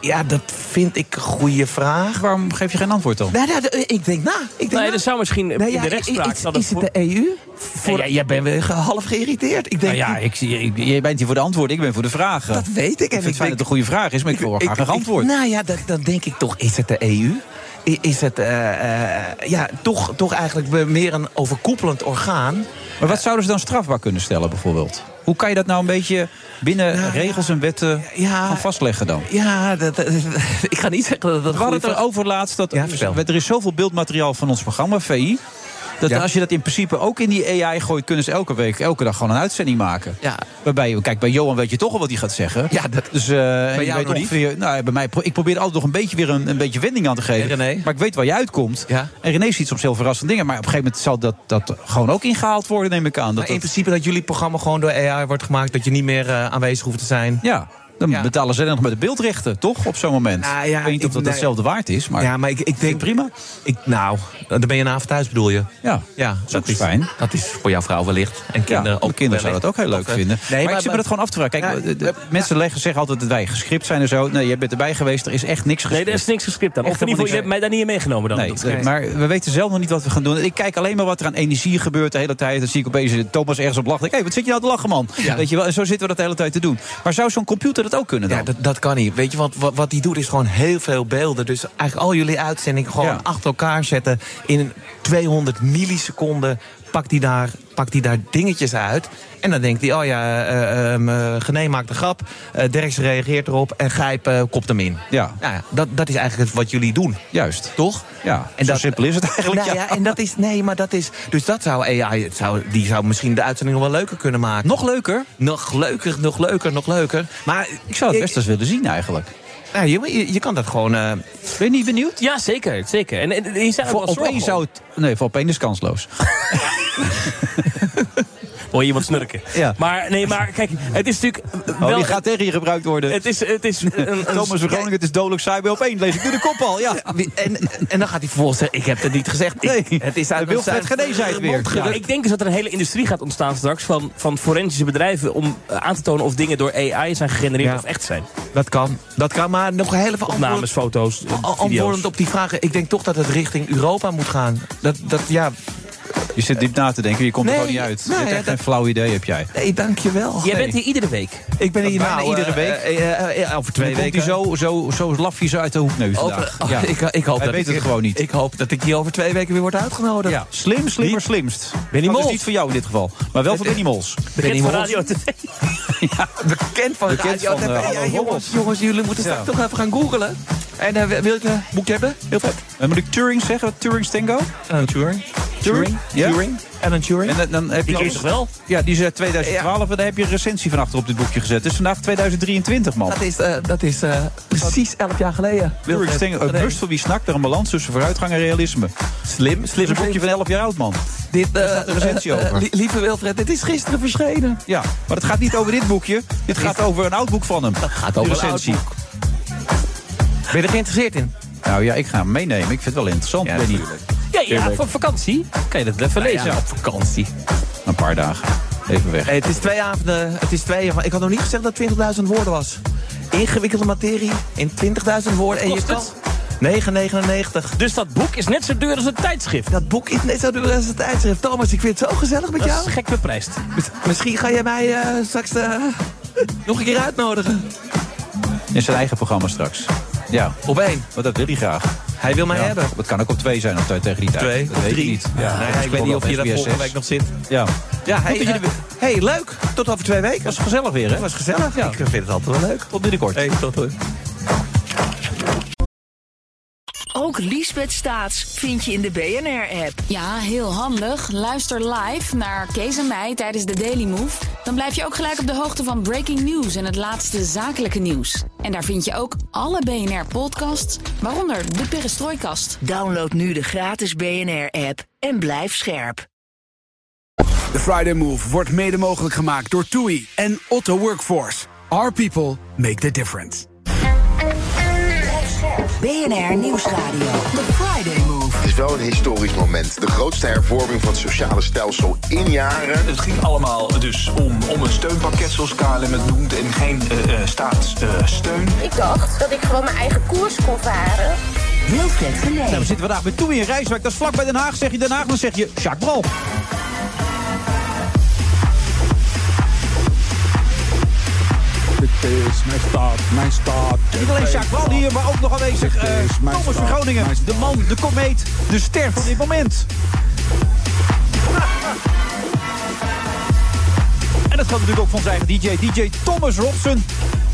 Speaker 21: ja, dat vind ik een goede vraag.
Speaker 5: Waarom geef je geen antwoord op?
Speaker 21: Nou, nou, d- ik denk na. Ik denk
Speaker 6: Nee,
Speaker 21: na.
Speaker 6: er zou misschien
Speaker 21: Nee,
Speaker 6: in
Speaker 21: ja,
Speaker 6: de
Speaker 21: i-
Speaker 6: rechtspraak...
Speaker 21: Is,
Speaker 6: dat
Speaker 21: is het de EU? Voor,
Speaker 6: Ja, ja,
Speaker 21: jij bent weer ge- half geïrriteerd. Ik
Speaker 5: Nou
Speaker 21: denk,
Speaker 5: ja, ik, ik, jij bent hier voor de antwoorden, ik ben voor de vragen.
Speaker 21: Dat weet ik.
Speaker 5: Ik
Speaker 21: En
Speaker 5: vind het fijn
Speaker 21: ik denk-
Speaker 5: dat het een goede vraag is, maar ik wil wel
Speaker 21: ik-
Speaker 5: graag een
Speaker 21: ik-
Speaker 5: antwoord.
Speaker 21: nou ja, dat- dan denk ik toch, is het de EU? I- Is het eh, eh, ja, toch, toch eigenlijk be- meer een overkoepelend orgaan?
Speaker 5: Maar wat zouden ze dan strafbaar kunnen stellen, bijvoorbeeld? Hoe kan je dat nou een beetje binnen
Speaker 21: Nou,
Speaker 5: regels en wetten gaan vastleggen dan?
Speaker 21: Ja, dat, dat- ik ga niet zeggen dat dat
Speaker 5: We hadden
Speaker 21: goede
Speaker 5: het
Speaker 21: vraag-
Speaker 5: erover laatst dat
Speaker 21: Ja, vertel.
Speaker 5: er is zoveel beeldmateriaal van ons programma, VI. Dat als je dat in principe ook in die AI gooit, kunnen ze elke week, elke dag gewoon een uitzending maken.
Speaker 21: Ja.
Speaker 5: Waarbij, je- kijk, bij Johan weet je toch al wat hij gaat zeggen.
Speaker 21: Ja, dat,
Speaker 5: dus, eh, en je
Speaker 21: jou
Speaker 5: weet
Speaker 21: nog niet?
Speaker 5: ongeveer, nou, bij mij, pro- ik probeer altijd nog een beetje weer een, een beetje wending aan te geven. Maar ik weet waar je uitkomt. En René ziet soms heel verrassende dingen. Maar op een gegeven moment zal dat, dat gewoon ook ingehaald worden, neem ik aan. Dat
Speaker 21: Maar in principe dat jullie programma gewoon door AI wordt gemaakt... dat je niet meer eh, aanwezig hoeft te zijn.
Speaker 5: Ja, dan
Speaker 21: Ja.
Speaker 5: betalen ze dan nog met de beeldrechten, toch? Op zo'n moment.
Speaker 21: Nou
Speaker 5: ik weet niet of dat
Speaker 21: nee.
Speaker 5: hetzelfde waard is, maar...
Speaker 21: ja, maar ik, ik denk prima. Ik, nou, dan ben je een avond thuis, bedoel je?
Speaker 5: Ja,
Speaker 21: ja dat is fijn. Dat is voor jouw vrouw wellicht. En kinderen ook.
Speaker 5: Ook kinderen zouden
Speaker 21: wellicht.
Speaker 5: dat ook heel leuk
Speaker 21: Of, eh,
Speaker 5: vinden.
Speaker 21: Nee,
Speaker 5: maar,
Speaker 21: maar,
Speaker 5: ik zit me dat gewoon af te vragen. Kijk, de- de- mensen leggen, zeggen altijd dat wij gescript zijn en zo. Nee, jij bent erbij geweest, er is echt niks gescript.
Speaker 6: Nee, er is niks gescript aan. Of
Speaker 5: Echt
Speaker 6: in ieder geval, je hebt mij
Speaker 5: helemaal
Speaker 6: daar niet in meegenomen dan.
Speaker 5: Nee,
Speaker 6: Dat-
Speaker 5: nee, maar we weten zelf nog niet wat we gaan doen. Ik kijk alleen maar wat er aan energie gebeurt de hele tijd. Dan zie ik opeens Thomas ergens op lachen. Hé, hey, wat zit je nou te lachen, man? Weet je wel? En zo zitten we dat de hele tijd te doen. Maar zou zo'n computer dat ook kunnen dan?
Speaker 21: Ja, dat, dat kan niet. Weet je, want wat, wat die doet is gewoon heel veel beelden. Dus eigenlijk al jullie uitzendingen gewoon achter elkaar zetten. In 200 milliseconden pakt die daar, pakt die daar dingetjes uit. En dan denkt hij, oh ja, eh ehm, eh, Gené maakt een grap. eh, Derks reageert erop en Gijp eh, kopt hem in.
Speaker 5: Ja.
Speaker 21: Nou ja, dat, dat is eigenlijk wat jullie doen.
Speaker 5: Juist.
Speaker 21: Toch?
Speaker 5: Ja, zo simpel is het eigenlijk,
Speaker 21: Nou
Speaker 5: ja.
Speaker 21: ja, en dat is, nee, maar dat is... Dus dat zou AI, het zou, die zou misschien de uitzending nog wel leuker kunnen maken.
Speaker 5: Nog leuker?
Speaker 21: Nog leuker, nog leuker, nog leuker. Maar
Speaker 5: Ik zou het best eens willen zien eigenlijk.
Speaker 21: Ja, je, je, je kan dat gewoon... eh,
Speaker 5: Ben je niet benieuwd?
Speaker 6: Ja, zeker. zeker. En, en, en je zou
Speaker 5: Voor op één zou het... Nee, voor op één is kansloos.
Speaker 6: Hoor je iemand snurken.
Speaker 5: Ja.
Speaker 6: Maar nee, maar kijk, het is natuurlijk
Speaker 5: Oh,
Speaker 6: wel...
Speaker 5: die gaat tegen je gebruikt worden.
Speaker 6: Het is, het is een, een-
Speaker 5: Thomas van Groningen, het is dodelijk cyber op één. Lees ik nu de kop al, ja.
Speaker 21: En, en dan gaat hij vervolgens zeggen, ik heb het niet gezegd. Ik- het is uit
Speaker 5: Wilfred
Speaker 21: zijn-
Speaker 5: Gené zei het weer.
Speaker 21: mond gedrukt.
Speaker 6: ik denk dus dat er een hele industrie gaat ontstaan straks van, van forensische bedrijven om eh, aan te tonen of dingen door AI zijn gegenereerd
Speaker 21: Ja.
Speaker 6: of echt zijn.
Speaker 21: Dat kan. Dat kan, maar nog heel even
Speaker 6: Opnames, foto's, eh,
Speaker 21: Al-
Speaker 6: video's.
Speaker 21: Antwoordend op die vragen, ik denk toch dat het richting Europa moet gaan. Dat, dat ja,
Speaker 5: Je zit diep na te denken, je komt er
Speaker 21: Nee,
Speaker 5: gewoon niet uit.
Speaker 21: nou
Speaker 5: je hebt
Speaker 21: ja,
Speaker 5: echt geen flauw idee, heb jij.
Speaker 21: Nee, dankjewel.
Speaker 5: Jij
Speaker 21: Nee.
Speaker 5: bent hier
Speaker 6: iedere week.
Speaker 21: Ik ben hier
Speaker 5: Bijna
Speaker 21: nou,
Speaker 5: iedere
Speaker 21: eh,
Speaker 5: week.
Speaker 21: eh, eh, eh, over twee
Speaker 5: Dan
Speaker 21: weken.
Speaker 5: Komt hij zo, zo, zo laf je zo uit de hoek nu
Speaker 21: Over-
Speaker 5: vandaag.
Speaker 21: oh, ik, ik hoop
Speaker 5: Hij
Speaker 21: dat
Speaker 5: weet
Speaker 21: ik,
Speaker 5: het gewoon niet.
Speaker 21: Ik hoop dat ik hier over twee weken weer word uitgenodigd.
Speaker 5: Ja, slim, slimmer, slimst. Benny Dat is
Speaker 21: Mols.
Speaker 5: niet voor jou in dit geval, maar wel voor Benny Mols.
Speaker 21: Benny Mols. ja, bekend van
Speaker 5: Bekend
Speaker 21: Radio
Speaker 5: van, eh,
Speaker 21: TV. Ja,
Speaker 5: Hallo
Speaker 21: jongens,
Speaker 5: Holland.
Speaker 21: jongens, jullie moeten straks
Speaker 5: Ja.
Speaker 21: toch even gaan googlen. En eh, wil je een boekje hebben? Heel vet.
Speaker 5: En Eh, moet ik Turing zeggen? Turing's Tango?
Speaker 21: Alan Turing.
Speaker 5: Turing? Ja?
Speaker 21: Turing. Alan Turing.
Speaker 5: En dan, dan heb
Speaker 21: Die
Speaker 5: je
Speaker 21: ken je toch wel?
Speaker 5: Ja, die is uit 2012. En daar heb je een recensie van achter op dit boekje gezet. Dus vandaag 2023, man.
Speaker 21: Dat is, eh, dat is eh, precies elf jaar geleden.
Speaker 5: Turing's
Speaker 21: Wilfred.
Speaker 5: Tango. Een
Speaker 21: Nee.
Speaker 5: bus eh, voor wie snakt. Er een balans tussen vooruitgang en realisme.
Speaker 21: Slim.
Speaker 5: Dat is een boekje van 11 jaar oud, man.
Speaker 21: Dit,
Speaker 5: Daar staat een recensie
Speaker 21: eh, eh,
Speaker 5: over.
Speaker 21: li- lieve Wilfred, dit is gisteren verschenen.
Speaker 5: Ja, maar het gaat niet over dit boekje. Dit gaat over een oud boek van hem. Dat gaat
Speaker 21: over een
Speaker 5: recensie.
Speaker 21: oud Ben je er geïnteresseerd in?
Speaker 5: Nou ja, ik ga hem meenemen. Ik vind het wel interessant. Ja, Benny.
Speaker 6: Ja, ja,
Speaker 5: Tuurlijk.
Speaker 6: voor vakantie. Kan je dat even
Speaker 21: Nou ja,
Speaker 6: lezen?
Speaker 21: op vakantie.
Speaker 5: Een paar dagen. Even weg.
Speaker 21: Hey, het is twee avonden, het is twee maar Ik had nog niet gezegd dat het 20.000 woorden was. Ingewikkelde materie in 20.000 woorden. En je
Speaker 6: kost
Speaker 21: kan...
Speaker 6: het?
Speaker 21: 9,99.
Speaker 6: Dus dat boek is net zo duur als het tijdschrift.
Speaker 21: Dat boek is net zo duur als het tijdschrift. Thomas, ik vind het zo gezellig met
Speaker 6: Dat
Speaker 21: jou.
Speaker 6: is gek beprijsd.
Speaker 21: Mis- Misschien ga jij mij eh, straks eh, nog een keer uitnodigen.
Speaker 5: In zijn eigen programma straks. Ja.
Speaker 21: Op één.
Speaker 5: Want dat wil hij graag.
Speaker 21: Hij wil mij
Speaker 5: Ja,
Speaker 21: hebben.
Speaker 5: Het kan ook op twee zijn op tijd tegen die tijd.
Speaker 21: Twee,
Speaker 5: dat
Speaker 21: of
Speaker 5: weet
Speaker 21: drie.
Speaker 5: ik niet.
Speaker 21: Ja,
Speaker 5: Nee,
Speaker 21: ik
Speaker 5: misschien
Speaker 21: weet niet
Speaker 5: wel
Speaker 21: of je daar
Speaker 5: SBS6.
Speaker 21: volgende week nog zit.
Speaker 5: Ja.
Speaker 21: Ja, hey,
Speaker 5: Goed dat
Speaker 21: eh, hey, leuk. Tot over twee weken.
Speaker 5: was gezellig weer, hè?
Speaker 21: was gezellig. Ik vind het altijd wel leuk.
Speaker 5: Tot binnenkort.
Speaker 21: Hey, tot hoor.
Speaker 1: Ook Liesbeth Staats vind je in de BNR-app.
Speaker 23: Ja, heel handig. Luister live naar Kees en mij tijdens de Daily Move. Dan blijf je ook gelijk op de hoogte van breaking news en het laatste zakelijke nieuws. En daar vind je ook alle BNR-podcasts, waaronder de Perestrooikast.
Speaker 1: Download nu de gratis BNR-app en blijf scherp.
Speaker 11: De Friday Move wordt mede mogelijk gemaakt door TUI en Otto Workforce. Our people make the difference.
Speaker 1: BNR Nieuwsradio. The Friday Move.
Speaker 12: Het is wel een historisch moment. De grootste hervorming van het sociale stelsel in jaren.
Speaker 13: Het ging allemaal dus om, om een steunpakket zoals KLM het noemt en geen eh, eh, staatssteun.
Speaker 14: Ik dacht dat ik gewoon mijn eigen koers kon varen.
Speaker 1: Wilfred
Speaker 5: Nou, we
Speaker 1: Genee.
Speaker 5: zitten vandaag met Toei in Rijswijk. Dat is vlak bij Den Haag. Zeg je Den Haag, dan zeg je Jacques Bral.
Speaker 19: Dit is mijn stad, mijn stad.
Speaker 5: Niet alleen Jacques Bral hier, maar ook nog aanwezig eh, Thomas van Groningen. De man, de komeet, de ster van dit moment. En dat geldt natuurlijk ook voor onze eigen DJ, DJ Thomas Robson.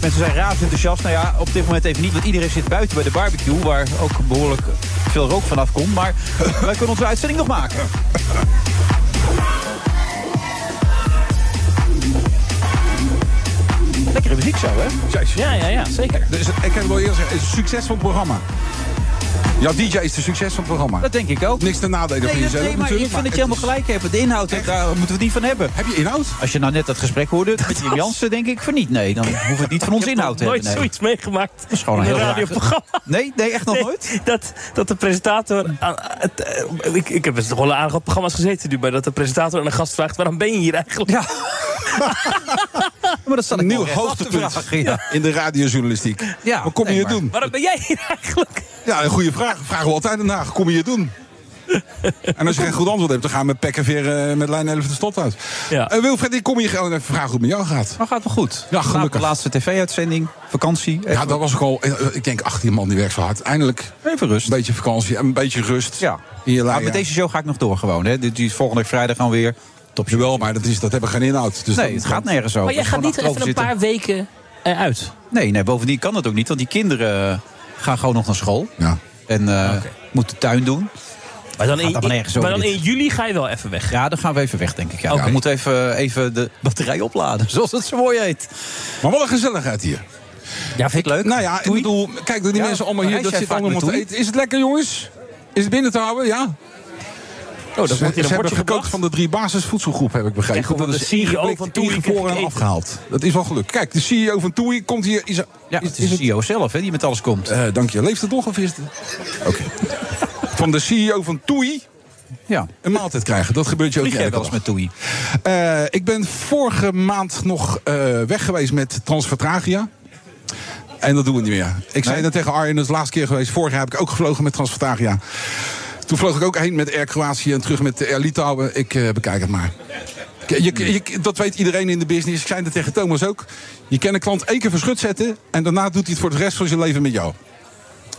Speaker 5: Mensen zijn razend enthousiast. Nou ja, op dit moment even niet, want iedereen zit buiten bij de barbecue... waar ook behoorlijk veel rook vanaf komt. Maar wij kunnen onze uitzending nog maken. Lekkere muziek zo, hè?
Speaker 6: Ja, ja, ja, zeker.
Speaker 19: Dus ik kan wel eerst zeggen, het is een succesvol programma. Ja, DJ is de succes van het programma.
Speaker 5: Dat denk ik ook.
Speaker 19: Niks te nadelen
Speaker 5: Nee,
Speaker 19: van
Speaker 5: dat-
Speaker 19: jezelf
Speaker 5: nee, maar ik
Speaker 19: natuurlijk.
Speaker 5: vind dat je helemaal gelijk hebt. De inhoud, daar moeten we het niet van hebben.
Speaker 19: Heb je inhoud?
Speaker 5: Als je nou net dat gesprek hoorde met Jim Jansen, denk ik van niet. Nee, dan hoeven we het niet van ons inhoud te
Speaker 6: nooit
Speaker 5: hebben. nee.
Speaker 6: zoiets meegemaakt. Dat
Speaker 5: is gewoon een
Speaker 6: in
Speaker 5: heel raar-
Speaker 6: radioprogramma.
Speaker 5: Nee, nee, echt nog
Speaker 6: Nee,
Speaker 5: nooit?
Speaker 6: Dat, dat de presentator. aan- het, eh, ik, ik heb best nog wel aardig op programma's gezeten nu, maar dat de presentator aan een gast vraagt: waarom ben je hier eigenlijk?
Speaker 5: Ja. maar dat staat
Speaker 19: Een nieuw hoogtepunt in de radiojournalistiek.
Speaker 5: Ja,
Speaker 19: Wat kom je
Speaker 5: nee,
Speaker 19: hier
Speaker 5: maar-
Speaker 19: doen?
Speaker 6: Waarom ben jij hier eigenlijk?
Speaker 19: Ja, een goede vraag. Vragen we altijd daarna. Kom je hier doen? En als je geen goed antwoord hebt, dan gaan we met Pek en Veer eh, met lijn 11 de stad uit. Eh, Wilfred, ik kom hier gewoon even vragen hoe het met jou gaat.
Speaker 5: Maar Nou, gaat wel goed.
Speaker 19: Ja,
Speaker 5: Na de
Speaker 19: gelukkig.
Speaker 5: laatste tv-uitzending, vakantie.
Speaker 19: Ja, dat was ook al, eh, ik denk 18 man die werkt zo hard. Eindelijk
Speaker 5: even rust.
Speaker 19: een beetje vakantie en een beetje rust.
Speaker 5: Ja.
Speaker 19: In je
Speaker 5: Maar
Speaker 19: lijn.
Speaker 5: met deze show ga ik nog door gewoon. Hè. Dit is volgende week vrijdag gaan we weer. Top
Speaker 19: Jawel, maar dat, is, dat hebben geen inhoud. Dus
Speaker 5: nee,
Speaker 19: dan-
Speaker 5: het gaat nergens over.
Speaker 6: maar jij
Speaker 5: Het is
Speaker 6: gaat
Speaker 5: gewoon
Speaker 6: niet even
Speaker 5: achterover
Speaker 6: een paar weken eruit.
Speaker 5: zitten. Nee, nee, bovendien kan dat ook niet. Want die kinderen eh, gaan gewoon nog naar school. En eh, moeten tuin doen.
Speaker 6: Ah, Maar dan,
Speaker 5: Gaat
Speaker 6: in,
Speaker 5: allemaal nergens
Speaker 6: maar
Speaker 5: over
Speaker 6: dan
Speaker 5: dit.
Speaker 6: in juli ga je wel even weg.
Speaker 5: Ja, dan gaan we even weg, denk ik. Ja.
Speaker 6: Oké.
Speaker 5: We moeten even, even de batterij opladen, zoals het zo mooi heet.
Speaker 19: Maar wat een gezelligheid hier.
Speaker 6: Ja, vind ik leuk.
Speaker 19: Nou ja, ik bedoel, kijk, die mensen allemaal hier,
Speaker 5: reis
Speaker 19: dat
Speaker 5: jij
Speaker 19: zit
Speaker 5: vaak
Speaker 19: allemaal te
Speaker 5: naartoe?
Speaker 19: eten. Is het lekker, jongens? Is het binnen te houden? Ja?
Speaker 6: Oh, dat
Speaker 19: Ze,
Speaker 6: wordt
Speaker 19: ze
Speaker 6: in een
Speaker 19: hebben
Speaker 6: bordje
Speaker 19: gekookt
Speaker 6: gekocht.
Speaker 19: van de drie basisvoedselgroepen, heb ik begrepen.
Speaker 6: Echt, omdat
Speaker 19: dat
Speaker 6: de
Speaker 19: is
Speaker 5: E
Speaker 6: CEO
Speaker 19: ingeblikt,
Speaker 6: van Toei
Speaker 19: ingevroren en
Speaker 6: heeft
Speaker 19: afgehaald. Dat is wel geluk. Kijk, de CEO van Toei komt hier. Is,
Speaker 5: Ja, het is de CEO zelf hè, die met alles komt.
Speaker 19: eh, dank je. Leeft het nog of is het... Oké. van de CEO van Toei
Speaker 5: Ja.
Speaker 19: een maaltijd krijgen. Dat gebeurt je ook
Speaker 5: Vlieg jij wel
Speaker 19: elke
Speaker 5: eens
Speaker 19: dag.
Speaker 5: met Toei?
Speaker 19: Eh, ik ben vorige maand nog eh, weg geweest met Transvertragia. En dat doen we niet meer. Ik zei dat tegen Arjen, dat is de laatste keer geweest. Vorig jaar heb ik ook gevlogen met Transvertagia. Toen vloog ik ook heen met Air Kroatië en terug met Air Litouwen. Ik eh, bekijk het maar. K- je- je- dat weet iedereen in de business. Ik zei dat tegen Thomas ook. Je kan een klant één keer verschut zetten... en daarna doet hij het voor de rest van zijn leven met jou.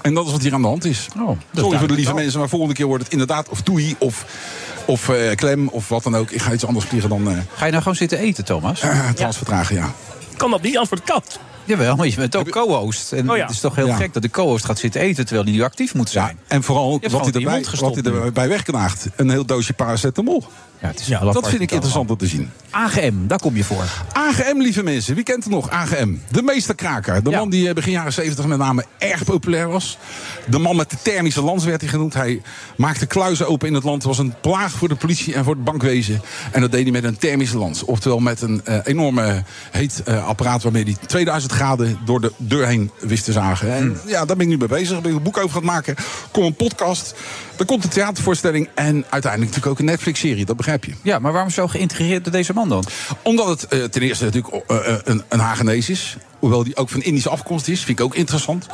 Speaker 19: En Oh, dat is wat hier aan de hand is. Sorry voor de duidelijk lieve wel. mensen, maar volgende keer wordt het inderdaad... of toei, of, of eh, klem, of wat dan ook. Ik ga iets anders vliegen dan... eh,
Speaker 5: Ga je nou gewoon zitten eten, Thomas?
Speaker 19: transvertragen, ja.
Speaker 6: Kan dat niet, antwoord kan.
Speaker 5: Jawel, want je bent ook co-host. En
Speaker 19: Oh ja.
Speaker 5: het is toch heel
Speaker 19: Ja.
Speaker 5: gek dat de co-host gaat zitten eten... terwijl hij nu actief moet zijn.
Speaker 19: en vooral
Speaker 5: hebt
Speaker 19: Oh, wat
Speaker 5: gewoon
Speaker 19: hij,
Speaker 5: in je
Speaker 19: erbij,
Speaker 5: mond
Speaker 19: wat
Speaker 5: gestopt
Speaker 19: hij
Speaker 5: nu.
Speaker 19: erbij wegknaagt. Een heel doosje paracetamol.
Speaker 5: Ja, het is
Speaker 19: Ja,
Speaker 5: wel
Speaker 19: dat
Speaker 5: apart
Speaker 19: vind ik
Speaker 5: allemaal.
Speaker 19: interessant om te zien.
Speaker 5: AGM, daar kom je voor.
Speaker 19: AGM, lieve mensen. Wie kent het nog? AGM. De meesterkraker. De man die eh, begin jaren 70 met name erg populair was. De man met de thermische lans werd hij genoemd. Hij maakte kluizen open in het land. was een plaag voor de politie en voor het bankwezen. En dat deed hij met een thermische lans. Oftewel met een eh, enorme heet eh, apparaat waarmee hij 2000 graden door de deur heen wist te zagen.
Speaker 5: Hmm.
Speaker 19: En ja, daar ben ik nu mee bezig. Daar ben ik een boek over gaan maken. Kom een podcast. Er komt een theatervoorstelling. En uiteindelijk natuurlijk ook een Netflix-serie. Dat begrijp je.
Speaker 5: Ja, maar waarom zo geïntegreerd door deze man dan?
Speaker 19: Omdat het eh, ten eerste natuurlijk eh, eh, een, een Hagenees is. Hoewel die ook van Indische afkomst is. Vind ik ook interessant.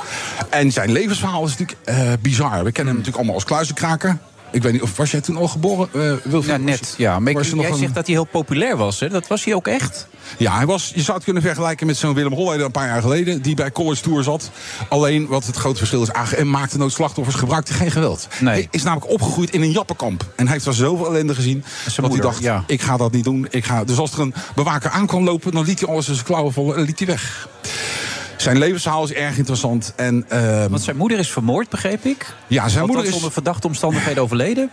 Speaker 19: En zijn levensverhaal is natuurlijk eh, bizar. We
Speaker 5: Hmm.
Speaker 19: kennen hem natuurlijk allemaal als kluizenkraker. Ik weet niet, of was jij toen al geboren? Uh, ja, net.
Speaker 5: Ja, maar ik-
Speaker 19: was je nog
Speaker 5: jij
Speaker 19: een-
Speaker 5: zegt dat hij heel populair was, hè? Dat was hij ook echt?
Speaker 19: Ja, hij was, je zou het kunnen vergelijken met zo'n Willem Holleder een paar jaar geleden. Die bij College Tour zat. Alleen wat het grote verschil is. AGM maakte nooit slachtoffers, gebruikte geen geweld. Hij is namelijk opgegroeid in een jappenkamp. En hij heeft daar zoveel ellende gezien. Dat
Speaker 5: moeder,
Speaker 19: hij dacht,
Speaker 5: ja.
Speaker 19: ik ga dat niet doen. Ik ga... Dus als er een bewaker aan kwam lopen, dan liet hij alles in zijn klauwen vallen en liet hij weg. Zijn levensverhaal is erg interessant. En, Want
Speaker 5: zijn moeder is vermoord, begreep ik?
Speaker 19: Ja, zijn
Speaker 5: Althans,
Speaker 19: moeder is...
Speaker 5: onder verdachte omstandigheden overleden?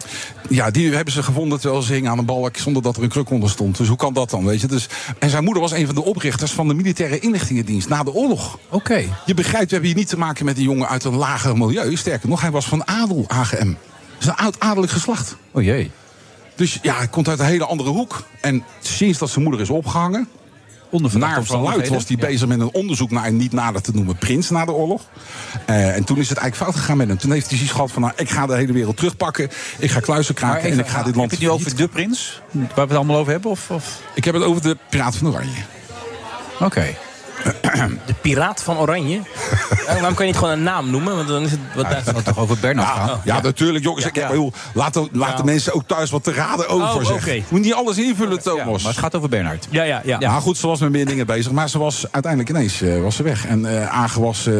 Speaker 19: Ja, die hebben ze gevonden terwijl ze hing aan een balk... zonder dat er een kruk onder stond. Dus hoe kan dat dan, weet je? Dus, en zijn moeder was een van de oprichters van de militaire inlichtingendienst... na de oorlog.
Speaker 5: Oké.
Speaker 19: Je begrijpt, we hebben hier niet te maken met een jongen uit een lager milieu. Sterker nog, hij was van adel, AGM. Dat is een oud adellijk geslacht.
Speaker 5: O Oh jee.
Speaker 19: Dus ja, hij komt uit een hele andere hoek. En sinds dat zijn moeder is opgehangen... Naar verluid was hij bezig met een onderzoek naar een niet nader te noemen prins na de oorlog. Eh, en toen is het eigenlijk fout gegaan met hem. Toen heeft hij zoiets gehad van: nou, ik ga de hele wereld terugpakken. Ik ga kluizen kraken en ik ga dit land.
Speaker 5: Heb je het nu over de prins? Waar we het allemaal over hebben? Of, of?
Speaker 19: Ik heb het over de Piraat van Oranje.
Speaker 5: Oké.
Speaker 6: De Piraat van Oranje? Ja, waarom kan je niet gewoon een naam noemen? Want dan is het wat
Speaker 19: het zou
Speaker 5: toch over Bernard
Speaker 19: Ja, ja, natuurlijk, jongens. ik heb, joh, laat de, laat de mensen ook thuis wat te raden over.
Speaker 6: Oh,
Speaker 19: zeg.
Speaker 6: oké.
Speaker 19: Je Moet niet alles invullen, Thomas.
Speaker 5: maar het gaat over Bernard.
Speaker 6: Ja, ja, ja.
Speaker 19: Ja, maar goed, ze was met meer dingen bezig. Maar ze was uiteindelijk ineens eh, was ze weg. En eh Agen was. eh,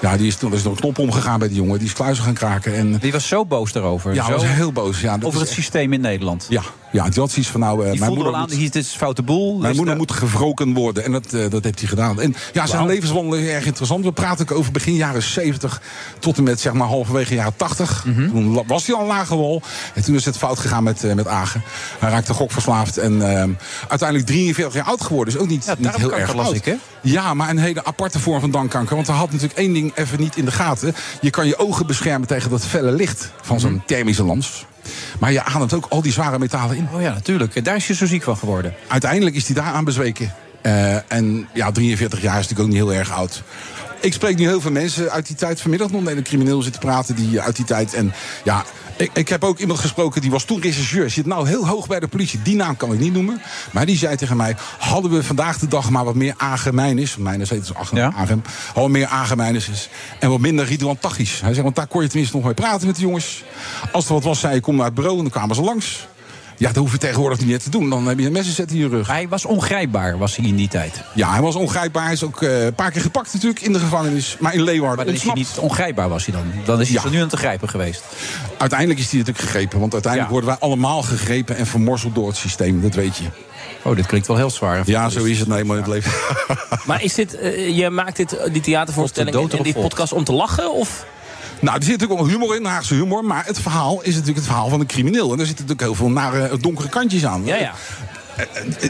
Speaker 19: ja, die is toen er is nog een knop omgegaan bij die jongen. Die is kluizen gaan kraken. En, eh,
Speaker 5: Die was zo boos daarover.
Speaker 19: ja,
Speaker 5: zo...
Speaker 19: was heel boos. Ja, dat
Speaker 5: over
Speaker 19: is
Speaker 5: het systeem in Nederland.
Speaker 19: Ja, ja die had zoiets van nou... eh,
Speaker 5: Die
Speaker 19: mijn
Speaker 5: voelde
Speaker 19: moeder
Speaker 5: al aan,
Speaker 19: moet,
Speaker 5: dit is foute boel.
Speaker 19: Mijn
Speaker 5: dus
Speaker 19: moeder
Speaker 5: daar-
Speaker 19: moet gevroken worden. En dat, eh, dat heeft hij gedaan. En ja, zijn
Speaker 5: Wauw.
Speaker 19: levenswandeling is erg interessant. We praten ook over begin jaren 70 tot en met zeg maar halverwege jaren 80.
Speaker 5: Mhm.
Speaker 19: Toen la- was hij al een lage wal. En toen is het fout gegaan met, eh, met Agen. Hij raakte gokverslaafd en ehm, uiteindelijk 43 jaar oud geworden. Dus ook niet, niet heel
Speaker 5: darmkanker
Speaker 19: erg
Speaker 5: las
Speaker 19: oud.
Speaker 5: ik, hè?
Speaker 19: Ja, maar een hele aparte vorm van darmkanker. Want hij had natuurlijk één ding even niet in de gaten. Je kan je ogen beschermen tegen dat felle licht van
Speaker 5: Mhm.
Speaker 19: zo'n ehm, thermische lans. Maar je ademt ook al die zware metalen in.
Speaker 5: Oh ja, natuurlijk. En daar is je zo ziek van geworden.
Speaker 19: Uiteindelijk is hij daar aan bezweken. Eh, en ja, 43 jaar is natuurlijk ook niet heel erg oud. Ik spreek nu heel veel mensen uit die tijd. Vanmiddag nog met een crimineel zitten praten die eh, uit die tijd. En ja, ik, ik heb ook iemand gesproken die was toen rechercheur. Zit nou heel hoog bij de politie. Die naam kan ik niet noemen. Maar die zei tegen mij: Hadden we vandaag de dag maar wat meer AGMijn is. Mijn is het dus ja? AGM. Hadden we meer AGMijn is. En wat minder Ridouan Taghi's. Hij zei: Want daar kon je tenminste nog mee praten met de jongens. Als er wat was, zei je: Kom naar het bureau. En dan kwamen ze langs. Ja, dat hoef je tegenwoordig niet meer te doen. Dan heb je een messenset in je rug.
Speaker 5: Hij was ongrijpbaar, was hij in die tijd.
Speaker 19: Ja, hij was ongrijpbaar. Hij is ook eh, een paar keer gepakt natuurlijk in de gevangenis. Maar in Leeuwarden
Speaker 5: Maar dan is hij
Speaker 19: ontsnapt.
Speaker 5: niet ongrijpbaar was hij dan. Dan is hij
Speaker 19: Ja.
Speaker 5: tot nu aan te grijpen geweest.
Speaker 19: Uiteindelijk is hij natuurlijk gegrepen. Want uiteindelijk worden wij allemaal gegrepen en vermorzeld door het systeem. Dat weet je.
Speaker 5: Oh, dit klinkt wel heel zwaar.
Speaker 19: Ja, zo is het nou eenmaal in het leven.
Speaker 6: Maar is dit, eh, je maakt dit, eh, die theatervoorstelling
Speaker 19: Of de dood
Speaker 6: en- en die
Speaker 19: erop volgt.
Speaker 6: podcast om te lachen? Of?
Speaker 19: Nou, er zit natuurlijk wel humor in, Haagse humor. Maar het verhaal is natuurlijk het verhaal van een crimineel. En daar zitten natuurlijk heel veel nare, eh, donkere kantjes aan. Eh,
Speaker 6: Ja, ja.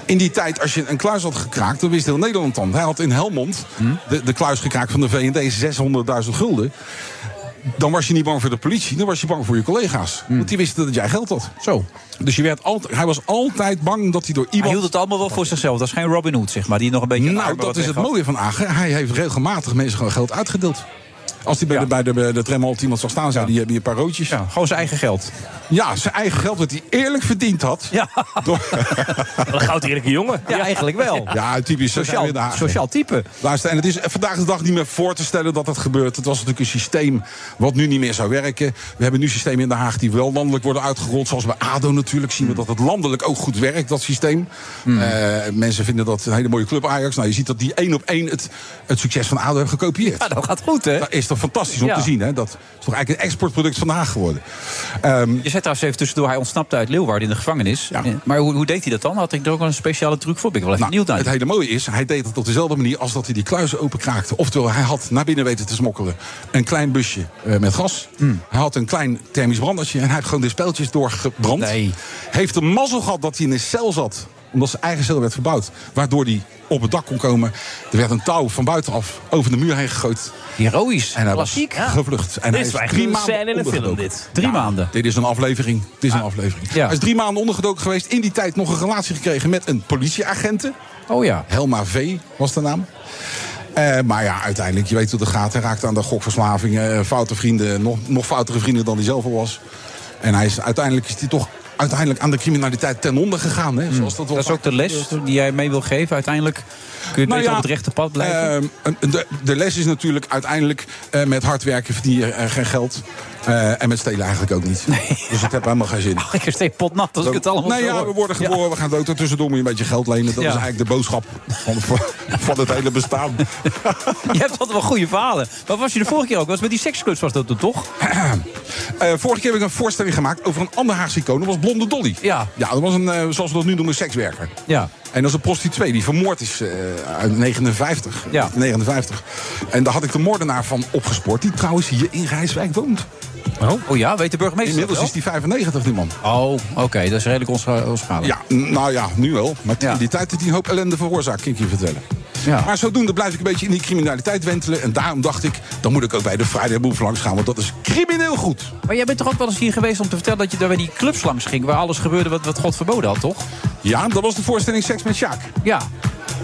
Speaker 19: In die tijd, als je een kluis had gekraakt, dan wist heel Nederland dan. Hij had in Helmond
Speaker 6: Hm?
Speaker 19: de, de kluis gekraakt van de VND 600.000 gulden. Dan was je niet bang voor de politie, dan was je bang voor je collega's.
Speaker 6: Hm.
Speaker 19: Want die wisten dat jij geld had. Zo. Dus je werd altijd, hij was altijd bang dat hij door iemand.
Speaker 5: Hij hield het allemaal wel voor zichzelf. Dat is geen Robin Hood, zeg maar. Die nog een beetje...
Speaker 19: Nou, dat is het mooie van Agen. Hij heeft regelmatig mensen gewoon geld uitgedeeld. Als die bij, de, bij de, bij de tramhalte iemand zou staan, zou die hebben hier een paar roodjes.
Speaker 5: gewoon zijn eigen geld.
Speaker 19: Ja, zijn eigen geld dat hij eerlijk verdiend had.
Speaker 5: Ja.
Speaker 19: Wat
Speaker 6: een goud eerlijke jongen.
Speaker 5: Ja, eigenlijk wel.
Speaker 19: Ja, typisch. zo zijn
Speaker 5: Sociaal-
Speaker 19: we in Den Haag.
Speaker 5: sociaal type.
Speaker 19: Luister, en het is vandaag de dag niet meer voor te stellen dat dat gebeurt. Het was natuurlijk een systeem wat nu niet meer zou werken. We hebben nu systemen in Den Haag die wel landelijk worden uitgerold. Zoals bij ADO natuurlijk zien we dat het landelijk ook goed werkt, dat systeem.
Speaker 5: Hmm.
Speaker 19: Eh, mensen vinden dat een hele mooie club Ajax. Nou, je ziet dat die één op één het, het succes van ADO hebben gekopieerd. Ja,
Speaker 5: dat gaat goed, hè?
Speaker 19: Dat is toch fantastisch om
Speaker 5: Ja.
Speaker 19: te zien, hè? Dat is toch eigenlijk een exportproduct van Den Haag geworden. Ehm,
Speaker 5: Je zet trouwens even tussendoor, hij ontsnapte uit Leeuwarden in de gevangenis. Eh, Maar hoe, hoe deed hij dat dan? Had ik er ook wel een speciale truc voor? Ben ik wel even
Speaker 19: Nou,
Speaker 5: benieuwd naar.
Speaker 19: Het hele mooie is, hij deed het op dezelfde manier als dat hij die kluizen openkraakte. Oftewel, hij had naar binnen weten te smokkelen een klein busje eh, met gas.
Speaker 6: Hmm.
Speaker 19: Hij had een klein thermisch brandertje en hij heeft gewoon de speeltjes doorgebrand. Heeft een mazzel gehad dat hij in een cel zat, omdat zijn eigen cel werd verbouwd. Waardoor hij op het dak kon komen. Er werd een touw van buitenaf over de muur heen gegooid.
Speaker 5: Heroïs.
Speaker 19: En hij
Speaker 5: Klassiek.
Speaker 19: was gevlucht. En
Speaker 6: Dit
Speaker 19: hij
Speaker 6: is
Speaker 19: is
Speaker 6: eigenlijk
Speaker 19: drie
Speaker 6: een
Speaker 19: maanden
Speaker 6: scène in een film,
Speaker 19: ondergedoken.
Speaker 6: dit.
Speaker 5: Drie maanden.
Speaker 19: Dit is een aflevering. Dit is een aflevering. Hij is drie maanden ondergedoken geweest. In die tijd nog een relatie gekregen met een politieagenten.
Speaker 5: Oh ja.
Speaker 19: Helma V was de naam. Eh, maar ja, uiteindelijk, je weet hoe het gaat. Hij raakte aan de gokverslaving. eh, foute vrienden, nog, nog foutere vrienden dan hij zelf al was. En hij is, uiteindelijk is hij toch uiteindelijk aan de criminaliteit ten onder gegaan. Hè? Zoals dat, wel
Speaker 5: Hmm. Dat is ook de
Speaker 19: vaker
Speaker 5: les
Speaker 19: gebeurt.
Speaker 5: die jij mee wil geven. Uiteindelijk kun je
Speaker 19: Nou
Speaker 5: beter
Speaker 19: ja,
Speaker 5: op het rechte pad blijven.
Speaker 19: Ehm, de, de les is natuurlijk uiteindelijk eh, met hard werken verdien je eh, geen geld. Eh, en met stelen eigenlijk ook niet. Dus het heeft helemaal geen zin.
Speaker 5: ik steek potnat als ik het allemaal
Speaker 19: Nou
Speaker 5: zo
Speaker 19: ja,
Speaker 5: hoor.
Speaker 19: we worden geboren, we gaan dood. Tussendoor moet je een beetje geld lenen. Dat
Speaker 5: Ja.
Speaker 19: is eigenlijk de boodschap van, van- van het hele bestaan.
Speaker 5: Je hebt altijd wel goede verhalen. Maar was je de vorige keer ook? Was met die seksclubs was dat toen toch?
Speaker 19: Eh, vorige keer heb ik een voorstelling gemaakt over een ander Haagse icoon. Dat was Blonde Dolly. Ja. Ja, dat was een, eh, zoals we dat nu noemen, sekswerker.
Speaker 5: Ja.
Speaker 19: En dat is een prostituee die vermoord is eh, uit 59.
Speaker 5: Ja.
Speaker 19: 59. En daar had ik de moordenaar van opgespoord. Die trouwens hier in Rijswijk woont.
Speaker 5: Oh, ja, weet de burgemeester
Speaker 19: Inmiddels is die 95, die man.
Speaker 5: Oh, oké, dat is redelijk onscha- onschadelijk.
Speaker 19: Ja, n- nou ja, nu wel. Maar in die tijd heeft hij een hoop ellende veroorzaakt, kan ik je vertellen. Maar zodoende blijf ik een beetje in die criminaliteit wentelen. En daarom dacht ik, dan moet ik ook bij de Friday Move langs gaan. Want dat is crimineel goed.
Speaker 5: Maar jij bent toch ook wel eens hier geweest om te vertellen dat je daar bij die clubs langs ging... waar alles gebeurde wat, wat God verboden had, toch?
Speaker 19: Ja, dat was de voorstelling Seks met Sjaak.
Speaker 5: Ja.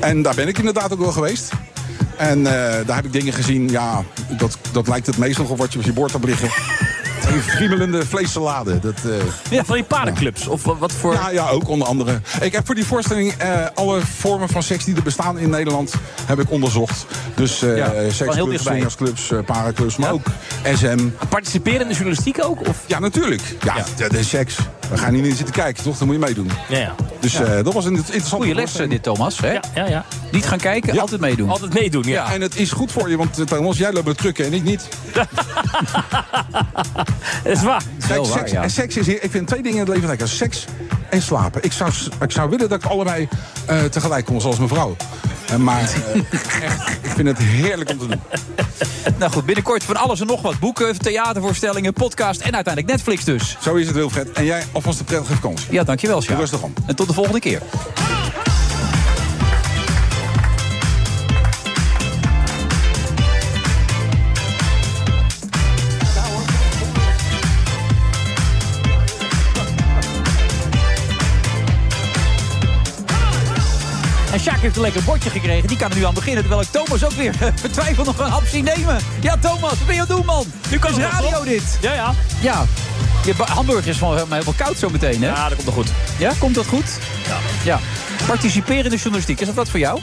Speaker 19: En daar ben ik inderdaad ook wel geweest. En eh, daar heb ik dingen gezien, ja, dat, dat lijkt het meest nog op wat je op je bord hebt liggen. Een friemelende vleessalade. Dat, eh,
Speaker 6: ja, van die paardenclubs. Of wa- wat voor...
Speaker 19: Ja, ja, ook onder andere. Ik heb voor die voorstelling eh, alle vormen van seks die er bestaan in Nederland heb ik onderzocht. Dus eh
Speaker 6: Ja, van heel
Speaker 19: seksclubs,
Speaker 6: dichtbij.
Speaker 19: swingersclubs, eh, paraclubs, maar ook SM.
Speaker 6: Participeren in de journalistiek ook? Of?
Speaker 19: Ja, natuurlijk. Ja, dat is seks. We gaan hier niet zitten kijken, toch? Dan moet je meedoen.
Speaker 6: Ja, ja.
Speaker 19: Dus
Speaker 6: Ja.
Speaker 19: eh, dat was een interessante
Speaker 5: Goeie les,
Speaker 19: voorstelling.
Speaker 5: dit, Thomas. Hè?
Speaker 6: Ja, ja, ja.
Speaker 5: Niet gaan kijken, altijd meedoen.
Speaker 6: Altijd meedoen, ja.
Speaker 19: En het is goed voor je, want eh, Thomas, jij loopt met trucken en ik niet.
Speaker 6: Dat is waar.
Speaker 19: Kijk, seks, en seks is hier. Ik vind twee dingen in het leven lekker: seks en slapen. Ik zou, ik zou willen dat ik allebei eh, tegelijk kon, zoals mijn vrouw. Eh, maar eh, echt, ik vind het heerlijk om te doen.
Speaker 5: Nou goed, binnenkort van alles en nog wat. Boeken, theatervoorstellingen, podcast en uiteindelijk Netflix dus.
Speaker 19: Zo is het, Wilfred. En jij alvast een prettige vakantie.
Speaker 5: Ja, dankjewel, Sjaak.
Speaker 19: Rustig om.
Speaker 5: En tot de volgende keer. En Sjaak heeft een lekker bordje gekregen. Die kan er nu aan beginnen. Terwijl ik Thomas ook weer vertwijfeld nog een hap zie nemen. Ja, Thomas, wat ben je aan het doen, man? Nu kan
Speaker 6: het wel,
Speaker 5: radio
Speaker 6: toch?
Speaker 5: dit.
Speaker 6: Ja, ja.
Speaker 5: Ja. Je ba- hamburger is van helemaal helemaal koud zo meteen, hè?
Speaker 6: Ja, dat komt wel goed.
Speaker 5: Ja, komt dat goed? Ja. ja. Participeren in de journalistiek, is dat wat voor jou?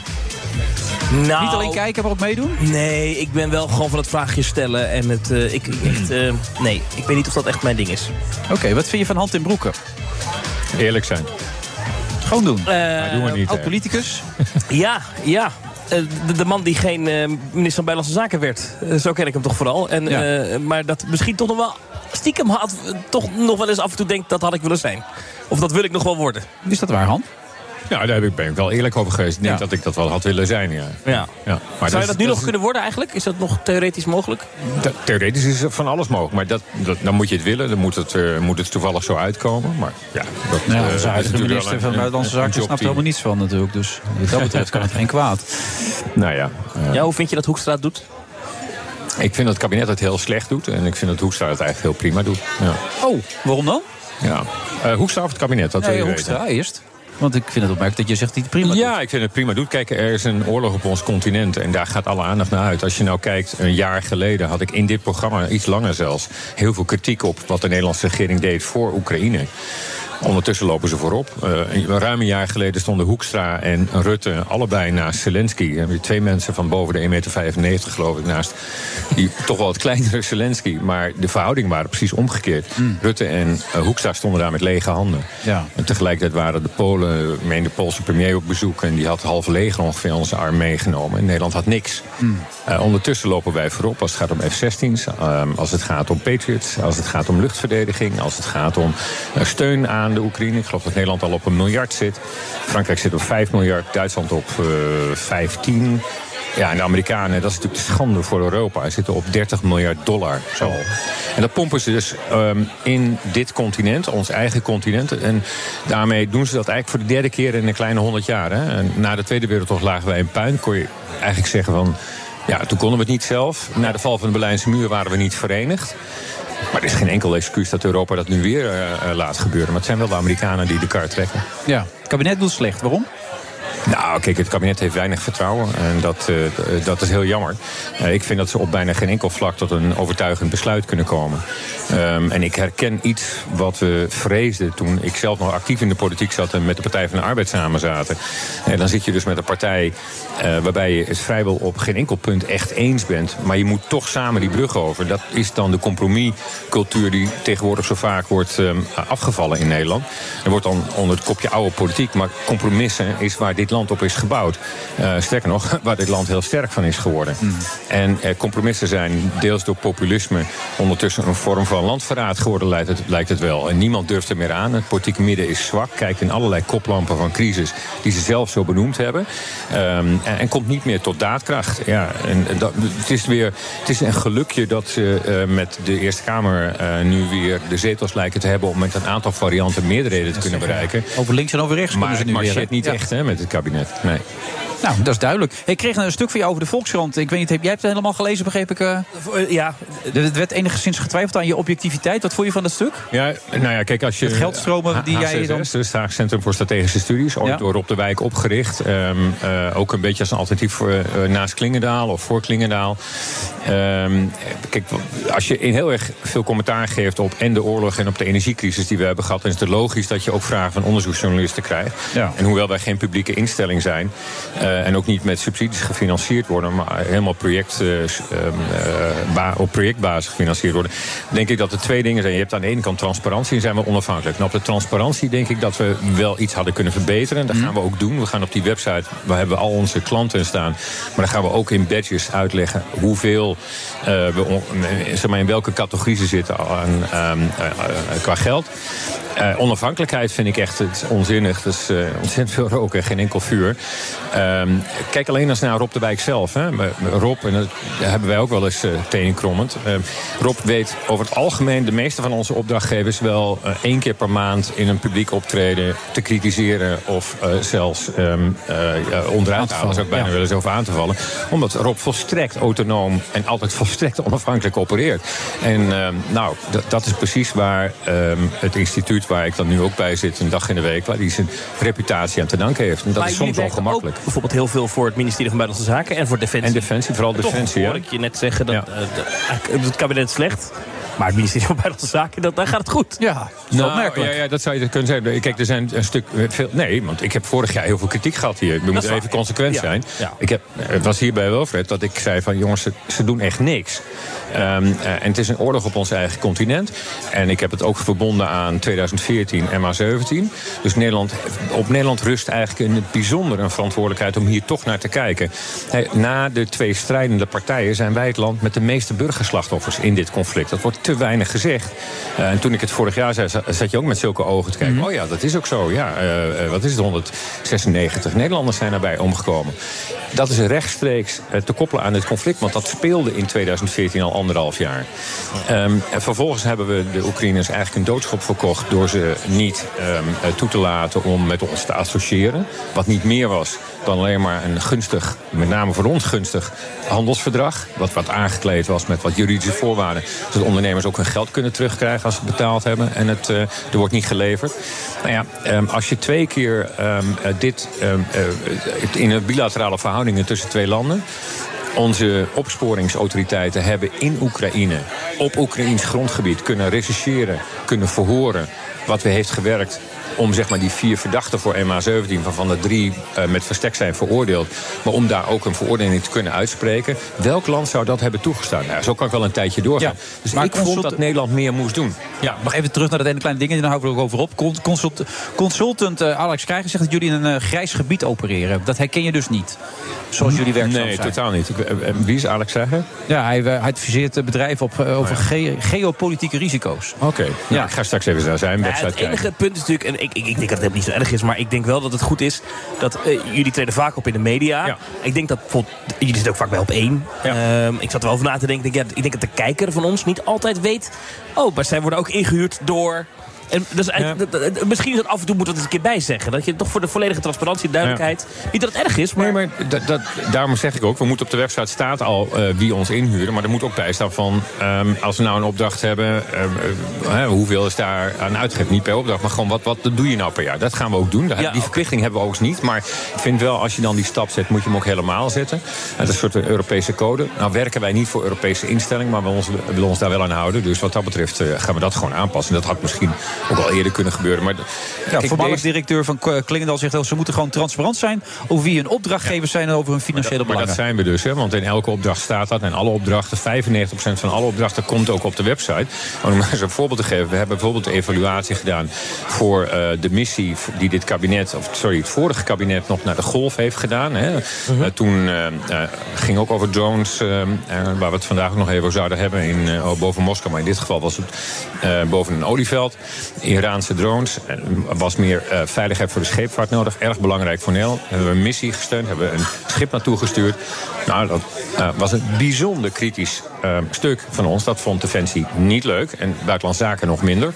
Speaker 6: Nou,
Speaker 5: Niet alleen kijken, maar ook meedoen?
Speaker 6: Nee, ik ben wel gewoon van het vraagje stellen. En het, eh, ik, echt, eh, nee, ik weet niet of dat echt mijn ding is.
Speaker 5: Oké, wat vind je van hand in broeken?
Speaker 24: Eerlijk zijn.
Speaker 5: Gewoon doen.
Speaker 24: Maar doen we niet, hè.
Speaker 5: Oud-politicus?
Speaker 6: Eh, Ja, ja. Eh, de, de man die geen eh, minister van Buitenlandse Zaken werd. Eh, zo ken ik hem toch vooral. En, eh, maar dat misschien toch nog wel stiekem had, eh, toch nog wel eens af en toe denkt dat had ik willen zijn. Of dat wil ik nog wel worden.
Speaker 5: Is dat waar, Han?
Speaker 24: Ja, daar heb ik- ben ik wel eerlijk over geweest. Ik denk dat ik dat wel had willen zijn, ja.
Speaker 6: Ja.
Speaker 24: Maar
Speaker 6: Zou je
Speaker 24: is-
Speaker 6: dat nu nog
Speaker 24: is-
Speaker 6: kunnen worden eigenlijk? Is dat nog theoretisch mogelijk?
Speaker 24: dat- Theoretisch is er van alles mogelijk. Maar dat, dat, dan moet je het willen. Dan moet het, eh, moet het toevallig zo uitkomen. Maar ja, dat eh,
Speaker 5: Ja,
Speaker 24: is
Speaker 5: onze huidige
Speaker 24: natuurlijk wel
Speaker 5: minister
Speaker 24: een-
Speaker 5: van
Speaker 24: een-
Speaker 5: Buitenlandse
Speaker 24: een
Speaker 5: Zaken
Speaker 24: job
Speaker 5: snapt er
Speaker 24: die-
Speaker 5: helemaal niets van natuurlijk. Dus wat dat betreft kan het geen kwaad.
Speaker 24: Nou ja.
Speaker 6: Ja, hoe vind je dat Hoekstra doet?
Speaker 24: Ik vind dat het kabinet het heel slecht doet. En ik vind dat Hoekstra het eigenlijk heel prima doet. Ja.
Speaker 5: Oh, waarom dan?
Speaker 24: Ja. Eh, Hoekstra of het kabinet? Dat wil
Speaker 5: Nee,
Speaker 24: je
Speaker 5: Hoekstra
Speaker 24: weten.
Speaker 5: eerst. Want ik vind het opmerkelijk dat je zegt dat hij het prima
Speaker 24: ja, ik vind het prima doet. Kijk, er is een oorlog op ons continent en daar gaat alle aandacht naar uit. Als je nou kijkt, een jaar geleden had ik in dit programma, iets langer zelfs, heel veel kritiek op wat de Nederlandse regering deed voor Oekraïne. Ondertussen lopen ze voorop. Eh, ruim een jaar geleden stonden Hoekstra en Rutte allebei naast Zelensky. Er hebben twee mensen van boven de 1,95 meter, geloof ik, naast. Die toch wel het kleinere Zelensky. Maar de verhoudingen waren precies omgekeerd.
Speaker 5: Hmm.
Speaker 24: Rutte en eh, Hoekstra stonden daar met lege handen.
Speaker 5: Ja.
Speaker 24: En tegelijkertijd waren de Polen, ik meen de Poolse premier op bezoek. En die had half leger ongeveer onze arm meegenomen. En Nederland had niks.
Speaker 5: Mm.
Speaker 24: Eh, ondertussen lopen wij voorop als het gaat om F-16's, ehm, als het gaat om Patriots, als het gaat om luchtverdediging, als het gaat om eh, steun aan de Oekraïne. Ik geloof dat Nederland al op een miljard zit. Frankrijk zit op 5 miljard, Duitsland op eh 15. Ja, en de Amerikanen, dat is natuurlijk de schande voor Europa. Ze zitten op 30 miljard dollar. Zo. En dat pompen ze dus ehm, in dit continent, ons eigen continent. En daarmee doen ze dat eigenlijk voor de derde keer in een kleine 100 jaar. Hè. En na de Tweede Wereldoorlog lagen wij in puin. Kon je eigenlijk zeggen van. Ja, toen konden we het niet zelf. Na de val van de Berlijnse muur waren we niet verenigd. Maar er is geen enkel excuus dat Europa dat nu weer eh, eh, laat gebeuren. Maar het zijn wel de Amerikanen die de kar trekken.
Speaker 5: Ja, het kabinet doet slecht. Waarom?
Speaker 24: Nou, kijk, het kabinet heeft weinig vertrouwen. En dat, eh, d- dat is heel jammer. Eh, ik vind dat ze op bijna geen enkel vlak tot een overtuigend besluit kunnen komen. Ehm, en ik herken iets wat we vreesden toen ik zelf nog actief in de politiek zat en met de Partij van de Arbeid samen zaten. En dan zit je dus met een partij eh, waarbij je het vrijwel op geen enkel punt echt eens bent. Maar je moet toch samen die brug over. Dat is dan de compromiscultuur die tegenwoordig zo vaak wordt ehm, afgevallen in Nederland. Er wordt dan onder het kopje oude politiek, maar compromissen is waar dit land op is gebouwd. Eh, sterker nog, waar dit land heel sterk van is geworden. En eh, compromissen zijn deels door populisme ondertussen een vorm van landverraad geworden, lijkt het, lijkt het wel. En niemand durft er meer aan. Het politieke midden is zwak, kijkt in allerlei koplampen van crisis die ze zelf zo benoemd hebben. Ehm, en, en komt niet meer tot daadkracht. Ja, en, en dat, het, is weer, het is een gelukje dat ze eh, met de Eerste Kamer eh, nu weer de zetels lijken te hebben om met een aantal varianten meerderheden te kunnen bereiken.
Speaker 5: Over links en over rechts
Speaker 24: maar
Speaker 5: komen ze nu
Speaker 24: het
Speaker 5: weer,
Speaker 24: marcheert
Speaker 5: hè?
Speaker 24: niet
Speaker 5: Ja.
Speaker 24: echt hè, met het kabinet. Nee.
Speaker 5: Nou, dat is duidelijk. Ik kreeg een stuk van jou over de Volkskrant. Ik weet niet, heb jij het helemaal gelezen, begreep ik? eh?
Speaker 24: eh,
Speaker 6: ja.
Speaker 5: Er werd enigszins getwijfeld aan je objectiviteit. Wat vond je van dat stuk?
Speaker 24: Ja, nou ja, kijk, als je...
Speaker 5: Het geldstromen die jij dan-
Speaker 24: HCSS, dus het Haag Centrum voor Strategische Studies, ooit door Rob de Wijk opgericht. Ehm, eh, ook een beetje als een alternatief voor, eh, naast Klingendaal of voor Klingendaal. Ehm, kijk, als je in heel erg veel commentaar geeft op en de oorlog en op de energiecrisis die we hebben gehad, dan is het logisch dat je ook vragen van onderzoeksjournalisten krijgt.
Speaker 5: Ja.
Speaker 24: En hoewel wij geen publieke instelling zijn eh, en ook niet met subsidies gefinancierd worden, maar helemaal project, eh, s- ehm, eh, ba- op projectbasis gefinancierd worden, denk ik dat er twee dingen zijn. Je hebt aan de ene kant transparantie en zijn we onafhankelijk. Nou, op de transparantie denk ik dat we wel iets hadden kunnen verbeteren. Dat gaan we ook doen. We gaan op die website, waar hebben we al onze klanten staan, maar dan gaan we ook in badges uitleggen hoeveel eh, we on- eh, zeg maar, in welke categorie ze zitten aan, ehm, eh, eh, qua geld. Eh, onafhankelijkheid vind ik echt het onzinnig. Dat is eh, ontzettend veel rook en geen enkel vuur. Ehm, kijk alleen eens naar Rob de Wijk zelf. Hè. Maar Rob, en dat hebben wij ook wel eens eh tenenkrommend. Eh, Rob weet over het algemeen de meeste van onze opdrachtgevers wel eh, één keer per maand in een publiek optreden te kritiseren of eh, zelfs ehm eh, ja, onderuit te halen, zou ik bijna willen zeggen, of aan te vallen. Omdat Rob volstrekt autonoom en altijd volstrekt onafhankelijk opereert. En ehm, nou, dat- dat is precies waar ehm, het instituut waar ik dan nu ook bij zit, een dag in de week, waar die zijn reputatie aan te danken heeft. En dat
Speaker 6: Maar
Speaker 24: is
Speaker 6: jullie
Speaker 24: soms wel
Speaker 6: werken
Speaker 24: gemakkelijk.
Speaker 6: ook bijvoorbeeld heel veel voor het ministerie van Buitenlandse Zaken en voor Defensie.
Speaker 24: En Defensie, vooral
Speaker 6: Toch
Speaker 24: Defensie,
Speaker 6: hoor
Speaker 24: ja.
Speaker 6: ik je net zeggen dat eh, de- eigenlijk het kabinet is slecht. Maar het ministerie van Buitenlandse Zaken, dat, daar gaat het goed.
Speaker 5: Ja,
Speaker 24: Nou, Ja, ja, dat zou je kunnen zeggen. Kijk, er zijn een stuk... eh, Veel, nee, want ik heb vorig jaar heel veel kritiek gehad hier. We
Speaker 6: is
Speaker 24: moeten
Speaker 6: waar,
Speaker 24: even consequent
Speaker 6: ja.
Speaker 24: zijn.
Speaker 6: Ja.
Speaker 24: Ik heb, het was hier bij Wilfred dat ik zei van... jongens, ze, ze doen echt niks. Ehm, eh, en het is een oorlog op ons eigen continent. En ik heb het ook verbonden aan 2014 MH17. Dus Nederland, op Nederland rust eigenlijk een bijzondere verantwoordelijkheid... om hier toch naar te kijken. Hè, Na de twee strijdende partijen zijn wij het land... met de meeste burgerslachtoffers in dit conflict. Dat wordt te weinig gezegd. Eh, en toen ik het vorig jaar zei, za- zat je ook met zulke ogen te kijken.
Speaker 6: Mhm.
Speaker 24: Oh ja, dat is ook zo. Ja, eh, eh, wat is het? 196 Nederlanders zijn daarbij omgekomen. Dat is rechtstreeks eh, te koppelen aan het conflict, want dat speelde in 2014 al anderhalf jaar. Ehm, en vervolgens hebben we de Oekraïners eigenlijk een doodschop verkocht door ze niet ehm, eh, toe te laten om met ons te associëren. Wat niet meer was dan alleen maar een gunstig, met name voor ons gunstig, handelsverdrag. Wat, wat aangekleed was met wat juridische voorwaarden. Zodat ondernemers werknemers ook hun geld kunnen terugkrijgen als ze het betaald hebben. En het, eh, er wordt niet geleverd. Nou ja, ehm, als je twee keer ehm, eh, dit ehm, eh, in een bilaterale verhoudingen tussen twee landen. Onze opsporingsautoriteiten hebben in Oekraïne, op Oekraïns grondgebied, kunnen rechercheren, kunnen verhoren wat weer heeft gewerkt om zeg maar die vier verdachten voor MH17, waarvan de drie eh, met verstek zijn veroordeeld, maar om daar ook een veroordeling te kunnen uitspreken. Welk land zou dat hebben toegestaan? Nou, zo kan ik wel een tijdje doorgaan. dus ik vond dat Nederland meer moest doen.
Speaker 5: Ja, nog even terug naar dat ene kleine ding en dan houden we er ook over op. Con- Consult, consultant eh, Alex Krijger zegt dat jullie in een eh, grijs gebied opereren. Dat herken je dus niet, zoals jullie werkzaam
Speaker 24: Nee,
Speaker 5: zijn.
Speaker 24: totaal niet. Ik- eh, eh, Wie is Alex zeggen?
Speaker 5: Ja, hij, eh, hij adviseert eh, bedrijven op, eh, over ge- geopolitieke risico's.
Speaker 24: Oké, ja. ik ga straks even naar zijn
Speaker 6: Ja,
Speaker 24: website
Speaker 6: het
Speaker 24: kijken.
Speaker 6: enige punt is natuurlijk, en ik, ik, ik denk dat het niet zo erg is, maar ik denk wel dat het goed is dat eh, jullie treden vaak op in de media. Ik denk dat bijvoorbeeld, jullie zitten ook vaak bij op één. Ehm, ik zat er wel over na te denken. Ik, denk, ja, ik denk dat de kijker van ons niet altijd weet. Oh, maar zij worden ook ingehuurd door. En dus, eh, dat is eigenlijk- dat- dat- misschien is dat af en toe moet dat eens een keer bijzeggen. Dat je toch voor de volledige transparantie en duidelijkheid. Niet dat het erg is, maar.
Speaker 24: dat, eh, dat, daarom zeg ik ook, we moeten op de website staat al eh, wie ons inhuren. Maar er moet ook bij staan van, ehm, als we nou een opdracht hebben... ehm, eh, hoeveel is daar aan uitgegeven? Niet per opdracht, maar gewoon wat, wat doe je nou per jaar? Dat gaan we ook doen. Daar- die verplichting hebben we ook niet. Maar ik vind wel, als je dan die stap zet, moet je hem ook helemaal zetten. Eh, dat is een soort een Europese code. Nou werken wij niet voor Europese instellingen, maar we ons, we willen ons daar wel aan houden. Dus wat dat betreft eh, gaan we dat gewoon aanpassen. Dat had misschien ook al eerder kunnen gebeuren. Maar,
Speaker 5: Ja,
Speaker 24: Kijk,
Speaker 5: voormalig
Speaker 24: deze-
Speaker 5: directeur van K- Klingendal zegt dat ze moeten gewoon transparant zijn over wie hun opdrachtgevers zijn en over hun financiële
Speaker 24: Maar dat
Speaker 5: belangen.
Speaker 24: zijn we dus, hè, want in elke opdracht staat dat. En alle opdrachten, 95% van alle opdrachten komt ook op de website. Om maar eens een voorbeeld te geven. We hebben bijvoorbeeld de evaluatie gedaan voor eh, de missie die dit kabinet, of sorry, het vorige kabinet nog naar de golf heeft gedaan. Hè. Eh, toen eh, eh, ging ook over drones, eh, eh, waar we het vandaag ook nog even over zouden hebben, in, eh, oh, boven Moskou. Maar in dit geval was het eh, boven een olieveld. Iraanse drones. Er was meer eh, veiligheid voor de scheepvaart nodig. Erg belangrijk voor Nederland. Hebben we een missie gesteund, hebben we een schip naartoe gestuurd. Nou, dat eh, was een bijzonder kritisch eh, stuk van ons. Dat vond Defensie niet leuk. En Buitenlandse Zaken nog minder.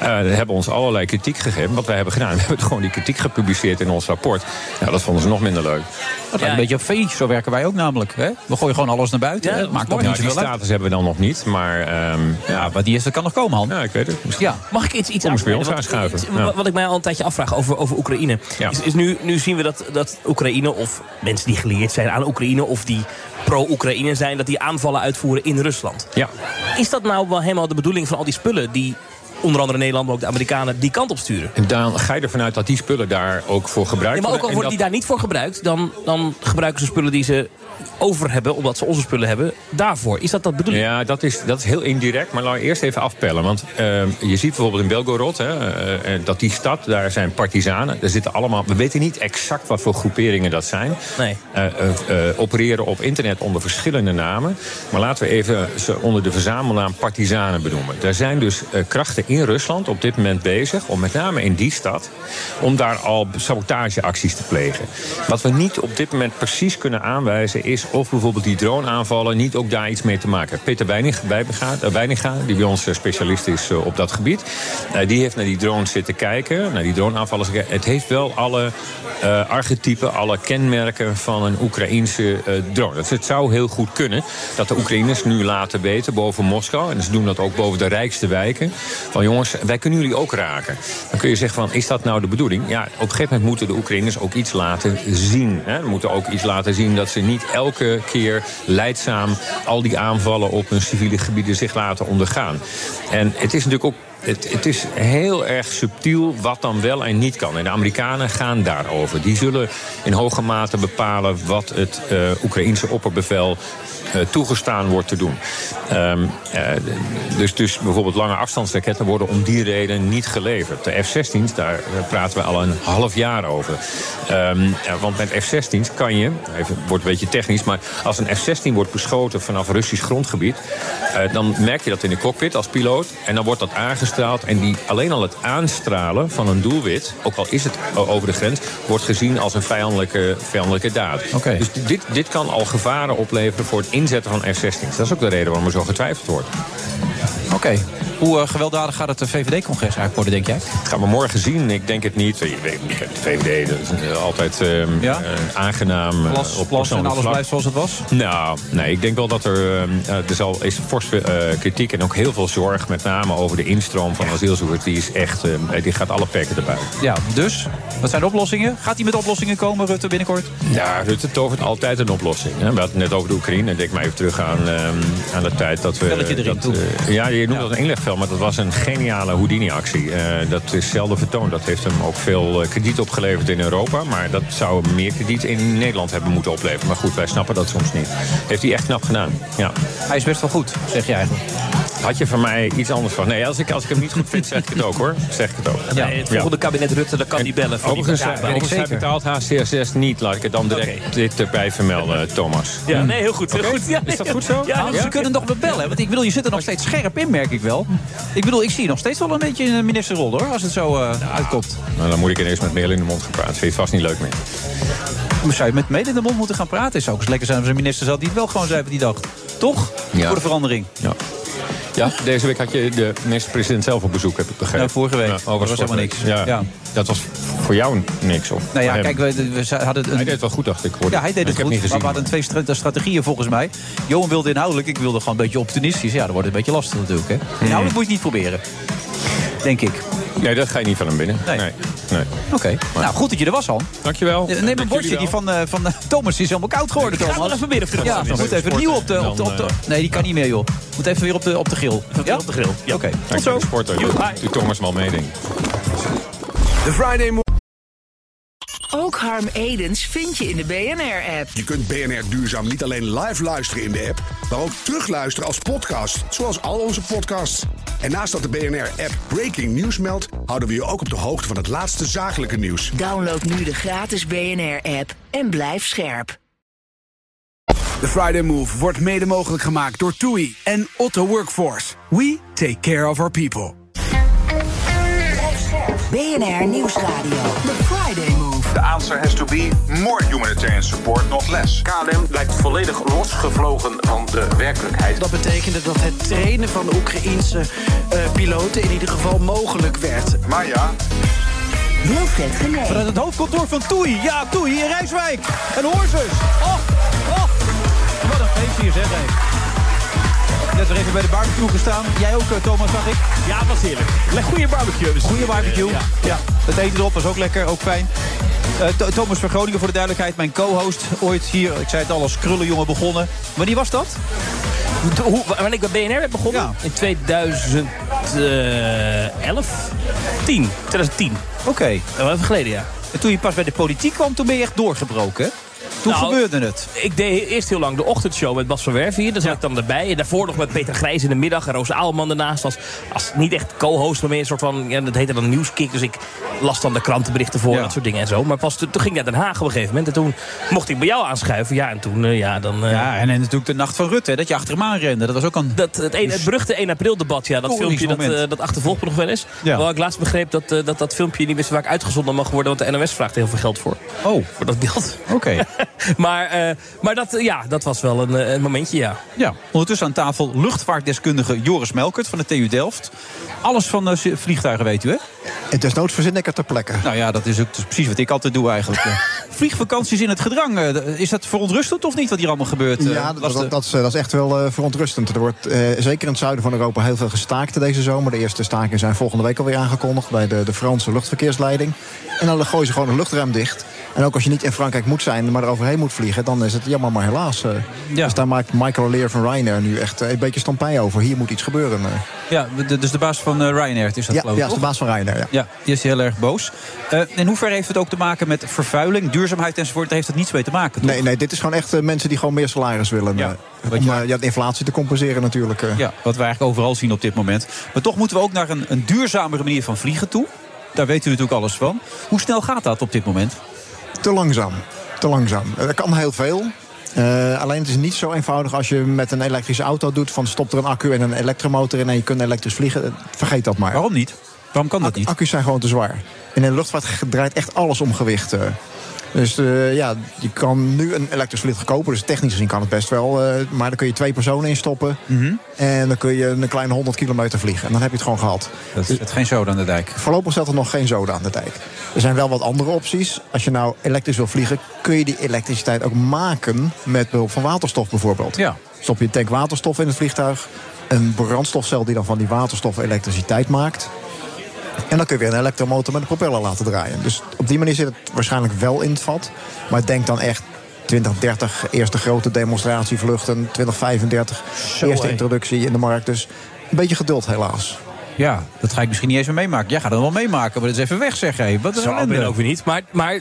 Speaker 24: Eh hebben ons allerlei kritiek gegeven. Wat wij hebben gedaan, we hebben gewoon die kritiek gepubliceerd in ons rapport. Nou, dat vonden ze nog minder leuk.
Speaker 5: Dat lijkt een beetje op VI, zo werken wij ook namelijk. Hè? We gooien gewoon alles naar buiten. hè? Maakt ook
Speaker 24: Nou,
Speaker 5: niet
Speaker 24: die
Speaker 5: zoveel uit.
Speaker 24: status hebben we dan nog niet. Maar, ja,
Speaker 5: maar die is, dat kan nog komen, Han.
Speaker 24: Ja, ik weet het.
Speaker 5: Ja.
Speaker 6: Mag ik iets, iets
Speaker 24: Kom eens bij
Speaker 6: aanspreken?
Speaker 24: ons aanschuiven.
Speaker 6: iets-
Speaker 24: Ja.
Speaker 6: Wat ik mij al een tijdje afvraag over, over Oekraïne. Is, is nu, nu zien we dat, dat Oekraïne of mensen die geleerd zijn aan Oekraïne of die pro-Oekraïne zijn, dat die aanvallen uitvoeren in Rusland.
Speaker 24: Ja.
Speaker 6: Is dat nou wel helemaal de bedoeling van al die spullen die onder andere Nederland, maar ook de Amerikanen die kant op sturen?
Speaker 24: En dan ga je ervan uit dat die spullen daar ook voor gebruikt
Speaker 6: Nee, maar ook al
Speaker 24: worden.
Speaker 6: worden
Speaker 24: En
Speaker 6: die daar niet voor gebruikt, dan, dan gebruiken ze spullen die ze over hebben, omdat ze onze spullen hebben, daarvoor. Is dat dat bedoeling?
Speaker 24: Ja, dat is, dat is heel indirect. Maar laten we eerst even afpellen. Want ehm, je ziet bijvoorbeeld in Belgorod... Hè, eh, eh, dat die stad, daar zijn partizanen. Daar zitten allemaal... We weten niet exact wat voor groeperingen dat zijn.
Speaker 6: Nee.
Speaker 24: Eh, eh, eh, opereren op internet onder verschillende namen. Maar laten we even ze onder de verzamelnaam partizanen benoemen. Daar zijn dus eh, krachten in Rusland op dit moment bezig... om met name in die stad... om daar al sabotageacties te plegen. Wat we niet op dit moment precies kunnen aanwijzen... is of bijvoorbeeld die droneaanvallen niet ook daar iets mee te maken hebben. Peter Weinig, Wijbegaard- eh, Weininga, die bij ons eh, specialist is eh, op dat gebied... eh, die heeft naar die drones zitten kijken, naar die droneaanvallen zitten kijken. Het heeft wel alle eh, archetypen, alle kenmerken van een Oekraïense eh, drone. Dus het zou heel goed kunnen dat de Oekraïners nu laten weten boven Moskou... en ze doen dat ook boven de rijkste wijken... van jongens, wij kunnen jullie ook raken. Dan kun je zeggen van, is dat nou de bedoeling? Ja, op een gegeven moment moeten de Oekraïners ook iets laten zien. Hè? Ze moeten ook iets laten zien dat ze niet elke keer leidzaam... al die aanvallen op hun civiele gebieden zich laten ondergaan. En het is natuurlijk ook het, het is heel erg subtiel wat dan wel en niet kan. En de Amerikanen gaan daarover. Die zullen in hoge mate bepalen wat het eh Oekraïnse opperbevel eh, toegestaan wordt te doen. Ehm, eh, dus, dus bijvoorbeeld lange afstandsraketten worden om die reden niet geleverd. De F-16's, daar eh, praten we al een half jaar over. Ehm, eh, want met F-16's kan je, even, het wordt een beetje technisch, maar als een F-16 wordt beschoten vanaf Russisch grondgebied, eh, dan merk je dat in de cockpit als piloot en dan wordt dat aangestraald en die, alleen al het aanstralen van een doelwit, ook al is het o- over de grens, wordt gezien als een vijandelijke, vijandelijke daad.
Speaker 5: Oké.
Speaker 24: Dus dit, dit kan al gevaren opleveren voor het inzetten van F-16's. Dat is ook de reden waarom er zo getwijfeld wordt.
Speaker 5: Oké. Hoe eh, gewelddadig gaat het eh, VVD-congres eigenlijk worden, denk jij?
Speaker 24: Gaan we morgen zien? Ik denk het niet. Je weet, je kent de VVD, dat is eh, altijd ehm, eh, aangenaam. eh,
Speaker 5: Plas, plas en
Speaker 24: op persoonlijk
Speaker 5: alles
Speaker 24: vlak.
Speaker 5: blijft zoals het was?
Speaker 24: Nou, nee, ik denk wel dat er, ehm, eh, er zal, is fors eh, kritiek en ook heel veel zorg, met name over de instroom van asielzoekers. Die is echt, ehm, die gaat alle perken erbij.
Speaker 5: Ja, dus? Wat zijn de oplossingen? Gaat hij met oplossingen komen, Rutte, binnenkort?
Speaker 24: Ja, Rutte tovert altijd een oplossing. Hè. We hadden het net over de Oekraïne. Denk maar even terug aan, ehm, aan de tijd dat we...
Speaker 5: Velletje erin,
Speaker 24: dat, eh, ja, je noemt dat een inlegveld, maar dat was een geniale Houdini-actie. Eh, dat is zelden vertoond. Dat heeft hem ook veel eh, krediet opgeleverd in Europa. Maar dat zou hem meer krediet in Nederland hebben moeten opleveren. Maar goed, wij snappen dat soms niet. Heeft hij echt knap gedaan. Ja.
Speaker 5: Hij is best wel goed, zeg je eigenlijk.
Speaker 24: Had je van mij iets anders van? Nee, als ik, als ik hem niet goed vind, zeg ik het ook hoor. Zeg ik het ook.
Speaker 6: Ja. Nee, het volgende kabinet Rutte, dat kan niet bellen. voor die
Speaker 24: Overigens,
Speaker 6: partij.
Speaker 24: eh, overigens hij betaalt HCSS niet. Laat ik het dan direct dit erbij vermelden, Thomas.
Speaker 6: Ja, nee, heel goed. Heel
Speaker 24: Hmm. Oké.
Speaker 6: goed. Ja,
Speaker 24: Is dat
Speaker 6: nee,
Speaker 24: goed zo? Ah,
Speaker 6: Ja,
Speaker 5: Nou,
Speaker 6: ja.
Speaker 5: Ze kunnen nog wel bellen. Want ik bedoel, je zit er nog steeds scherp in, merk ik wel. Ik bedoel, ik zie je nog steeds wel een beetje in een ministerrol, hoor. Als het zo eh, uitkomt.
Speaker 24: Nou, dan moet ik ineens met meel in de mond gaan praten. Vind je het vast niet leuk meer.
Speaker 5: Dan zou je met mede in de mond moeten gaan praten. Is ook eens lekker zijn als een minister zat die het wel gewoon zei op die dag. Toch?
Speaker 24: Ja.
Speaker 5: Voor de verandering.
Speaker 24: Ja. Ja, deze week had je de minister-president zelf op bezoek, heb ik begrepen.
Speaker 5: Ja, Nou, vorige week.
Speaker 24: Ja,
Speaker 5: Dat was
Speaker 24: vorige
Speaker 5: helemaal
Speaker 24: week.
Speaker 5: niks.
Speaker 24: Ja.
Speaker 5: Ja.
Speaker 24: Dat was voor jou niks, of?
Speaker 5: Nou ja,
Speaker 24: voor hem?
Speaker 5: kijk, we, we za- hadden een...
Speaker 24: Hij deed het wel goed, dacht ik. Hoorde.
Speaker 5: Ja, hij deed
Speaker 24: ik
Speaker 5: het
Speaker 24: heb
Speaker 5: goed.
Speaker 24: niet gezien.
Speaker 5: maar we hadden twee stra- eh, strategieën volgens mij. Johan wilde inhoudelijk, ik wilde gewoon een beetje optimistisch. Ja, dat wordt een beetje lastig natuurlijk. Hè?
Speaker 24: Hmm.
Speaker 5: Inhoudelijk moet je het niet proberen. Denk ik.
Speaker 24: Nee, dat ga je niet van hem binnen. Nee. nee.
Speaker 5: Oké. Nou, goed dat je er was, Han.
Speaker 24: Dankjewel.
Speaker 5: Eh, Neem een bordje, die van, eh, van eh, Thomas die is helemaal koud geworden,
Speaker 6: Ga
Speaker 5: Thomas.
Speaker 6: maar even binnen of terug.
Speaker 5: Ja,
Speaker 6: Dan
Speaker 5: moet even nieuw op de, op de, op de-
Speaker 24: Dan,
Speaker 5: Nee, die kan niet meer, joh. Moet even weer op de, op de grill. Ja? Op de grill. Oké.
Speaker 24: Tot zo. Sporter. Doe Thomas mal meeding.
Speaker 11: De Friday Move.
Speaker 1: Ook Harm Edens vind je in de BNR-app.
Speaker 18: Je kunt BNR Duurzaam niet alleen live luisteren in de app, maar ook terugluisteren als podcast, zoals al onze podcasts. En naast dat de BNR-app Breaking News meldt, houden we je ook op de hoogte van het laatste zakelijke nieuws.
Speaker 1: Download nu de gratis BNR-app en blijf scherp.
Speaker 11: De Friday Move wordt mede mogelijk gemaakt door TUI en Otto Workforce. We take care of our people.
Speaker 1: BNR Nieuwsradio.
Speaker 2: The Friday Move. The answer has to be more humanitarian support, not less.
Speaker 19: KLM lijkt volledig losgevlogen van de werkelijkheid.
Speaker 21: Dat betekende dat het trainen van Oekraïense eh, piloten in ieder geval mogelijk werd.
Speaker 2: Maar ja,
Speaker 1: Wilfred Genee.
Speaker 5: Vanuit het hoofdkantoor van Toei. Ja, Toei in Rijswijk. En Horsus. Oh, oh. Wat een feest hier, zeg. hé. Net weer even bij de barbecue gestaan. Jij ook, eh, Thomas, zag ik.
Speaker 6: Ja, was heerlijk. Leg goede barbecue. Dus
Speaker 5: Goeie barbecue.
Speaker 6: Ja.
Speaker 5: Ja. Het eten erop was ook lekker, ook fijn. Eh, Th- Thomas van Groningen voor de duidelijkheid, mijn co-host. Ooit hier, ik zei het al, als krullenjongen begonnen. Wanneer was dat?
Speaker 6: De- Hoe, wanneer ik bij BNR heb begonnen? In eh, 2011? 10. 2010.
Speaker 5: Oké.
Speaker 6: Wel even geleden, ja.
Speaker 5: En toen je pas bij de politiek kwam, toen ben je echt doorgebroken. hè? Toen
Speaker 6: Nou,
Speaker 5: gebeurde het.
Speaker 6: Ik deed eerst heel lang de ochtendshow met Bas van Werven hier. Daar zat ik dan erbij. En daarvoor nog met Peter Grijs in de middag. En Roos Aalman daarnaast als, als niet echt co-host. Maar meer een soort van, ja, dat heette dan nieuwskick. Dus ik las dan de krantenberichten voor. Dat soort dingen en zo. Maar pas toen, toen ging ik naar Den Haag op een gegeven moment. En toen mocht ik bij jou aanschuiven. Ja, en toen, eh, ja, dan... eh,
Speaker 5: Ja, en, en natuurlijk de nacht van Rutte, hè, dat je achter hem aanrende. Dat was ook een... Dus-
Speaker 6: Dat, het, een, het beruchte 1 april debat, ja, dat filmpje dat,
Speaker 5: Koningsmoment.
Speaker 6: eh, dat achtervolgt me nog wel eens.
Speaker 5: Ja.
Speaker 6: Waar ik laatst begreep dat, eh, dat dat filmpje niet meer zo vaak uitgezonden mag worden, want de NOS vraagt er heel veel geld voor.
Speaker 5: Oh.
Speaker 6: Voor dat beeld.
Speaker 5: Oké.
Speaker 6: maar eh, maar dat, eh, ja, dat was wel een, eh, een momentje, ja.
Speaker 5: Ja, ondertussen aan tafel luchtvaartdeskundige Joris Melkert van de TU Delft. Alles van eh, vliegtuigen weet u, hè?
Speaker 25: En desnoods verzin ik het ter plekke.
Speaker 5: Nou ja, dat is ook dat is precies wat ik altijd doe eigenlijk. eh. Vliegvakanties in het gedrang, eh, is dat verontrustend of niet wat hier allemaal gebeurt? eh?
Speaker 25: Ja, dat,
Speaker 5: Was de-
Speaker 25: dat, dat, is, eh, dat is echt wel eh, verontrustend. Er wordt eh, zeker in het zuiden van Europa heel veel gestaakt deze zomer. De eerste stakingen zijn volgende week alweer aangekondigd bij de, de Franse luchtverkeersleiding. En dan gooien ze gewoon een luchtruim dicht. En ook als je niet in Frankrijk moet zijn, maar eroverheen moet vliegen, dan is het jammer, maar helaas. eh. Dus daar maakt Michael Leer van Ryanair nu echt eh, een beetje stampij over. Hier moet iets gebeuren. eh.
Speaker 5: Ja, de- dus de baas van eh, Ryanair is dat
Speaker 25: Ja,
Speaker 5: geloof ik,
Speaker 25: ja, is de
Speaker 5: toch?
Speaker 25: baas van Ryanair. Ja.
Speaker 5: Ja, die is heel erg boos. Eh in hoeverre heeft het ook te maken met vervuiling, duurzaamheid enzovoort? Daar heeft het niets mee te maken, toch?
Speaker 25: Nee, nee, dit is gewoon echt eh, mensen die gewoon meer salaris willen. Ja, om eh, ja, de inflatie te compenseren natuurlijk. eh.
Speaker 5: Ja, wat we eigenlijk overal zien op dit moment. Maar toch moeten we ook naar een, een duurzamere manier van vliegen toe. Daar weten we natuurlijk alles van. Hoe snel gaat dat op dit moment?
Speaker 25: Te langzaam. Te langzaam. Er kan heel veel. Eh, alleen het is niet zo eenvoudig als je met een elektrische auto doet... van stop er een accu en een elektromotor in en je kunt elektrisch vliegen. Eh, Vergeet dat maar.
Speaker 5: Waarom niet? Waarom kan dat
Speaker 25: niet? Accu's zijn gewoon te zwaar. En in de luchtvaart draait echt alles om gewicht. eh. Dus eh, ja, je kan nu een elektrisch verlicht kopen. Dus technisch gezien kan het best wel. eh, maar dan kun je twee personen in stoppen.
Speaker 5: Mhm.
Speaker 25: En dan kun je een kleine 100 kilometer vliegen. En dan heb je het gewoon gehad.
Speaker 5: Dat is geen zoden aan de dijk.
Speaker 25: Voorlopig staat er nog geen zoden aan de dijk. Er zijn wel wat andere opties. Als je nou elektrisch wil vliegen, kun je die elektriciteit ook maken met behulp van waterstof bijvoorbeeld.
Speaker 5: Ja.
Speaker 25: Stop je een tank waterstof in het vliegtuig. Een brandstofcel die dan van die waterstof elektriciteit maakt. En dan kun je weer een elektromotor met een propeller laten draaien. Dus op die manier zit het waarschijnlijk wel in het vat. Maar denk dan echt 2030, eerste grote demonstratievluchten. 2035, eerste
Speaker 5: hé.
Speaker 25: introductie in de markt. Dus een beetje geduld helaas.
Speaker 5: Ja, dat ga ik misschien niet eens meer meemaken. Jij gaat het wel meemaken, maar dat is even weg, zeg hé. Wat een
Speaker 6: Zo oud ben ik
Speaker 5: ellende.
Speaker 6: ook weer niet. Maar, maar eh,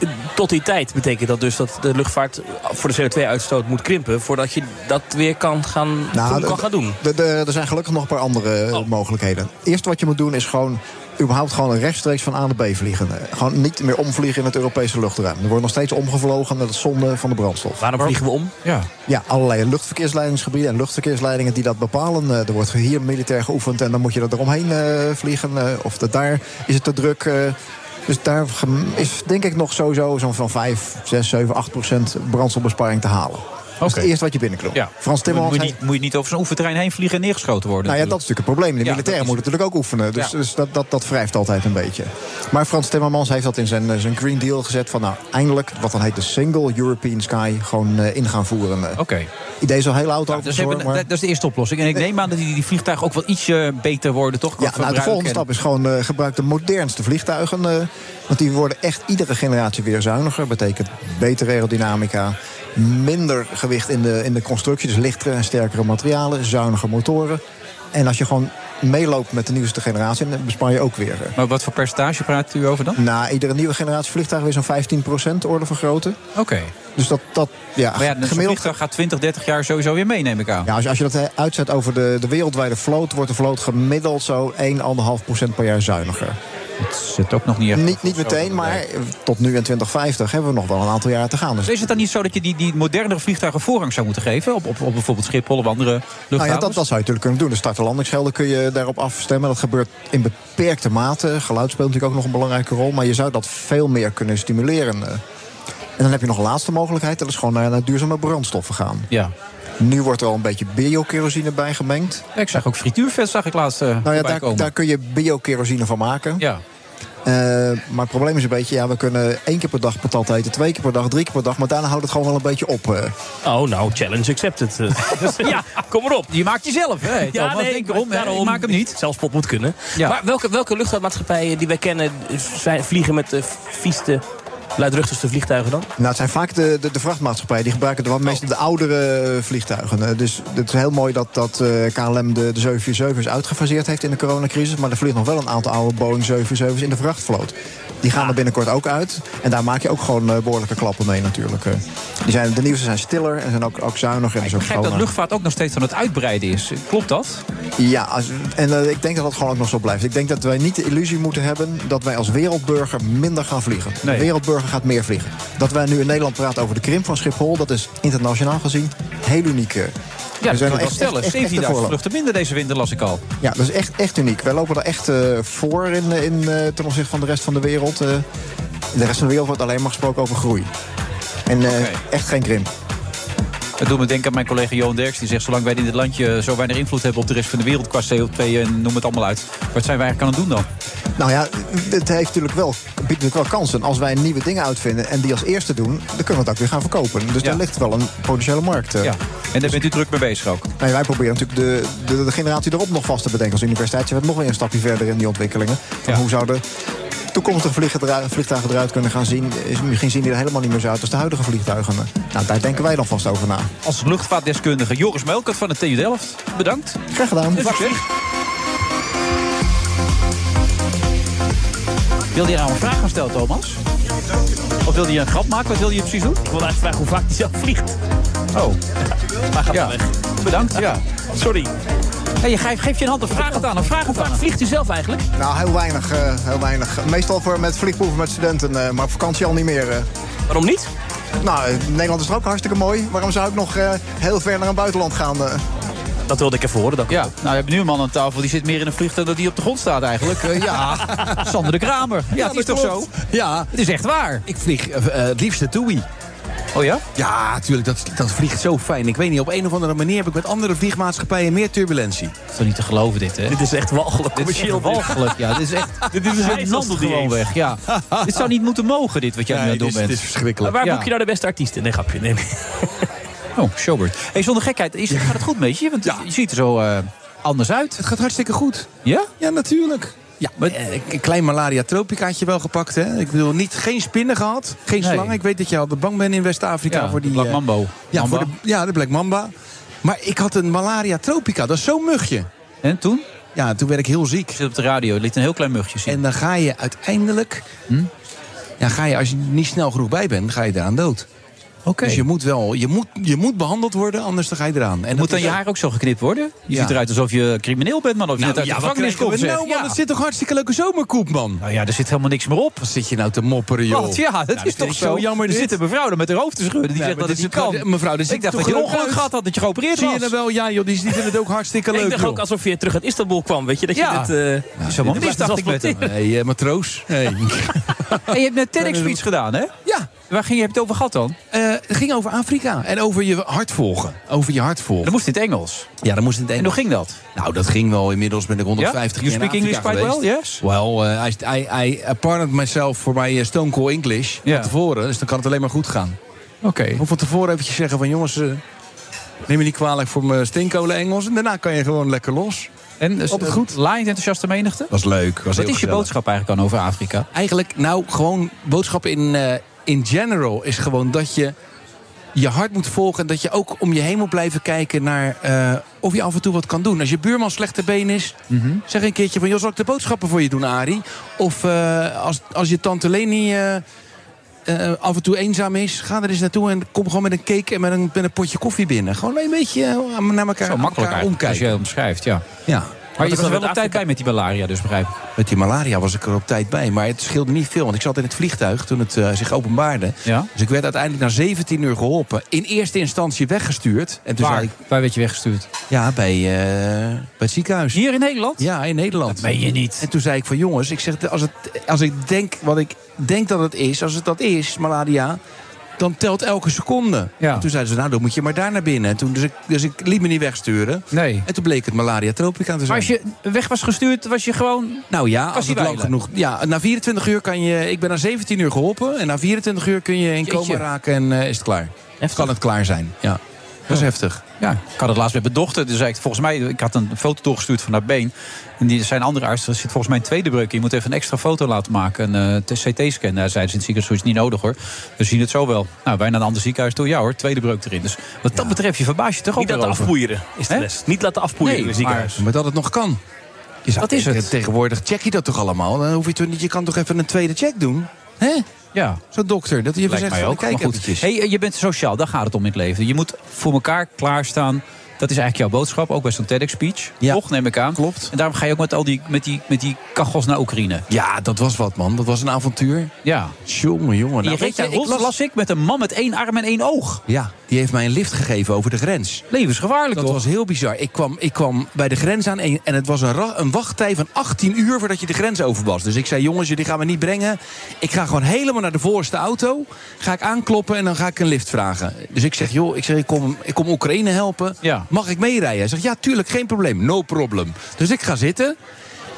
Speaker 6: eh, tot die tijd betekent dat dus dat de luchtvaart voor de CO2-uitstoot moet krimpen... voordat je dat weer kan gaan, goed kan
Speaker 25: d-
Speaker 6: gaan doen. Oh.
Speaker 25: d- d- Er zijn gelukkig nog een paar andere eh, mogelijkheden. Eerst wat je moet doen is gewoon überhaupt gewoon rechtstreeks van A naar B vliegen. Eh, Gewoon niet meer omvliegen in het Europese luchtruim. Er wordt nog steeds omgevlogen en dat is zonde van de brandstof.
Speaker 6: Waarom vliegen we om?
Speaker 5: Ja.
Speaker 25: Ja, allerlei luchtverkeersleidingsgebieden en luchtverkeersleidingen die dat bepalen. Eh, Er wordt hier militair geoefend en dan moet je er eromheen eh, vliegen. eh, of dat daar is het te druk. eh. dus daar gem- is denk ik nog sowieso zo'n van 5, 6, 7, 8 procent brandstofbesparing te halen. Dat is het eerste wat je binnenklopt.
Speaker 5: Ja.
Speaker 25: Frans Timmermans
Speaker 5: Moet je,
Speaker 25: heeft-
Speaker 5: niet, moet je niet over zo'n oefenterrein heen vliegen en neergeschoten worden.
Speaker 25: nou ja, dat is natuurlijk het probleem. De
Speaker 5: Ja,
Speaker 25: militairen moeten natuurlijk ook oefenen. Dus,
Speaker 5: Ja.
Speaker 25: dus dat, dat, dat wrijft altijd een beetje. Maar Frans Timmermans heeft dat in zijn, eh, zijn Green Deal gezet. Van nou, eindelijk, wat dan heet de Single European Sky, gewoon eh, in gaan voeren. Oké. Idee is al heel oud
Speaker 5: Dat
Speaker 25: over
Speaker 5: is, even- dat- dat is de eerste oplossing. En ik neem aan dat die, die vliegtuigen ook wel ietsje beter worden, toch? Qua
Speaker 25: Ja, nou, de
Speaker 5: verbruik
Speaker 25: volgende
Speaker 5: en-
Speaker 25: stap is gewoon eh, gebruik de modernste vliegtuigen. eh, want die worden echt iedere generatie weer zuiniger. Betekent betere aerodynamica, minder gewicht in de, in de constructie. Dus lichtere en sterkere materialen, zuiniger motoren. En als je gewoon meeloopt met de nieuwste generatie, dan bespaar je ook weer. eh,
Speaker 5: Maar wat voor percentage praat u over dan?
Speaker 25: Na iedere nieuwe generatie vliegtuigen weer zo'n 15% orde vergroten.
Speaker 5: Oké.
Speaker 25: Dus dat, dat ja,
Speaker 5: Maar ja, zo'n
Speaker 25: gemiddeld.
Speaker 5: vliegtuig gaat 20, 30 jaar sowieso weer mee, neem ik aan.
Speaker 25: Ja, als, je, als je dat eh, uitzet over de, de wereldwijde vloot, wordt de vloot gemiddeld zo 1,5% per jaar zuiniger.
Speaker 5: Dat zit ook nog niet echt.
Speaker 25: Niet, niet meteen, maar eh, tot nu in 2050 hebben we nog wel een aantal jaren te gaan. Dus
Speaker 5: Dus is het dan niet zo dat je die, die modernere vliegtuigen voorrang zou moeten geven? Op, op, op bijvoorbeeld Schiphol of andere
Speaker 25: nou ja,
Speaker 5: luchthavens?
Speaker 25: dat, dat zou je natuurlijk kunnen doen. De start- en landingsgelden kun je daarop afstemmen. Dat gebeurt in beperkte mate. Geluid speelt natuurlijk ook nog een belangrijke rol. Maar je zou dat veel meer kunnen stimuleren. eh. En dan heb je nog een laatste mogelijkheid. Dat is gewoon naar, naar duurzame brandstoffen gaan.
Speaker 5: Ja.
Speaker 25: Nu wordt er al een beetje biokerosine bij gemengd.
Speaker 5: Ik zag ook frituurvet, zag ik laatst eh
Speaker 25: Nou ja,
Speaker 5: voorbij
Speaker 25: daar,
Speaker 5: komen.
Speaker 25: daar kun je biokerosine van maken.
Speaker 5: Ja.
Speaker 25: Eh, maar het probleem is een beetje, ja, we kunnen één keer per dag patat eten, twee keer per dag, drie keer per dag, maar daarna houdt het gewoon wel een beetje op. eh.
Speaker 6: Oh, nou, challenge accepted. Eh, ja, kom maar op.
Speaker 5: Je maakt jezelf, hè? Het
Speaker 6: Ja,
Speaker 5: allemaal
Speaker 6: nee,
Speaker 5: denken om, hè? Ik maak hem
Speaker 6: niet. Zelfs pop moet kunnen. Maar welke, welke luchtvaartmaatschappijen die wij kennen... Zijn, vliegen met de vieste, luidruchtigste vliegtuigen dan?
Speaker 25: Nou, het zijn vaak de, de, de vrachtmaatschappijen. Die gebruiken de, meestal de oudere eh, vliegtuigen. Eh, Dus het is heel mooi dat, dat eh, KLM de, de 747 is uitgefaseerd heeft in de coronacrisis. Maar er vliegt nog wel een aantal oude Boeing 747's in de vrachtvloot. Die gaan er binnenkort ook uit. En daar maak je ook gewoon eh, behoorlijke klappen mee natuurlijk. eh. Die zijn, de nieuwste zijn stiller en zijn ook, ook zuiniger. En eh, is
Speaker 5: Ik
Speaker 25: ook
Speaker 5: begrijp dat
Speaker 25: schoner.
Speaker 5: luchtvaart ook nog steeds aan het uitbreiden is. Klopt dat?
Speaker 25: Ja, als- en eh, ik denk dat dat gewoon ook nog zo blijft. Ik denk dat wij niet de illusie moeten hebben dat wij als wereldburger minder gaan vliegen.
Speaker 5: Nee.
Speaker 25: De wereldburger gaat meer vliegen. Dat wij nu in Nederland praten over de krimp van Schiphol, dat is internationaal gezien heel uniek. eh.
Speaker 5: Ja, dat
Speaker 25: zijn
Speaker 5: kan
Speaker 25: wel
Speaker 5: ik wel stellen. 17.000
Speaker 25: voorloper.
Speaker 5: vluchten minder deze winter las ik al.
Speaker 25: Ja, dat is echt, echt uniek. Wij lopen er echt eh, voor in, eh, in, eh, ten opzichte van de rest van de wereld. eh. in de rest van de wereld wordt alleen maar gesproken over groei. En eh, echt geen krimp.
Speaker 5: Het doet me denken aan mijn collega Johan Derks. Die zegt, zolang wij in dit landje zo weinig invloed hebben op de rest van de wereld... qua CO2 en noem het allemaal uit. Wat zijn wij eigenlijk aan het doen dan?
Speaker 25: Nou ja, het heeft natuurlijk wel, biedt natuurlijk wel kansen. Als wij nieuwe dingen uitvinden en die als eerste doen, dan kunnen we het ook weer gaan verkopen. Dus daar ligt wel een potentiële markt. eh.
Speaker 5: Ja. En daar bent u druk mee bezig ook.
Speaker 25: Nee, wij proberen natuurlijk de, de, de generatie erop nog vast te bedenken als universiteit. Je bent nog weer een stapje verder in die ontwikkelingen. Van Hoe zouden toekomstige vliegen eruit- vliegtuigen eruit kunnen gaan zien? Is- Misschien zien die er helemaal niet meer zo uit als de huidige vliegtuigen. Nou, daar denken wij dan vast over na.
Speaker 5: Als luchtvaartdeskundige Joris Melkert van de TU Delft. Bedankt.
Speaker 25: Graag gedaan.
Speaker 5: Wilde je nou een vraag gaan stellen, Thomas? Of wilde je een grap maken? Wat wilde je precies doen? Ik
Speaker 6: wilde eigenlijk vragen hoe vaak hij zelf vliegt.
Speaker 5: Oh.
Speaker 6: Maar gaat
Speaker 5: ja.
Speaker 6: weg.
Speaker 5: Bedankt, ja.
Speaker 6: Sorry.
Speaker 5: Hey, je geeft, geeft je een hand, een vraag het aan. Een vraag het aan.
Speaker 6: vliegt u zelf eigenlijk?
Speaker 25: Nou, heel weinig. eh, heel weinig. Meestal voor, met vliegproeven met studenten, eh, maar op vakantie al niet meer. eh.
Speaker 6: Waarom niet?
Speaker 25: Nou, eh, Nederland is toch ook hartstikke mooi. Waarom zou ik nog eh, heel ver naar een buitenland gaan? eh?
Speaker 6: Dat wilde ik even horen. Dat
Speaker 5: ja, nou, we hebben nu een man aan tafel die zit meer in een vliegtuig dan die op de grond staat eigenlijk. Eh, ja, Sander de Kramer. Ja, het is toch zo?
Speaker 10: Ja.
Speaker 5: Het is echt waar.
Speaker 10: Ik vlieg eh, eh, het liefst de TUI.
Speaker 5: Oh ja?
Speaker 10: Ja, natuurlijk. Dat, dat vliegt zo fijn. Ik weet niet, op een of andere manier heb ik met andere vliegmaatschappijen meer turbulentie.
Speaker 5: Het is toch niet te geloven dit, hè?
Speaker 10: Dit
Speaker 6: is echt walgelijk.
Speaker 5: Dit is echt walgelijk, ja. Dit is echt...
Speaker 10: Dit is
Speaker 5: hij
Speaker 10: een
Speaker 5: wandelt
Speaker 10: handel
Speaker 5: gewoon
Speaker 10: die
Speaker 5: weg,
Speaker 10: heeft.
Speaker 5: ja. dit zou niet moeten mogen, dit, wat jij nu aan
Speaker 10: Nee,
Speaker 5: het doen
Speaker 10: dit is-
Speaker 5: bent.
Speaker 10: dit is verschrikkelijk.
Speaker 6: Maar waar
Speaker 5: Ja.
Speaker 6: boek je nou de beste artiesten? Nee, grapje. Nee, nee.
Speaker 5: Oh, Schobert. Hey, zonder gekheid, is, gaat het goed met je? Want je ziet er zo eh, anders uit.
Speaker 10: Het gaat hartstikke goed.
Speaker 5: Ja?
Speaker 10: Ja, natuurlijk. Ja, eh, een klein malaria tropicaatje wel gepakt. Hè? Ik bedoel, niet, geen spinnen gehad, geen Nee. slangen. Ik weet dat je altijd bang bent in West-Afrika Ja, voor die... de Black eh, Mambo. Ja, Mamba. Voor de, ja, de Black Mamba. Maar ik had een malaria tropica, dat is zo'n mugje.
Speaker 5: En toen?
Speaker 10: Ja, toen werd ik heel ziek.
Speaker 5: zit op de radio, liet een heel klein mugje zien. Hm?
Speaker 10: En dan ga je uiteindelijk... Ja, ga je, als je niet snel genoeg bij bent, ga je eraan dood.
Speaker 5: Oké.
Speaker 10: Dus je moet wel, je moet, je moet behandeld worden, anders dan ga je eraan. En
Speaker 5: Moet dan
Speaker 10: dan
Speaker 5: je haar ook zo geknipt worden? Je
Speaker 10: eh, Ja.
Speaker 5: ziet eruit alsof je crimineel bent, man. Of je net uit de gevangenis komt, zeg.
Speaker 10: Nou man, het zit toch hartstikke leuke zomerkoep, man.
Speaker 5: Nou ja, er zit helemaal niks meer op.
Speaker 10: Wat zit je nou te mopperen, joh?
Speaker 5: Wat? Ja, dat
Speaker 10: Nou,
Speaker 5: is
Speaker 10: vind
Speaker 5: toch
Speaker 10: ik
Speaker 5: zo jammer. Er
Speaker 10: dit.
Speaker 5: zit een mevrouw er met haar hoofd te schudden. Die
Speaker 10: Nee, maar
Speaker 5: zegt dat het
Speaker 10: dit
Speaker 5: niet
Speaker 10: is-
Speaker 5: kan.
Speaker 10: Mevrouw, dit ziet
Speaker 5: ik dacht
Speaker 10: er
Speaker 5: dat je een
Speaker 10: toch
Speaker 5: ongeluk
Speaker 10: leuk
Speaker 5: gehad had, dat je geopereerd
Speaker 10: Zie
Speaker 5: was.
Speaker 10: je dan wel? Ja joh, die, die vinden het ook hartstikke leuk,
Speaker 6: ik dacht
Speaker 10: joh. Nou,
Speaker 6: ook alsof je terug uit Istanbul kwam. Weet je dat
Speaker 5: Ja.
Speaker 6: je dit. eh
Speaker 5: is helemaal mis, dacht ik met hem.
Speaker 10: Hé, eh, matroos. Hey.
Speaker 5: En je hebt net TEDx-speech gedaan, hè?
Speaker 10: Ja.
Speaker 5: Waar ging je het over gehad dan?
Speaker 10: Eh, het ging over Afrika en over je hart volgen. Over je hart volgen. Dan
Speaker 5: moest in het Engels.
Speaker 10: Ja, dan moest in het Engels.
Speaker 5: hoe ging dat?
Speaker 10: Nou, dat ging wel. Inmiddels ben ik 150
Speaker 5: Ja? You
Speaker 10: jaar in
Speaker 5: speak English
Speaker 10: Afrika
Speaker 5: quite
Speaker 10: geweest.
Speaker 5: well, yes?
Speaker 10: Well, eh, I, I, I pardoned myself voor mijn eh, Stone Cold English van tevoren. Dus dan kan het alleen maar goed gaan.
Speaker 5: Oké.
Speaker 10: Of van tevoren eventjes zeggen van jongens, eh, neem me niet kwalijk voor mijn steenkolen Engels. En daarna kan je gewoon lekker los.
Speaker 5: En dus,
Speaker 10: Altijd goed.
Speaker 5: Laaiend enthousiaste menigte?
Speaker 10: Was leuk. Was heel
Speaker 5: Wat is je
Speaker 10: gezellig.
Speaker 5: boodschap eigenlijk dan over Afrika?
Speaker 10: Eigenlijk, nou, gewoon boodschap in, eh, in general is gewoon dat je je hart moet volgen. En dat je ook om je heen moet blijven kijken naar eh, of je af en toe wat kan doen. Als je buurman slechte been is,
Speaker 5: Mhm.
Speaker 10: zeg een keertje van... joh, zal ik de boodschappen voor je doen, Arie? Of eh, als, als je tante Leni... eh, eh, af en toe eenzaam is, ga er eens naartoe en kom gewoon met een cake en met een, met een potje koffie binnen. Gewoon een beetje eh, aan- naar elkaar,
Speaker 5: Zo
Speaker 10: aan
Speaker 5: makkelijk
Speaker 10: elkaar
Speaker 5: eigenlijk, als je
Speaker 10: omkijken.
Speaker 5: het omschrijft, ja.
Speaker 10: Ja.
Speaker 5: Maar je was er wel op tijd bij met die malaria, dus begrijp ik.
Speaker 10: Met die malaria was ik er op tijd bij. Maar het scheelde niet veel. Want ik zat in het vliegtuig toen het eh, zich openbaarde.
Speaker 5: Ja?
Speaker 10: Dus ik werd uiteindelijk na 17 uur geholpen. In eerste instantie weggestuurd. En toen
Speaker 5: Waar?
Speaker 10: zei ik,
Speaker 5: Waar werd je weggestuurd?
Speaker 10: ja, bij, eh, bij het ziekenhuis.
Speaker 5: Hier in Nederland?
Speaker 10: Ja, in Nederland. Dat
Speaker 5: meen je niet.
Speaker 10: En toen zei ik van jongens, ik zeg, als, het, als ik denk wat ik denk dat het is, als het dat is, malaria, dan telt elke seconde. En toen zeiden ze, nou dan moet je maar daar naar binnen. En toen, dus, ik, dus ik liet me niet wegsturen.
Speaker 5: Nee.
Speaker 10: En toen bleek het malaria tropica te zijn.
Speaker 5: Maar als je weg was gestuurd, was je gewoon...
Speaker 10: Nou ja,
Speaker 5: Kan
Speaker 10: als
Speaker 5: die
Speaker 10: het lang
Speaker 5: wijlen?
Speaker 10: genoeg. Ja, na 24 uur kan je. Ik ben na 17 uur geholpen. En na 24 uur kun je in
Speaker 5: Jeetje.
Speaker 10: coma raken en eh, is het klaar. Kan het klaar zijn. Ja. Dat is heftig.
Speaker 5: Ja, ik had het laatst met mijn dochter. Dus zei ik, volgens mij, ik had een foto doorgestuurd van haar been. En die zijn andere arts, er zit volgens mij een tweede breuk in. Je moet even een extra foto laten maken. Een eh, CT-scan. Daar zeiden ze in het ziekenhuis, zoiets niet nodig hoor. We zien het zo wel. Nou, bijna een ander ziekenhuis door. Ja hoor, tweede breuk erin. Dus wat dat betreft, je verbaas je toch ook
Speaker 6: Niet laten
Speaker 5: weer over.
Speaker 6: afpoeieren is de
Speaker 5: Hè?
Speaker 6: les. Niet laten afpoeieren
Speaker 5: Nee,
Speaker 6: in het ziekenhuis.
Speaker 10: Maar dat het nog kan. Je zou
Speaker 5: Dat is
Speaker 10: denken,
Speaker 5: het.
Speaker 10: Tegenwoordig check je dat toch allemaal? Dan hoef je, toch niet, je kan toch even een tweede check doen? Hè?
Speaker 5: Ja.
Speaker 10: Zo'n dokter. Dat je even
Speaker 5: Lijkt
Speaker 10: zegt,
Speaker 5: mij
Speaker 10: van,
Speaker 5: ook.
Speaker 10: kijk
Speaker 5: maar goed.
Speaker 10: eventjes.
Speaker 5: Hey, eh, je bent sociaal, daar gaat het om in het leven. Je moet voor elkaar klaarstaan. Dat is eigenlijk jouw boodschap, ook bij zo'n TEDx-speech. Toch, neem ik aan. Klopt. En daarom ga je ook met, al die, met, die, met die kachels naar Oekraïne.
Speaker 10: Ja, dat was wat man. Dat was een avontuur.
Speaker 5: Ja.
Speaker 10: Jongen, jongen.
Speaker 5: je
Speaker 10: Nou,
Speaker 5: reed
Speaker 10: weet je,
Speaker 5: daar
Speaker 10: ik
Speaker 5: rond,
Speaker 10: las-
Speaker 5: las ik, met een man met één arm en één oog.
Speaker 10: Ja, die heeft mij een lift gegeven over de grens.
Speaker 5: Levensgevaarlijk
Speaker 10: Dat was heel bizar. Ik kwam, ik kwam bij de grens aan en, en het was een, ra- een wachttij van 18 uur voordat je de grens over was. Dus ik zei, jongens, jullie gaan me niet brengen. Ik ga gewoon helemaal naar de voorste auto. Ga ik aankloppen en dan ga ik een lift vragen. Dus ik zeg, joh, ik, zeg, ik, kom, ik kom Oekraïne helpen. Mag ik meerijden? Hij zegt, ja, tuurlijk, geen probleem. No problem. Dus ik ga zitten.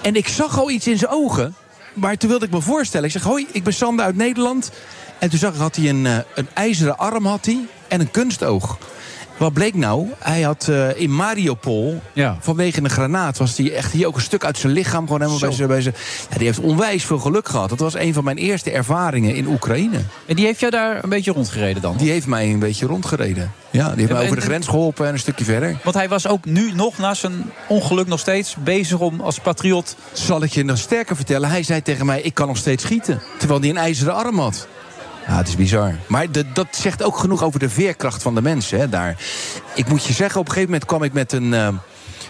Speaker 10: En ik zag al iets in zijn ogen. Maar toen wilde ik me voorstellen. Ik zeg, hoi, ik ben Sander uit Nederland. En toen zag ik, had hij een, eh, een ijzeren arm had hij, en een kunstoog. Wat bleek nou? Hij had eh, in Mariupol, vanwege een granaat... was hij echt hier ook een stuk uit zijn lichaam. Gewoon helemaal bij zijn, bij zijn... Ja, die heeft onwijs veel geluk gehad. Dat was een van mijn eerste ervaringen in Oekraïne.
Speaker 5: En die heeft jou daar een beetje rondgereden dan?
Speaker 10: Die heeft mij een beetje rondgereden. Ja, die heeft
Speaker 5: En-
Speaker 10: mij over
Speaker 5: en-
Speaker 10: de grens geholpen en een stukje verder.
Speaker 5: Want hij was ook nu nog na zijn ongeluk nog steeds bezig om als patriot...
Speaker 10: Zal ik je nog sterker vertellen? Hij zei tegen mij, ik kan nog steeds schieten. Terwijl hij een ijzeren arm had. Ja, het is bizar. Maar de- dat zegt ook genoeg over de veerkracht van de mensen hè, daar. Ik moet je zeggen, op een gegeven moment kwam ik met een... eh,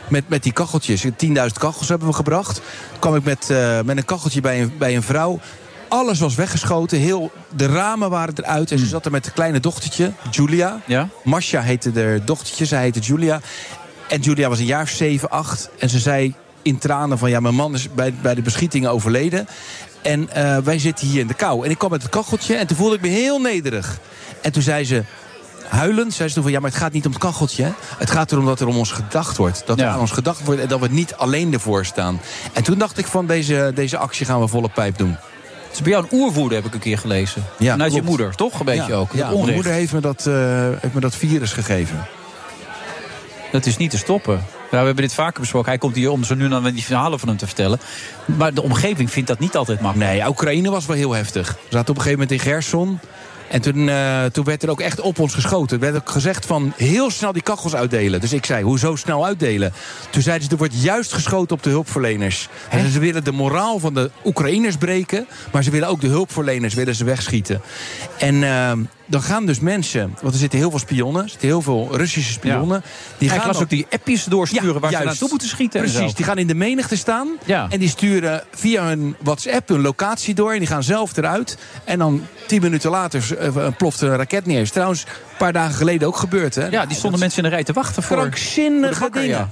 Speaker 10: met, met die kacheltjes, 10.000 kachels hebben we gebracht. kwam ik met, eh, met een kacheltje bij een, bij een vrouw. Alles was weggeschoten, heel, de ramen waren eruit. En ze zat er met een kleine dochtertje, Julia.
Speaker 5: Ja?
Speaker 10: Masha heette haar dochtertje, zij heette Julia. En Julia was een jaar of zeven, acht. En ze zei in tranen van... ja, mijn man is bij, bij de beschietingen overleden. En eh, wij zitten hier in de kou. En ik kwam met het kacheltje en toen voelde ik me heel nederig. En toen zei ze... Huilend zei ze toen van ja, maar het gaat niet om het kacheltje. hè. Het gaat erom dat er om ons gedacht wordt. Dat er aan ons gedacht wordt en dat we niet alleen ervoor staan. En toen dacht ik van deze, deze actie gaan we volle pijp doen.
Speaker 9: Het is Dus bij jou een oerwoede, heb ik een keer gelezen.
Speaker 10: Ja,
Speaker 9: Vanuit je
Speaker 10: klopt.
Speaker 9: moeder, toch? Een beetje
Speaker 10: Ja,
Speaker 9: ook.
Speaker 10: ja,
Speaker 9: dat onrecht.
Speaker 10: mijn moeder heeft me, dat, eh, heeft me dat virus gegeven.
Speaker 9: Dat is niet te stoppen.
Speaker 5: Nou,
Speaker 9: Ja, we hebben dit vaker besproken. Hij komt hier om zo nu en dan weer die verhalen van hem te vertellen. Maar de omgeving vindt dat niet altijd makkelijk.
Speaker 10: Nee, Oekraïne was wel heel heftig. We zaten op een gegeven moment in Gerson. En toen, eh, toen werd er ook echt op ons geschoten. Er werd ook gezegd van heel snel die kachels uitdelen. Dus ik zei, hoezo snel uitdelen? Toen zeiden ze, er wordt juist geschoten op de hulpverleners. En ze willen de moraal van de Oekraïners breken. Maar ze willen ook de hulpverleners willen ze wegschieten. En eh, dan gaan dus mensen... Want er zitten heel veel spionnen. Er zitten heel veel Russische spionnen.
Speaker 9: Die gaan ook die appjes doorsturen waar ze
Speaker 10: juist.
Speaker 9: naartoe moeten schieten. en
Speaker 10: Precies,
Speaker 9: zo.
Speaker 10: die gaan in de menigte staan. En die sturen via hun WhatsApp hun locatie door. En die gaan zelf eruit. En dan tien minuten later eh, ploft er een raket neer. Is trouwens een paar dagen geleden ook gebeurd. Hè? Ja,
Speaker 9: die stonden mensen in de rij te wachten voor.
Speaker 10: Krankzinnige
Speaker 9: voor de bakker,
Speaker 10: dingen.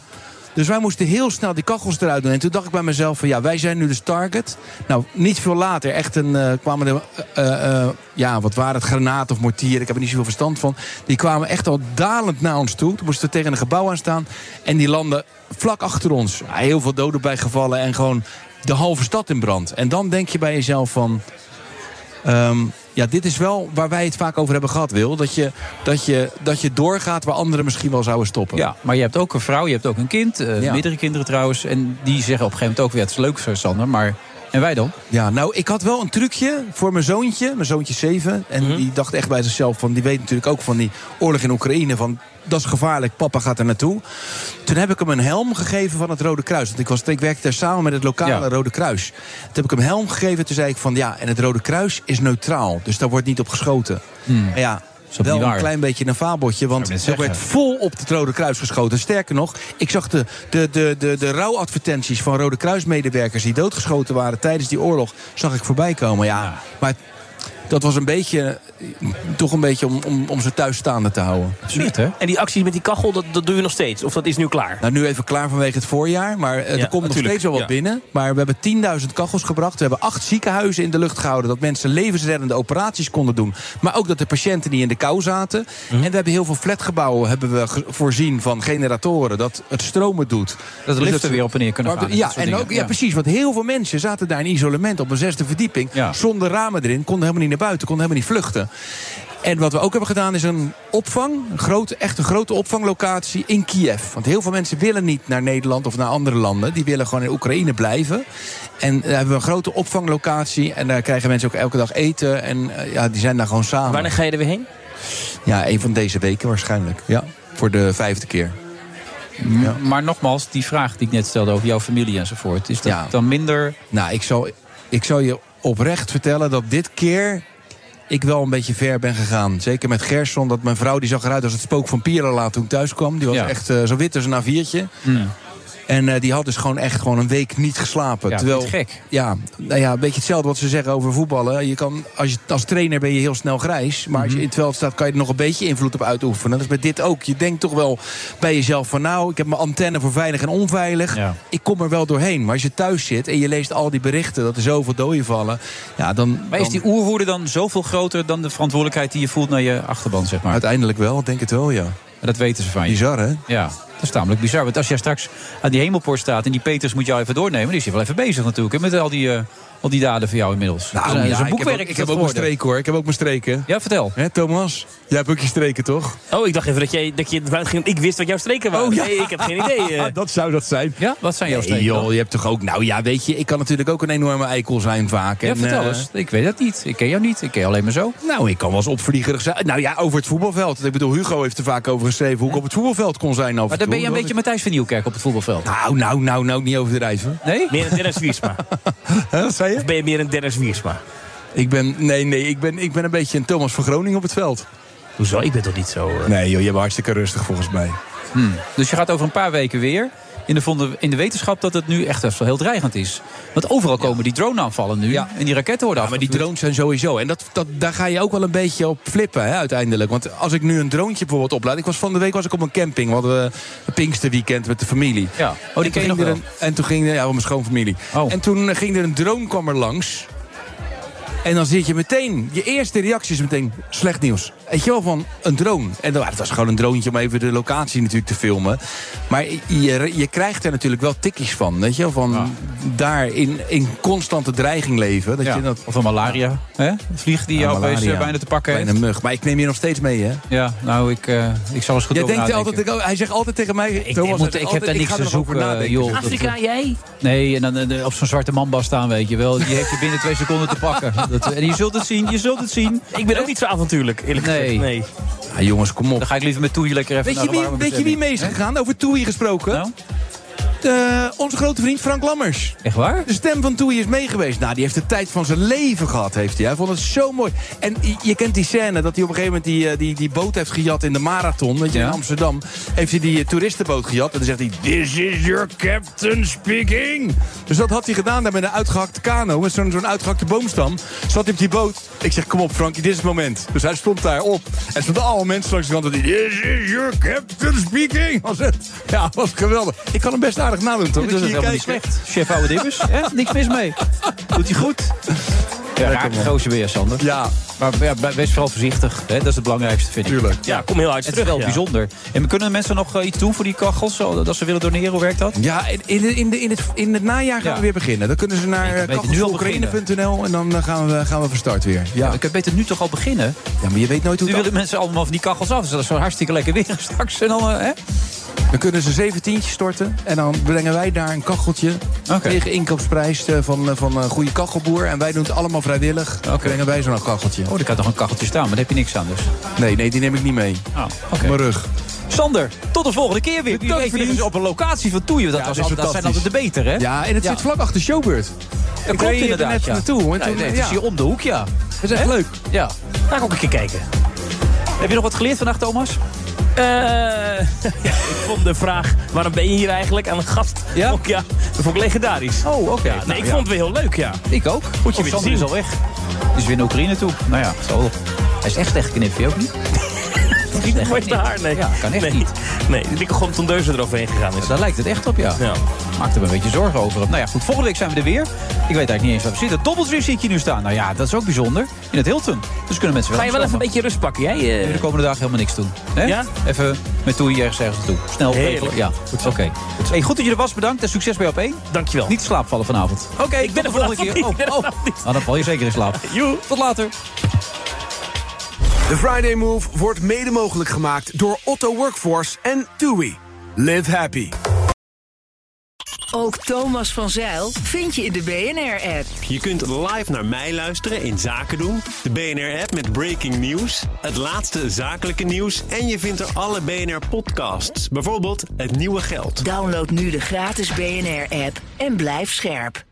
Speaker 10: Dus wij moesten heel snel die kachels eruit doen. En toen dacht ik bij mezelf van ja, wij zijn nu dus target. Nou, niet veel later echt een, eh, kwamen er... eh, eh, ja, wat waren het? Granaten of mortieren. Ik heb er niet zoveel verstand van. Die kwamen echt al dalend naar ons toe. Toen moesten we tegen een gebouw aan staan. En die landen vlak achter ons. Ja, heel veel doden bijgevallen en gewoon de halve stad in brand. En dan denk je bij jezelf van... Ehm, ja, dit is wel waar wij het vaak over hebben gehad, Wil. Dat je, dat je, dat je doorgaat waar anderen misschien wel zouden stoppen.
Speaker 9: Ja, maar je hebt ook een vrouw, je hebt ook een kind. eh,
Speaker 10: Ja.
Speaker 9: Meerdere kinderen trouwens. En die zeggen op een gegeven moment ook weer, het is leuk zo, Sander. Maar, en wij dan?
Speaker 10: Ja, nou, ik had wel een trucje voor mijn zoontje. Mijn zoontje is zeven. En
Speaker 9: Mhm.
Speaker 10: die dacht echt bij zichzelf van... die weet natuurlijk ook van die oorlog in Oekraïne... van dat is gevaarlijk, papa gaat er naartoe. Toen heb ik hem een helm gegeven van het Rode Kruis. Want ik, was, ik werkte daar samen met het lokale Rode Kruis. Toen heb ik hem helm gegeven. Toen zei ik van ja, en het Rode Kruis is neutraal. Dus daar wordt niet op geschoten. Maar ja,
Speaker 9: ook
Speaker 10: wel
Speaker 9: Hmm. niet
Speaker 10: een
Speaker 9: waar.
Speaker 10: klein beetje een fabeltje. Want er
Speaker 9: zeggen.
Speaker 10: werd vol op het Rode Kruis geschoten. Sterker nog, ik zag de, de, de, de, de rouwadvertenties van Rode Kruismedewerkers... die doodgeschoten waren tijdens die oorlog, zag ik voorbij komen. Ja, maar dat was een beetje... eh, toch een beetje om, om, om ze thuis staande te houden.
Speaker 6: Zucht, hè? En die actie met die kachel, dat, dat doe je nog steeds? Of dat is nu klaar?
Speaker 10: Nou, nu even klaar vanwege het voorjaar. Maar eh,
Speaker 6: Ja,
Speaker 10: er komt nog
Speaker 6: natuurlijk,
Speaker 10: steeds wel wat
Speaker 6: ja.
Speaker 10: binnen. Maar we hebben 10.000 kachels gebracht. We hebben acht ziekenhuizen in de lucht gehouden. Dat mensen levensreddende operaties konden doen. Maar ook dat de patiënten niet in de kou zaten.
Speaker 6: Mhm.
Speaker 10: En we hebben heel veel flatgebouwen hebben we ge- voorzien van generatoren. Dat het stromen doet.
Speaker 9: Dat de
Speaker 10: Dus
Speaker 9: liften weer op en neer kunnen
Speaker 10: Maar-
Speaker 9: gaan en
Speaker 10: Ja,
Speaker 9: dat soort
Speaker 10: en
Speaker 9: dingen.
Speaker 10: ook, ja,
Speaker 9: Ja.
Speaker 10: precies. Want heel veel mensen zaten daar in isolement op een zesde verdieping. Zonder ramen erin. Konden helemaal niet naar buiten. Konden helemaal niet vluchten. En wat we ook hebben gedaan is een opvang, een grote, echt een grote opvanglocatie in Kiev. Want heel veel mensen willen niet naar Nederland of naar andere landen. Die willen gewoon in Oekraïne blijven. En daar hebben we een grote opvanglocatie. En daar krijgen mensen ook elke dag eten. En eh, ja, die zijn daar gewoon samen.
Speaker 6: Wanneer ga je er weer heen?
Speaker 10: Ja, een van deze weken waarschijnlijk. Ja, voor de vijfde keer. Ja.
Speaker 9: Maar nogmaals, die vraag die ik net stelde over jouw familie enzovoort. Is dat dan minder...
Speaker 10: Nou, ik zal, ik zal je oprecht vertellen dat dit keer ik wel een beetje ver ben gegaan. Zeker met Gerson, dat mijn vrouw die zag eruit als het spook van Pierrelaat toen ik thuis kwam. Die was echt eh, zo wit als een A4'tje.
Speaker 5: Mm.
Speaker 10: En eh, die had dus gewoon echt gewoon een week niet geslapen.
Speaker 9: Ja,
Speaker 10: Terwijl,
Speaker 9: niet gek.
Speaker 10: Ja, nou ja, een beetje hetzelfde wat ze zeggen over voetballen. Je kan, als, je, als trainer ben je heel snel grijs. Maar
Speaker 9: Mhm.
Speaker 10: als je in het veld staat, kan je er nog een beetje invloed op uitoefenen. Dat is bij dit ook. Je denkt toch wel bij jezelf van... nou, ik heb mijn antenne voor veilig en onveilig. Ik kom er wel doorheen. Maar als je thuis zit en je leest al die berichten... dat er zoveel doden vallen, ja, dan...
Speaker 9: Maar is die oerwoede dan zoveel groter dan de verantwoordelijkheid die je voelt naar je achterban, zeg maar?
Speaker 10: Uiteindelijk wel, denk het wel, ja.
Speaker 9: Dat weten ze van je.
Speaker 10: Bizar, hè?
Speaker 9: Ja, dat is tamelijk bizar. Want als jij straks aan die hemelpoort staat en die Peters moet jou even doornemen... dan is hij wel even bezig natuurlijk hè, met al die, eh, al die daden van jou inmiddels.
Speaker 10: Nou,
Speaker 9: Dat is een- dat is
Speaker 10: ja,
Speaker 9: een boekwerk.
Speaker 10: Ik heb ook, ik
Speaker 9: is
Speaker 10: heb
Speaker 9: dat
Speaker 10: ook mijn
Speaker 9: geworden.
Speaker 10: streken, hoor. Ik heb ook mijn streken.
Speaker 9: Ja, vertel.
Speaker 10: Hè, Thomas? Jij hebt ook je streken, toch? Oh,
Speaker 6: Oh, ik dacht even dat, jij, dat je het buiten ging. Ik wist wat jouw streken waren. Nee, ik heb geen idee. eh.
Speaker 10: dat zou dat zijn.
Speaker 9: Ja, wat zijn jouw
Speaker 10: Nee,
Speaker 9: streken
Speaker 10: joh,
Speaker 9: dan?
Speaker 10: je hebt toch ook... Nou ja, weet je, ik kan natuurlijk ook een enorme eikel zijn vaak.
Speaker 9: Ja,
Speaker 10: En,
Speaker 9: vertel
Speaker 10: eh,
Speaker 9: eens. Ik weet dat niet. Ik ken jou niet. Ik ken je alleen maar zo.
Speaker 10: Nou, ik kan wel eens opvliegerig zijn. Nou ja, over het voetbalveld. Ik bedoel, Hugo heeft er vaak over geschreven hoe ik op het voetbalveld kon zijn.
Speaker 9: Maar dan ben je een beetje Matthijs van Nieuwkerk op het voetbalveld.
Speaker 10: Nou, nou, nou, nou, niet overdrijven.
Speaker 9: Nee?
Speaker 6: Meer een Dennis Wiersma.
Speaker 10: Wat zei je?
Speaker 6: Of ben je meer een Dennis Wiersma?
Speaker 10: Ik ben, nee, nee, ik ben, ik ben een beetje een Thomas van Groningen op het veld.
Speaker 6: Hoezo? Ik ben toch niet zo... eh?
Speaker 10: Nee joh, je bent hartstikke rustig volgens mij.
Speaker 9: Hmm. Dus je gaat over een paar weken weer.
Speaker 5: in de, vonden- in de wetenschap dat het nu echt best wel heel dreigend is. Want overal komen die drone-aanvallen nu. En die raketten worden
Speaker 10: Ja, maar die drones zijn sowieso. En dat, dat, daar ga je ook wel een beetje op flippen hè, uiteindelijk. Want als ik nu een droontje bijvoorbeeld oplaad. Ik was van de week was ik op een camping. We hadden eh, een Pinksterweekend met de familie.
Speaker 5: Ja.
Speaker 10: Oh, die
Speaker 5: ken je nog
Speaker 10: er
Speaker 5: wel? Oh.
Speaker 10: een, En toen ging er, ja, van mijn schoonfamilie. En toen eh, ging er een drone kwam er langs. En dan zit je meteen, je eerste reactie is meteen slecht nieuws. Weet je wel, van een drone. En dan, het was gewoon een droontje om even de locatie natuurlijk te filmen. Maar je, je krijgt er natuurlijk wel tikjes van. Weet je wel, van daar in, in constante dreiging leven. Dat je dat,
Speaker 5: of een malaria. Hè? Vlieg die jou opeens, eh, bijna te pakken
Speaker 10: Bijna
Speaker 5: heeft.
Speaker 10: mug. Maar ik neem je nog steeds mee, hè?
Speaker 5: Ja, nou, ik, eh, ik zal eens goed
Speaker 10: Jij
Speaker 5: over
Speaker 10: denkt
Speaker 5: nadenken.
Speaker 10: altijd, ik- hij zegt altijd tegen mij...
Speaker 5: Ik,
Speaker 10: Thomas,
Speaker 5: moet, ik
Speaker 10: altijd,
Speaker 5: heb daar
Speaker 10: ik
Speaker 5: niks
Speaker 10: ga
Speaker 5: te
Speaker 10: er nog over
Speaker 5: zoeken, eh,
Speaker 10: nadenken.
Speaker 5: joh. Dat-
Speaker 6: Afrika, jij?
Speaker 5: Nee, en dan eh, op zo'n zwarte manbas staan, weet je wel. Die heeft je binnen twee seconden te pakken. Dat, eh, en je zult het zien, je zult het zien.
Speaker 6: Ik ben ook niet zo avontuurlijk, eerlijk
Speaker 5: nee. Ah,
Speaker 6: Nee.
Speaker 10: Ja, jongens, kom op.
Speaker 5: Dan ga ik liever met Toei lekker even
Speaker 10: Weet
Speaker 5: naar
Speaker 10: je,
Speaker 5: de
Speaker 10: wie,
Speaker 5: warme Nou?
Speaker 10: weet je wie
Speaker 5: bestemming.
Speaker 10: mee is gegaan? Over Toei gesproken. Eh, onze grote vriend Frank Lammers.
Speaker 5: Echt waar?
Speaker 10: De stem van Toei is meegeweest. Nou, die heeft de tijd van zijn leven gehad, heeft hij. Hij vond het zo mooi. En je, je kent die scène dat hij op een gegeven moment die, eh, die, die boot heeft gejat in de marathon. Weet je, in Amsterdam heeft hij die eh, toeristenboot gejat. En dan zegt hij, this is your captain speaking. Dus dat had hij gedaan daar met een uitgehakte kano. Met zo'n zo'n uitgehakte boomstam. Zat hij op die boot. Ik zeg, kom op Frankie, dit is het moment. Dus hij stond daar op. En stonden allemaal mensen langs de kant. dat hij, This is your captain speaking. Was het. Ja, was geweldig. Ik kan hem best aardig nadoen, toch?
Speaker 5: Dit
Speaker 10: Ik
Speaker 5: is
Speaker 10: zie je
Speaker 5: helemaal niet
Speaker 10: kijken.
Speaker 5: slecht. Chef oude dippers, hè? niks mis mee. Doet hij goed. Ja, raak de gozer weer, Sander.
Speaker 10: Ja.
Speaker 5: Maar ja, wees vooral voorzichtig. Hè? Dat is het belangrijkste, vind ik. Tuurlijk.
Speaker 6: Ja, kom heel hard
Speaker 5: Het is
Speaker 6: terug,
Speaker 5: wel
Speaker 6: ja.
Speaker 5: bijzonder. En kunnen mensen nog eh, iets doen voor die kachels? zo, Dat ze willen doneren, hoe werkt dat?
Speaker 10: Ja, in, in, in, de- in, het, in het najaar gaan
Speaker 5: Ja.
Speaker 10: we weer beginnen. Dan kunnen ze naar eh,
Speaker 5: kan beter nu al
Speaker 10: kachelsvooroekraïne.nl en dan eh, gaan we, gaan we van start weer. Ja.
Speaker 5: Ik kan beter nu toch al beginnen.
Speaker 10: Ja, maar je weet nooit hoe
Speaker 5: Nu
Speaker 10: het
Speaker 5: willen mensen allemaal van die kachels af. Dus dat is zo'n hartstikke lekker weer straks. En dan, eh, hè?
Speaker 10: Dan kunnen ze zeventientjes storten en dan brengen wij daar een kacheltje. Tegen inkoopprijs eh, van, eh, van een goede kachelboer. En wij doen het allemaal vrijwillig. Dan brengen wij zo'n kacheltje.
Speaker 5: Oh, daar kan toch een kacheltje staan, maar daar heb je niks aan dus. Oh,
Speaker 10: Nee, nee, die neem ik niet mee. Op mijn rug.
Speaker 5: Sander, tot de volgende keer weer. Wie
Speaker 10: Bedankt,
Speaker 5: weet
Speaker 10: vriend.
Speaker 5: liggen ze op een locatie van Toeje. Dat,
Speaker 10: Ja,
Speaker 5: was
Speaker 10: dit is
Speaker 5: al- dat zijn altijd
Speaker 10: fantastisch.
Speaker 5: de betere, hè?
Speaker 10: Ja, en het zit vlak achter Showbeurt.
Speaker 5: Dat
Speaker 10: reed
Speaker 5: klopt
Speaker 10: hier
Speaker 5: inderdaad,
Speaker 10: net
Speaker 5: ja.
Speaker 10: naartoe. En
Speaker 5: Nee,
Speaker 10: toen-
Speaker 5: nee, het is
Speaker 10: ja.
Speaker 5: hier om de hoek, ja.
Speaker 10: Dat is echt leuk.
Speaker 5: Ja, ga ik ook een keer kijken. Heb je nog wat geleerd vandaag, Thomas?
Speaker 6: Eh, ja, ik vond de vraag, waarom ben je hier eigenlijk aan een gast? Ja? ja dat vond ik legendarisch.
Speaker 5: Oh, oké.
Speaker 6: Ja, nee,
Speaker 5: Nou,
Speaker 6: ik
Speaker 5: ja.
Speaker 6: vond het weer heel leuk, ja.
Speaker 5: Ik ook.
Speaker 6: Moet je
Speaker 5: Oh,
Speaker 6: weer
Speaker 5: Sander
Speaker 6: zien.
Speaker 5: is al weg. Die is weer naar Oekraïne toe. Nou ja, zo. Hij is echt echt knip, vind je ook niet?
Speaker 6: Niet het mooiste haar, nee. Ja,
Speaker 5: kan echt
Speaker 6: nee.
Speaker 5: niet.
Speaker 6: Nee, die lieke gewoon tondeuze eroverheen gegaan is.
Speaker 5: Daar lijkt het echt op, ja.
Speaker 6: Ja.
Speaker 5: Maakt er een beetje zorgen over. Nou ja, goed, volgende week zijn we er weer. Ik weet eigenlijk niet eens waar we zitten. Dobbeltrip zie ik hier nu staan. Nou ja, dat is ook bijzonder. In het Hilton. Dus kunnen mensen wel
Speaker 6: Ga je wel even een
Speaker 5: afkomen.
Speaker 6: beetje rust pakken, jij? eh?
Speaker 5: de komende dagen helemaal niks doen. Hè?
Speaker 6: Ja?
Speaker 5: Even met toe je ergens ergens naartoe. Snel
Speaker 6: Heerlijk.
Speaker 5: regelen. Ja, goed. Oké. Hey, goed dat je er was. Bedankt en succes bij op 1.
Speaker 6: Dankjewel.
Speaker 5: Niet slaapvallen vanavond. Oké, ik ben de volgende keer. Oh, oh. Nou, dan val je zeker in slaap.
Speaker 6: Joe.
Speaker 5: Tot later.
Speaker 11: De Friday Move wordt mede mogelijk gemaakt door Otto Workforce en TUI. Live happy.
Speaker 1: Ook Thomas van Zeil vind je in de BNR-app.
Speaker 15: Je kunt live naar mij luisteren in Zaken doen. De BNR-app met breaking nieuws, het laatste zakelijke nieuws en je vindt er alle BNR-podcasts. Bijvoorbeeld Het Nieuwe Geld.
Speaker 1: Download nu de gratis BNR-app en blijf scherp.